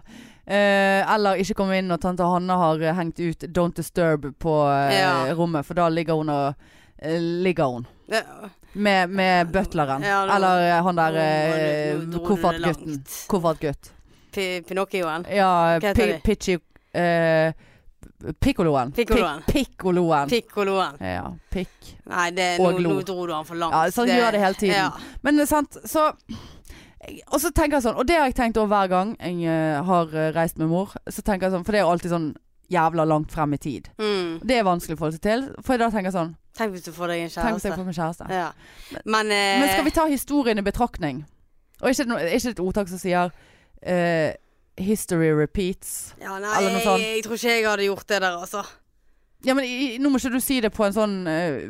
Speaker 2: Eh, eller ikke komme inn når tante Hanne har eh, hengt ut 'Don't disturb' på eh,
Speaker 1: Ja.
Speaker 2: rommet, for da ligger hun og eh, Ligger hun.
Speaker 1: Ja.
Speaker 2: Med, med butleren.
Speaker 1: Ja, nå-
Speaker 2: eller eh, han der eh,
Speaker 1: Nå- nå dro du det
Speaker 2: koffertgutten.
Speaker 1: langt.
Speaker 2: Koffertgutt.
Speaker 1: Pi- Pinocchioen.
Speaker 2: Ja,
Speaker 1: Hva heter
Speaker 2: pi
Speaker 1: de?
Speaker 2: Pichi... eh, pikkoloen. Pi-
Speaker 1: Pikkoloen.
Speaker 2: Pikkoloen.
Speaker 1: Pikkoloen.
Speaker 2: Ja, pikk.
Speaker 1: Nei, det, nå,
Speaker 2: Og lo.
Speaker 1: nå dro du han for langt.
Speaker 2: Ja, sånn gjør det hele tiden.
Speaker 1: Ja.
Speaker 2: Men det er sant, så Og så tenker jeg sånn, og det har jeg tenkt over hver gang jeg eh, har eh, reist med mor, så tenker jeg sånn, for det er jo alltid sånn jævla langt frem i tid.
Speaker 1: Mm.
Speaker 2: Det er vanskelig å forholde seg til, for da tenker jeg sånn
Speaker 1: Tenk hvis du får deg en
Speaker 2: Tenk hvis jeg
Speaker 1: kjæreste.
Speaker 2: får meg kjæreste.
Speaker 1: Ja. Men, eh,
Speaker 2: Men skal vi ta historien i betraktning? Og ikke, no- ikke et ordtak som sier eh, 'history repeats'.
Speaker 1: ja, nei,
Speaker 2: Eller noe
Speaker 1: jeg,
Speaker 2: sånt.
Speaker 1: jeg, tror ikke jeg hadde gjort det der, altså.
Speaker 2: Ja, men i, nå må ikke du si det på en sånn eh,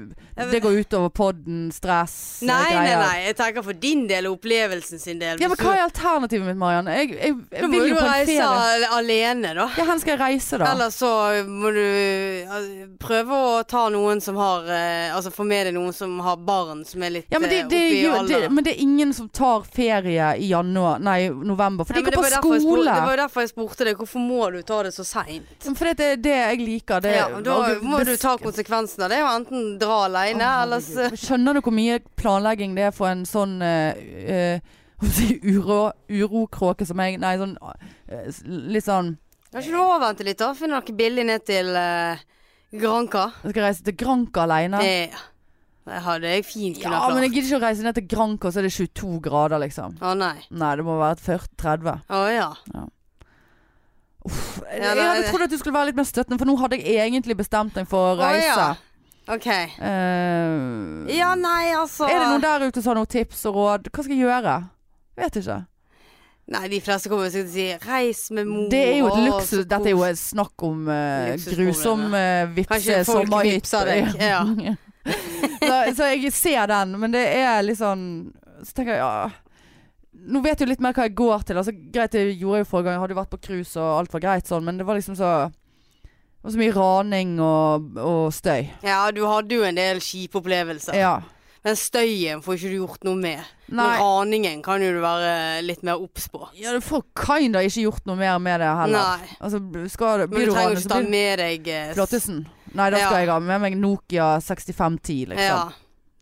Speaker 2: Det går utover podden, stress, eh,
Speaker 1: Nei, nei,
Speaker 2: greier.
Speaker 1: nei. Jeg tenker for din del og opplevelsen sin del.
Speaker 2: Ja, men
Speaker 1: Hvis
Speaker 2: hva
Speaker 1: du-
Speaker 2: er alternativet mitt, Mariann? Jeg, jeg,
Speaker 1: Da
Speaker 2: jeg
Speaker 1: må
Speaker 2: vil
Speaker 1: du
Speaker 2: jo på en
Speaker 1: reise
Speaker 2: ferie.
Speaker 1: al- alene, da.
Speaker 2: Ja, hvor skal jeg reise, da?
Speaker 1: Eller så må du eh, prøve å ta noen som har eh, Altså få med deg noen som har barn som er litt
Speaker 2: ja, men det,
Speaker 1: eh,
Speaker 2: det,
Speaker 1: oppe i
Speaker 2: gjør- det,
Speaker 1: alderen.
Speaker 2: men det er ingen som tar ferie i januar, nei, november. For
Speaker 1: Nei,
Speaker 2: de
Speaker 1: men
Speaker 2: går på
Speaker 1: var jo derfor jeg spurte-
Speaker 2: skole.
Speaker 1: Det var jo derfor jeg spurte deg. Hvorfor må du ta det så seint?
Speaker 2: For det er det jeg liker. Det,
Speaker 1: Ja, da
Speaker 2: og
Speaker 1: må du
Speaker 2: bes-
Speaker 1: ta konsekvensen av det, og enten
Speaker 2: Å,
Speaker 1: dra aleine, ellers
Speaker 2: herregud. Skjønner du hvor mye planlegging det er for en sånn eh, eh, hva skal jeg si, uro, urokråke som jeg Nei, sånn eh, s- litt sånn
Speaker 1: Kan ikke du avvente litt, da? Finne noe billig ned til eh, Granca?
Speaker 2: Jeg skal reise til Granca alene.
Speaker 1: Det, det hadde jeg fint kunnet
Speaker 2: Ja,
Speaker 1: klart.
Speaker 2: men jeg gidder ikke å reise ned til Granca, så er det 22 grader, liksom.
Speaker 1: Å nei.
Speaker 2: Nei, det må være et 40-30.
Speaker 1: Å ja. Ja,
Speaker 2: jeg
Speaker 1: nei,
Speaker 2: hadde
Speaker 1: det-
Speaker 2: trodd at du skulle være litt mer støttende, for nå hadde jeg egentlig bestemt meg for å
Speaker 1: Å,
Speaker 2: reise.
Speaker 1: ja. OK.
Speaker 2: Eh,
Speaker 1: Ja, nei, altså
Speaker 2: Er det noen der ute som har noen tips og råd? Hva skal jeg gjøre? Vet ikke.
Speaker 1: Nei, de fleste kommer sikkert til å si 'reis med mor'.
Speaker 2: Det er jo et
Speaker 1: og
Speaker 2: luksus
Speaker 1: så
Speaker 2: Dette er jo
Speaker 1: kos».
Speaker 2: et snakk om eh,
Speaker 1: Luksusproblemet.
Speaker 2: grusom uh, vippse
Speaker 1: Kanskje folk
Speaker 2: sommerhytte.
Speaker 1: vippser deg, ja.
Speaker 2: så, så jeg ser den, men det er litt sånn Så tenker jeg ja Nå vet jeg jo litt mer hva jeg går til. Altså, greit, det gjorde jeg jo forrige gang. Jeg hadde jo vært på cruise og alt var greit sånn, men det var liksom så det var så mye raning og, og støy.
Speaker 1: Ja, du hadde jo en del kjipe opplevelser.
Speaker 2: Ja.
Speaker 1: Men støyen får ikke du gjort noe med.
Speaker 2: Nei.
Speaker 1: Men raningen kan jo du være litt mer obs på.
Speaker 2: Ja, du får kinda ikke gjort noe mer med det heller.
Speaker 1: Nei.
Speaker 2: Altså, skal, du-
Speaker 1: Men
Speaker 2: blir
Speaker 1: du
Speaker 2: du
Speaker 1: trenger
Speaker 2: ranet, så
Speaker 1: jo ikke ta
Speaker 2: blir
Speaker 1: med deg eh,
Speaker 2: du flottesen. Nei, da skal
Speaker 1: Ja.
Speaker 2: jeg ha med meg Nokia 6510, liksom.
Speaker 1: Ja,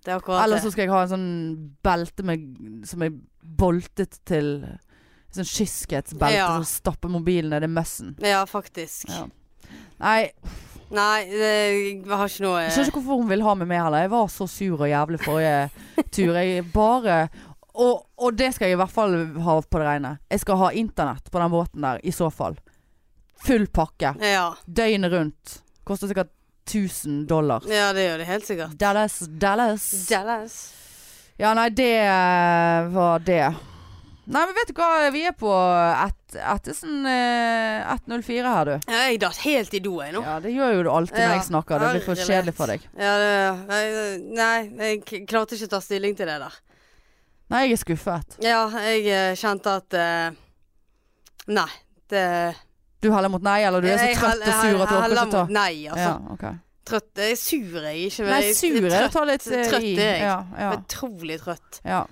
Speaker 1: det er akkurat
Speaker 2: Eller
Speaker 1: det.
Speaker 2: så skal jeg ha en sånn belte med, som er boltet til Sånn kyskhetsbelte
Speaker 1: Ja.
Speaker 2: som stapper mobilen ned i møssen.
Speaker 1: Ja, faktisk.
Speaker 2: Ja. Nei,
Speaker 1: Nei, det, jeg har ikke noe
Speaker 2: jeg skjønner ikke hvorfor hun vil ha meg med heller. Jeg var så sur og jævlig forrige tur. Jeg bare og, og det skal jeg i hvert fall ha på det rene. Jeg skal ha internett på den båten der, i så fall. Full pakke.
Speaker 1: Ja,
Speaker 2: Døgnet rundt. Koster sikkert 1000 dollar.
Speaker 1: ja det gjør det helt sikkert.
Speaker 2: Dallas, Dallas.
Speaker 1: Jealous.
Speaker 2: Ja, nei, eh, det var det. Nei, men vet du hva? Vi er på ett- Ettesen eh, 104 her, du.
Speaker 1: Ja, jeg datt helt i do, jeg nå.
Speaker 2: Ja, det gjør jo du alltid når
Speaker 1: Ja,
Speaker 2: jeg snakker. Det blir for
Speaker 1: herlig
Speaker 2: kjedelig
Speaker 1: lett.
Speaker 2: for deg.
Speaker 1: Ja, det, jeg- nei, jeg k- klarte ikke å ta stilling til det der.
Speaker 2: Nei, jeg er skuffet.
Speaker 1: Ja, jeg eh, kjente at eh, Nei. Det
Speaker 2: Du heller mot nei, eller du er så
Speaker 1: Jeg
Speaker 2: trøtt
Speaker 1: hell-
Speaker 2: og sur at du
Speaker 1: jeg
Speaker 2: orker
Speaker 1: heller
Speaker 2: ikke ta?
Speaker 1: mot Nei, altså.
Speaker 2: Ja, ok.
Speaker 1: Trøtt Jeg er sur, jeg er ikke. men
Speaker 2: Nei,
Speaker 1: jeg-
Speaker 2: sur er det å
Speaker 1: trøtt.
Speaker 2: ta litt eh,
Speaker 1: trøtt
Speaker 2: i.
Speaker 1: er jeg.
Speaker 2: Ja, ja,
Speaker 1: Utrolig trøtt.
Speaker 2: ja.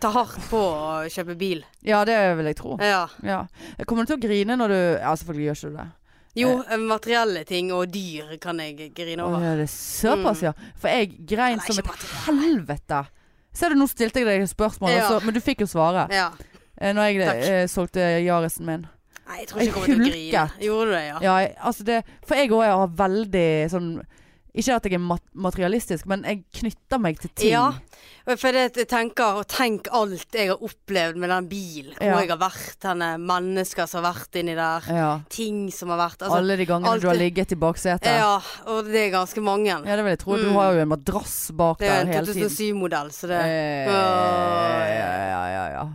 Speaker 1: Ta hardt på å kjøpe bil.
Speaker 2: ja, det vil jeg tro.
Speaker 1: Ja.
Speaker 2: Ja. Kommer du til å grine når du Ja, selvfølgelig gjør ikke du det.
Speaker 1: Jo, eh, materielle ting og dyr kan jeg grine
Speaker 2: Eh. Å,
Speaker 1: over.
Speaker 2: ja, det er såpass, ja. For jeg grein
Speaker 1: Mm. Nei,
Speaker 2: som
Speaker 1: ikke
Speaker 2: et
Speaker 1: materiell.
Speaker 2: helvete. Ser du, nå stilte jeg deg et spørsmål,
Speaker 1: Ja.
Speaker 2: altså, men du fikk jo svaret.
Speaker 1: Ja.
Speaker 2: Eh, Når jeg
Speaker 1: Takk.
Speaker 2: eh, solgte Yarisen min.
Speaker 1: Nei, jeg tror ikke jeg
Speaker 2: Jeg
Speaker 1: kommer til å grine.
Speaker 2: hulket.
Speaker 1: Gjorde du det, ja?
Speaker 2: Ja, jeg, altså det For jeg òg har veldig sånn Ikke at jeg er mat materialistisk, men jeg knytter meg til ting.
Speaker 1: Ja. Og For det at jeg tenker, og tenk alt jeg har opplevd med den bilen. Hvor
Speaker 2: Ja.
Speaker 1: jeg har vært henne, mennesker som har vært inni der.
Speaker 2: Ja.
Speaker 1: Ting som har vært. Altså,
Speaker 2: Alle de gangene
Speaker 1: alt
Speaker 2: du har
Speaker 1: det-
Speaker 2: ligget i baksetet. Ja.
Speaker 1: ja, og det er ganske mange.
Speaker 2: det vil jeg tro. Du
Speaker 1: Mm.
Speaker 2: har jo en madrass bak
Speaker 1: Det er
Speaker 2: der
Speaker 1: en
Speaker 2: hele tiden.
Speaker 1: 2007-modell, så det
Speaker 2: Eh,
Speaker 1: Åh.
Speaker 2: ja, ja, ja, ja.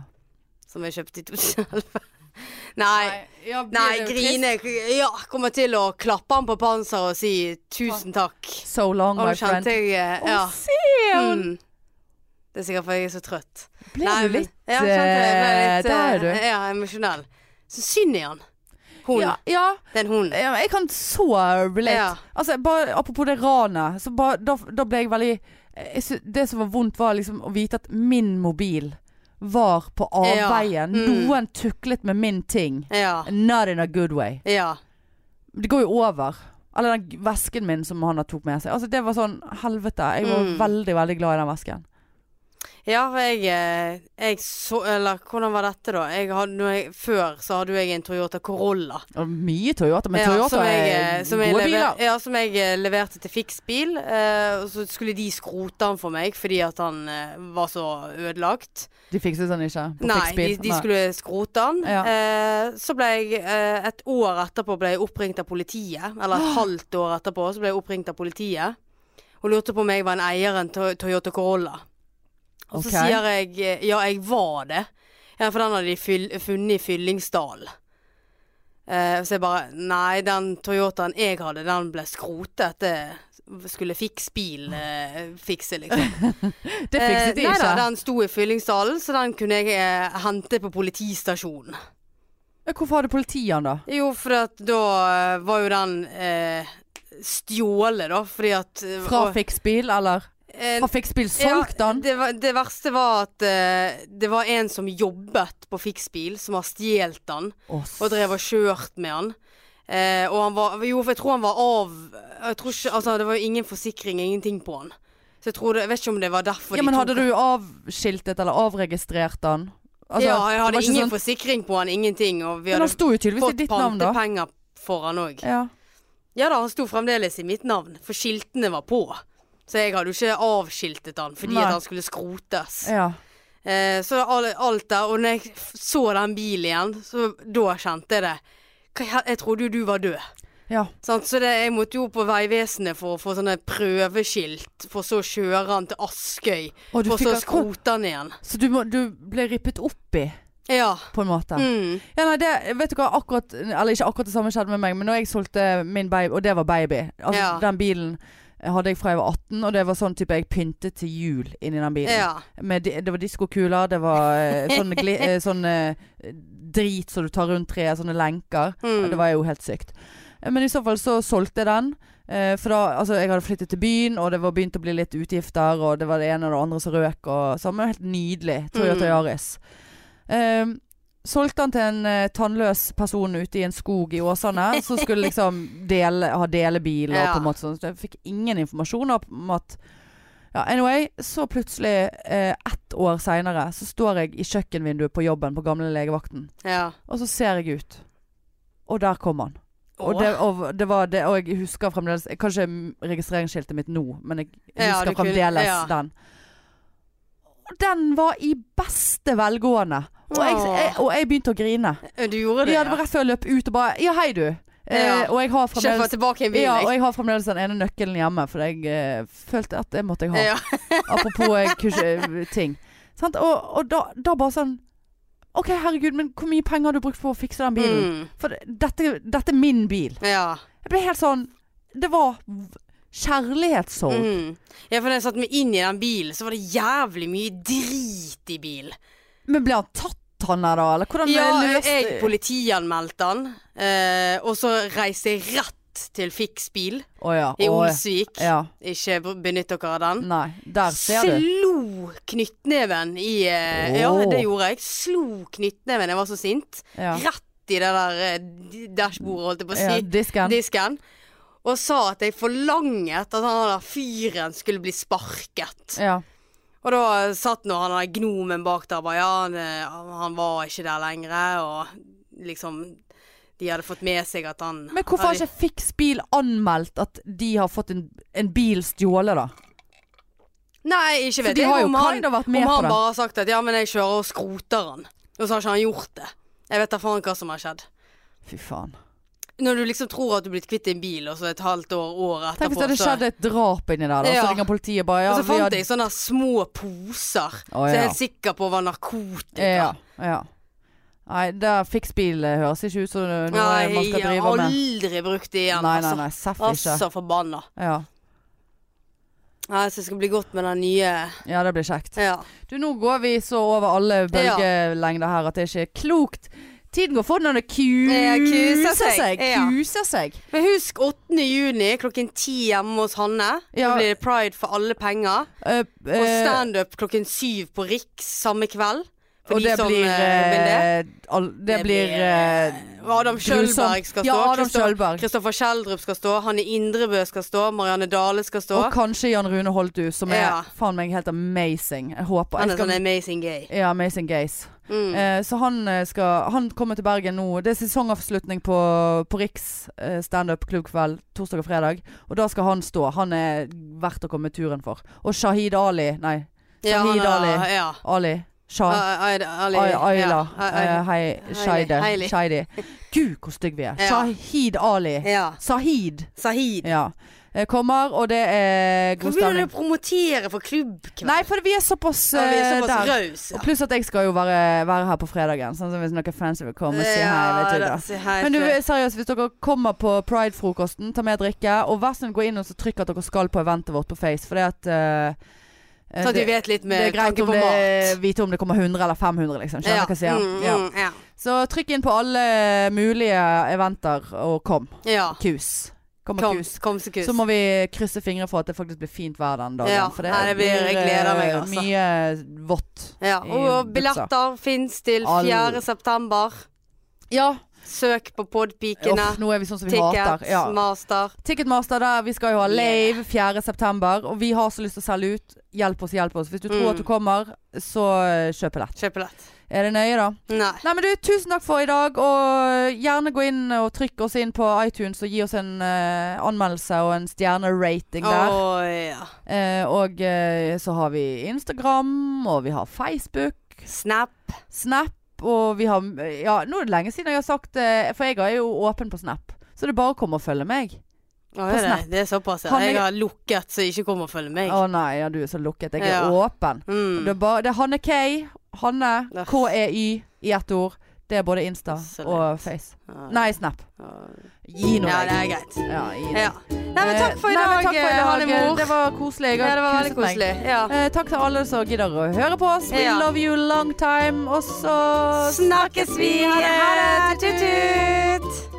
Speaker 1: Som jeg kjøpte i 2011. Nei.
Speaker 2: ja, blir
Speaker 1: Nei,
Speaker 2: det jo trist?
Speaker 1: grine Ja, kommer til å klappe han på panseret og si tusen takk.
Speaker 2: So long,
Speaker 1: Og
Speaker 2: Oh my
Speaker 1: nå
Speaker 2: friend.
Speaker 1: kjente jeg eh, Ja.
Speaker 2: Å, se! hun
Speaker 1: Mm. Det er sikkert fordi jeg er så trøtt.
Speaker 2: Ble
Speaker 1: Nei,
Speaker 2: du
Speaker 1: men-
Speaker 2: litt
Speaker 1: ja, jeg kjente jeg ble
Speaker 2: eh,
Speaker 1: litt
Speaker 2: der er
Speaker 1: eh,
Speaker 2: du.
Speaker 1: Ja, emosjonell. Så synd i han. Hun.
Speaker 2: Ja, ja,
Speaker 1: Det er en hun.
Speaker 2: ja, jeg kan så relate.
Speaker 1: Ja.
Speaker 2: Altså, bare, apropos det ranet, så bare, da, da ble jeg veldig jeg sy- Det som var vondt, var liksom å vite at min mobil var på
Speaker 1: Ja,
Speaker 2: avveie.
Speaker 1: mm.
Speaker 2: Noen tuklet med min ting.
Speaker 1: Ja.
Speaker 2: Not in a good way.
Speaker 1: Ja.
Speaker 2: Det går jo over. Eller den vesken min som han har tok med seg. Altså, det var sånn helvete. Jeg var
Speaker 1: Mm.
Speaker 2: veldig, veldig glad i den vesken.
Speaker 1: Ja, for jeg, eh, jeg så Eller hvordan var dette, da? Jeg hadde, når jeg, før så hadde jo jeg en Toyota Corolla.
Speaker 2: Og mye Toyota, men
Speaker 1: Ja,
Speaker 2: Toyota
Speaker 1: som jeg, eh,
Speaker 2: er
Speaker 1: som jeg
Speaker 2: gode
Speaker 1: lever-
Speaker 2: biler.
Speaker 1: Ja, som jeg eh, leverte til fiksbil. eh, og så skulle de skrote han for meg fordi at han eh, var så ødelagt.
Speaker 2: De fikset den ikke på
Speaker 1: Nei, de,
Speaker 2: Fixbil.
Speaker 1: de
Speaker 2: Nei.
Speaker 1: skulle skrote han.
Speaker 2: Ja.
Speaker 1: Eh, så ble jeg eh, et år etterpå ble jeg oppringt av politiet. Eller et halvt år etterpå så ble jeg oppringt av politiet. Og lurte på om jeg var en eier av en Toy- Toyota Corolla. Og
Speaker 2: Ok.
Speaker 1: så sier jeg eh, ja, jeg var det. Ja, for den hadde de fyll, funnet i Fyllingsdalen. Eh, så jeg bare Nei, den Toyotaen jeg hadde, den ble skrotet. Det skulle fiksbil eh, fikse, liksom.
Speaker 2: Det fikset de
Speaker 1: Eh, nei
Speaker 2: ikke.
Speaker 1: da, den sto i Fyllingsdalen, så den kunne jeg eh, hente på politistasjonen.
Speaker 2: Ja, Hvorfor hadde politiet den da?
Speaker 1: Jo, for at da eh, var jo den eh, stjålet, da, fordi at eh,
Speaker 2: Fra
Speaker 1: og-
Speaker 2: fiksbil, eller?
Speaker 1: eh,
Speaker 2: Har fiksbil solgt
Speaker 1: ja,
Speaker 2: den?
Speaker 1: Det, var, det verste var at eh, det var en som jobbet på fiksbil, som har stjålet den, og drev og kjørt med den. Eh, og han var Jo, for jeg tror han var av jeg tror ikke, Altså, det var jo ingen forsikring, ingenting på han. Så jeg tror det, jeg vet ikke om det var derfor
Speaker 2: ja, men
Speaker 1: de
Speaker 2: hadde
Speaker 1: tok
Speaker 2: du avskiltet eller avregistrert den? Altså,
Speaker 1: ja, jeg
Speaker 2: det var
Speaker 1: hadde
Speaker 2: ikke
Speaker 1: ingen
Speaker 2: sånn-
Speaker 1: forsikring på han, ingenting. Og vi
Speaker 2: Men
Speaker 1: hadde
Speaker 2: han sto jo tydeligvis i
Speaker 1: fått
Speaker 2: ditt navn, da.
Speaker 1: pantepenger for han òg.
Speaker 2: Ja.
Speaker 1: Ja da, han sto fremdeles i mitt navn, for skiltene var på. Så jeg hadde jo ikke avskiltet han fordi
Speaker 2: Nei.
Speaker 1: at han skulle skrotes.
Speaker 2: ja.
Speaker 1: Eh, så all, alt der. Og når jeg f- så den bilen igjen, så da kjente jeg det. Hva, i hel- jeg trodde jo du var død.
Speaker 2: ja.
Speaker 1: Sant? Så det, jeg måtte jo på Vegvesenet for å få sånne prøveskilt, for så å kjøre han til Askøy,
Speaker 2: Å, du
Speaker 1: for
Speaker 2: fikk
Speaker 1: så å
Speaker 2: akkurat-
Speaker 1: skrote han igjen.
Speaker 2: Så du, må, du ble rippet opp i,
Speaker 1: Ja.
Speaker 2: på en måte?
Speaker 1: Mm.
Speaker 2: Ja, nei, det, vet du hva, akkurat Eller ikke akkurat det samme skjedde med meg, men når jeg solgte min baby, og det var baby Altså,
Speaker 1: Ja.
Speaker 2: den bilen hadde jeg fra jeg var 18, og det var sånn type jeg pyntet til jul inni den bilen.
Speaker 1: ja.
Speaker 2: Med, di- det var diskokuler, det var eh, sånn, gli, eh, sånn eh, drit som du tar rundt treet, sånne lenker. Ja,
Speaker 1: Mm.
Speaker 2: Det var jo helt sykt. Eh, Men i så fall så solgte jeg den. eh, For da, altså jeg hadde flyttet til byen, og det var begynt å bli litt utgifter, og det var det ene og det andre som røk, og så men helt nydelig. Toyota
Speaker 1: Mm.
Speaker 2: Yaris. Ehm, solgte den til en eh, tannløs person ute i en skog i Åsane, som skulle liksom dele, ha delebil og
Speaker 1: Ja.
Speaker 2: på en måte sånn. Så jeg fikk ingen informasjon om at ja, Anyway, så plutselig, eh, ett år seinere, så står jeg i kjøkkenvinduet på jobben på gamle legevakten.
Speaker 1: mm, ja.
Speaker 2: Og så ser jeg ut. Og der kom han. Og
Speaker 1: Åh.
Speaker 2: det, og det var det, og jeg husker fremdeles jeg, Kanskje registreringsskiltet mitt nå, men jeg
Speaker 1: Ja,
Speaker 2: husker
Speaker 1: du kunne-
Speaker 2: fremdeles
Speaker 1: ja.
Speaker 2: den. Og den var i beste velgående. Og jeg,
Speaker 1: Åh.
Speaker 2: jeg, og jeg begynte å grine.
Speaker 1: Du gjorde
Speaker 2: Ja,
Speaker 1: det,
Speaker 2: det var rett før jeg løp ut og bare Ja, hei, du. Eh,
Speaker 1: Ja.
Speaker 2: og jeg har
Speaker 1: Kjøp meg
Speaker 2: fremdeles
Speaker 1: tilbake i bilen.
Speaker 2: ja, og jeg har fremdeles den ene nøkkelen hjemme, for jeg eh, følte at det måtte jeg ha.
Speaker 1: Ja.
Speaker 2: Apropos eh, kurs- eh, ting. Sant? Og, og da, da bare sånn OK, herregud, men hvor mye penger har du brukt på å fikse den bilen?
Speaker 1: Mm.
Speaker 2: For dette, dette er min bil.
Speaker 1: Ja.
Speaker 2: Jeg ble helt sånn Det var v- kjærlighetssorg.
Speaker 1: Mm. ja, for da jeg satte meg inn i den bilen, så var det jævlig mye drit i bil.
Speaker 2: Men ble han tatt, han der, da? Eller hvordan
Speaker 1: Ja,
Speaker 2: løste
Speaker 1: jeg politianmeldte han, eh, og så reiste jeg rett til Fiks bil
Speaker 2: Å ja.
Speaker 1: i
Speaker 2: å ja.
Speaker 1: Olsvik.
Speaker 2: ja.
Speaker 1: Ikke b- benytt dere av den.
Speaker 2: Nei, der ser du.
Speaker 1: Slo knyttneven i eh,
Speaker 2: Åh.
Speaker 1: Ja, det gjorde jeg. Slo knyttneven, jeg var så sint.
Speaker 2: Ja.
Speaker 1: Rett i det der eh, d- dashbordet, holdt jeg på å si.
Speaker 2: Ja, disken.
Speaker 1: Disken. Og sa at jeg forlanget at han der fyren skulle bli sparket.
Speaker 2: Ja.
Speaker 1: Og da satt nå han der gnomen bak der og bare ja, han, eh, han var ikke der lenger, og liksom De hadde fått med seg at han
Speaker 2: Men hvorfor har
Speaker 1: hadde-
Speaker 2: ikke Fiks bil anmeldt at de har fått en, en bil stjålet, da?
Speaker 1: Nei, ikke
Speaker 2: For
Speaker 1: vet
Speaker 2: de
Speaker 1: jeg
Speaker 2: har jo
Speaker 1: om han,
Speaker 2: kind of vært med
Speaker 1: om
Speaker 2: på
Speaker 1: han
Speaker 2: det.
Speaker 1: bare har sagt at ja, men jeg kjører og skroter han. Og så har ikke han gjort det. Jeg vet da faen hva som har skjedd.
Speaker 2: Fy faen.
Speaker 1: Når du liksom tror at du er blitt kvitt en bil, og så et halvt år, året etterpå
Speaker 2: Tenk hvis det hadde
Speaker 1: så-
Speaker 2: skjedd et drap inni der, da.
Speaker 1: Ja.
Speaker 2: Så ringer politiet og bare ja,
Speaker 1: Og så
Speaker 2: vi
Speaker 1: fant
Speaker 2: hadde-
Speaker 1: jeg sånne små poser
Speaker 2: Å,
Speaker 1: som jeg er
Speaker 2: ja.
Speaker 1: helt sikker på var narkotika.
Speaker 2: Ja, ja. Nei, der fiksbil eh, høres ikke ut som noe man skal
Speaker 1: jeg har
Speaker 2: drive med.
Speaker 1: aldri brukt det igjen.
Speaker 2: Nei, nei, nei, seff
Speaker 1: altså,
Speaker 2: ikke.
Speaker 1: altså forbanna.
Speaker 2: Ja.
Speaker 1: Nei, så det skal bli godt med den nye
Speaker 2: ja, det blir kjekt.
Speaker 1: Ja.
Speaker 2: Du, nå går vi så over alle bølgelengder her at det ikke er klokt. Tiden går fort når det
Speaker 1: Ja,
Speaker 2: kuser
Speaker 1: kuser
Speaker 2: seg.
Speaker 1: seg. Ja.
Speaker 2: Kuser seg.
Speaker 1: Men husk 8. juni klokken 10 hjemme hos Hanne.
Speaker 2: Ja.
Speaker 1: Da blir det pride for alle penger.
Speaker 2: Eh,
Speaker 1: Og
Speaker 2: eh,
Speaker 1: standup klokken 7 på Riks samme kveld. For
Speaker 2: og
Speaker 1: de
Speaker 2: det
Speaker 1: som
Speaker 2: blir,
Speaker 1: eh, vil det.
Speaker 2: eh, all, det,
Speaker 1: Det
Speaker 2: blir
Speaker 1: blir,
Speaker 2: eh,
Speaker 1: Og Adam Kjølberg skal stå.
Speaker 2: Ja, Adam
Speaker 1: Christo-
Speaker 2: Kjølberg.
Speaker 1: Kristoffer Kjeldrup skal stå. Hanne Indrebø skal stå. Marianne Dale skal stå.
Speaker 2: Og kanskje Jan Rune Holtu, som er
Speaker 1: Ja.
Speaker 2: faen meg helt amazing. Jeg håper.
Speaker 1: Han
Speaker 2: Jeg
Speaker 1: er sånn
Speaker 2: skal,
Speaker 1: amazing gay.
Speaker 2: ja, amazing gays.
Speaker 1: Mm.
Speaker 2: Eh, så han, eh, skal, han kommer til Bergen nå. Det er sesongavslutning på, på Riks eh, standup klubbkveld torsdag og fredag. Og da skal han stå. Han er verdt å komme turen for. Og Shahid Ali Nei,
Speaker 1: Ja, han
Speaker 2: Shahid
Speaker 1: er-
Speaker 2: Ali.
Speaker 1: Ja.
Speaker 2: Ali. Shah.
Speaker 1: Ah, Aida- Ali.
Speaker 2: Ai- Aila.
Speaker 1: Ja. Ah,
Speaker 2: eh,
Speaker 1: Aila.
Speaker 2: Hei, Shaide.
Speaker 1: Hailey.
Speaker 2: Shaidi. Gud, hvor stygge vi er.
Speaker 1: Ja.
Speaker 2: Shahid Ali.
Speaker 1: Ja.
Speaker 2: Sahid.
Speaker 1: Sahid.
Speaker 2: Ja. Eh, Kommer, og det er god
Speaker 1: Hvorfor begynner
Speaker 2: stemning.
Speaker 1: du å promotere for klubbkveld?
Speaker 2: Nei, for vi er såpass,
Speaker 1: Ja, vi er
Speaker 2: eh, der.
Speaker 1: såpass raus, ja.
Speaker 2: Og pluss at jeg skal jo være, være her på fredagen. Sånn som hvis noen fans vil komme og si hei. Vet du,
Speaker 1: da,
Speaker 2: da.
Speaker 1: si hei
Speaker 2: Men du,
Speaker 1: til-
Speaker 2: seriøst, hvis dere kommer på Pride-frokosten, ta med drikke. Og vær så snill, gå inn og så trykk at dere skal på eventet vårt på Face. For det at eh,
Speaker 1: Sånn at vi
Speaker 2: det,
Speaker 1: vet litt
Speaker 2: det
Speaker 1: med
Speaker 2: er greit
Speaker 1: tanke
Speaker 2: om
Speaker 1: på
Speaker 2: det,
Speaker 1: mat.
Speaker 2: vite om det kommer 100 eller 500, liksom. Skjønner dere
Speaker 1: Ja.
Speaker 2: hva jeg sier?
Speaker 1: Mm,
Speaker 2: Ja.
Speaker 1: mm, ja.
Speaker 2: Så trykk inn på alle mulige eventer, og kom.
Speaker 1: ja.
Speaker 2: Kus. Kom og
Speaker 1: Kom,
Speaker 2: kus.
Speaker 1: kom så kus.
Speaker 2: Så må vi krysse fingre for at det faktisk blir fint vær den dagen.
Speaker 1: Ja.
Speaker 2: For det,
Speaker 1: Nei, det blir- jeg gleder meg,
Speaker 2: eh,
Speaker 1: altså.
Speaker 2: Mye vått.
Speaker 1: ja.
Speaker 2: i
Speaker 1: Og
Speaker 2: buksa.
Speaker 1: billetter fins til
Speaker 2: Alle.
Speaker 1: 4. september.
Speaker 2: Ja.
Speaker 1: Søk på
Speaker 2: Uff,
Speaker 1: Podpikene.
Speaker 2: nå er vi sånn som vi hater.
Speaker 1: Tickets,
Speaker 2: Ja.
Speaker 1: master.
Speaker 2: Ticketmaster der, vi skal jo ha lave 4. september Og vi har så lyst til å selge ut Hjelp oss, hjelp oss Hvis du tror
Speaker 1: Mm.
Speaker 2: at du kommer, så eh, kjøp billett
Speaker 1: Kjøp billett.
Speaker 2: Er det nøye da?
Speaker 1: Nei.
Speaker 2: Nei, men du, tusen takk for i dag Og gjerne gå inn og trykk oss inn på iTunes Og gi oss en eh, anmeldelse og en stjernerating der
Speaker 1: Å ja.
Speaker 2: Eh, Og eh, så har vi Instagram Og vi har Facebook
Speaker 1: Snap.
Speaker 2: Snap Og vi har, ja, nå er det lenge siden jeg har sagt eh, For jeg er jo åpen på Snap Så det er bare å komme og følge meg
Speaker 1: Å,
Speaker 2: På
Speaker 1: er det,
Speaker 2: Snap.
Speaker 1: det er såpass, ja.
Speaker 2: Han er-
Speaker 1: Jeg har lukket, så ikke kom og følg meg.
Speaker 2: Å nei, ja, du er så lukket. Jeg er
Speaker 1: Ja.
Speaker 2: åpen.
Speaker 1: Mm.
Speaker 2: Det er, bare, det er Hanne K. Hanne
Speaker 1: Uff.
Speaker 2: K-E-Y i ett ord. Det er både Insta
Speaker 1: Så
Speaker 2: og Face.
Speaker 1: Ja.
Speaker 2: Nei, Snap. Gi nå
Speaker 1: Ja, det
Speaker 2: deg.
Speaker 1: er greit.
Speaker 2: Ja, gi nå.
Speaker 1: Ja. Nei, men takk for i
Speaker 2: Nei, men
Speaker 1: dag,
Speaker 2: takk for i dag. eh,
Speaker 1: Hallemor.
Speaker 2: Det var koselig. Jeg
Speaker 1: Ja,
Speaker 2: har
Speaker 1: det var veldig
Speaker 2: koset meg.
Speaker 1: koselig. Ja.
Speaker 2: Eh, takk til alle som gidder å høre på oss. We
Speaker 1: Ja.
Speaker 2: love you long time. Og så
Speaker 1: Snakkes vi. Ha det. Tut-tut.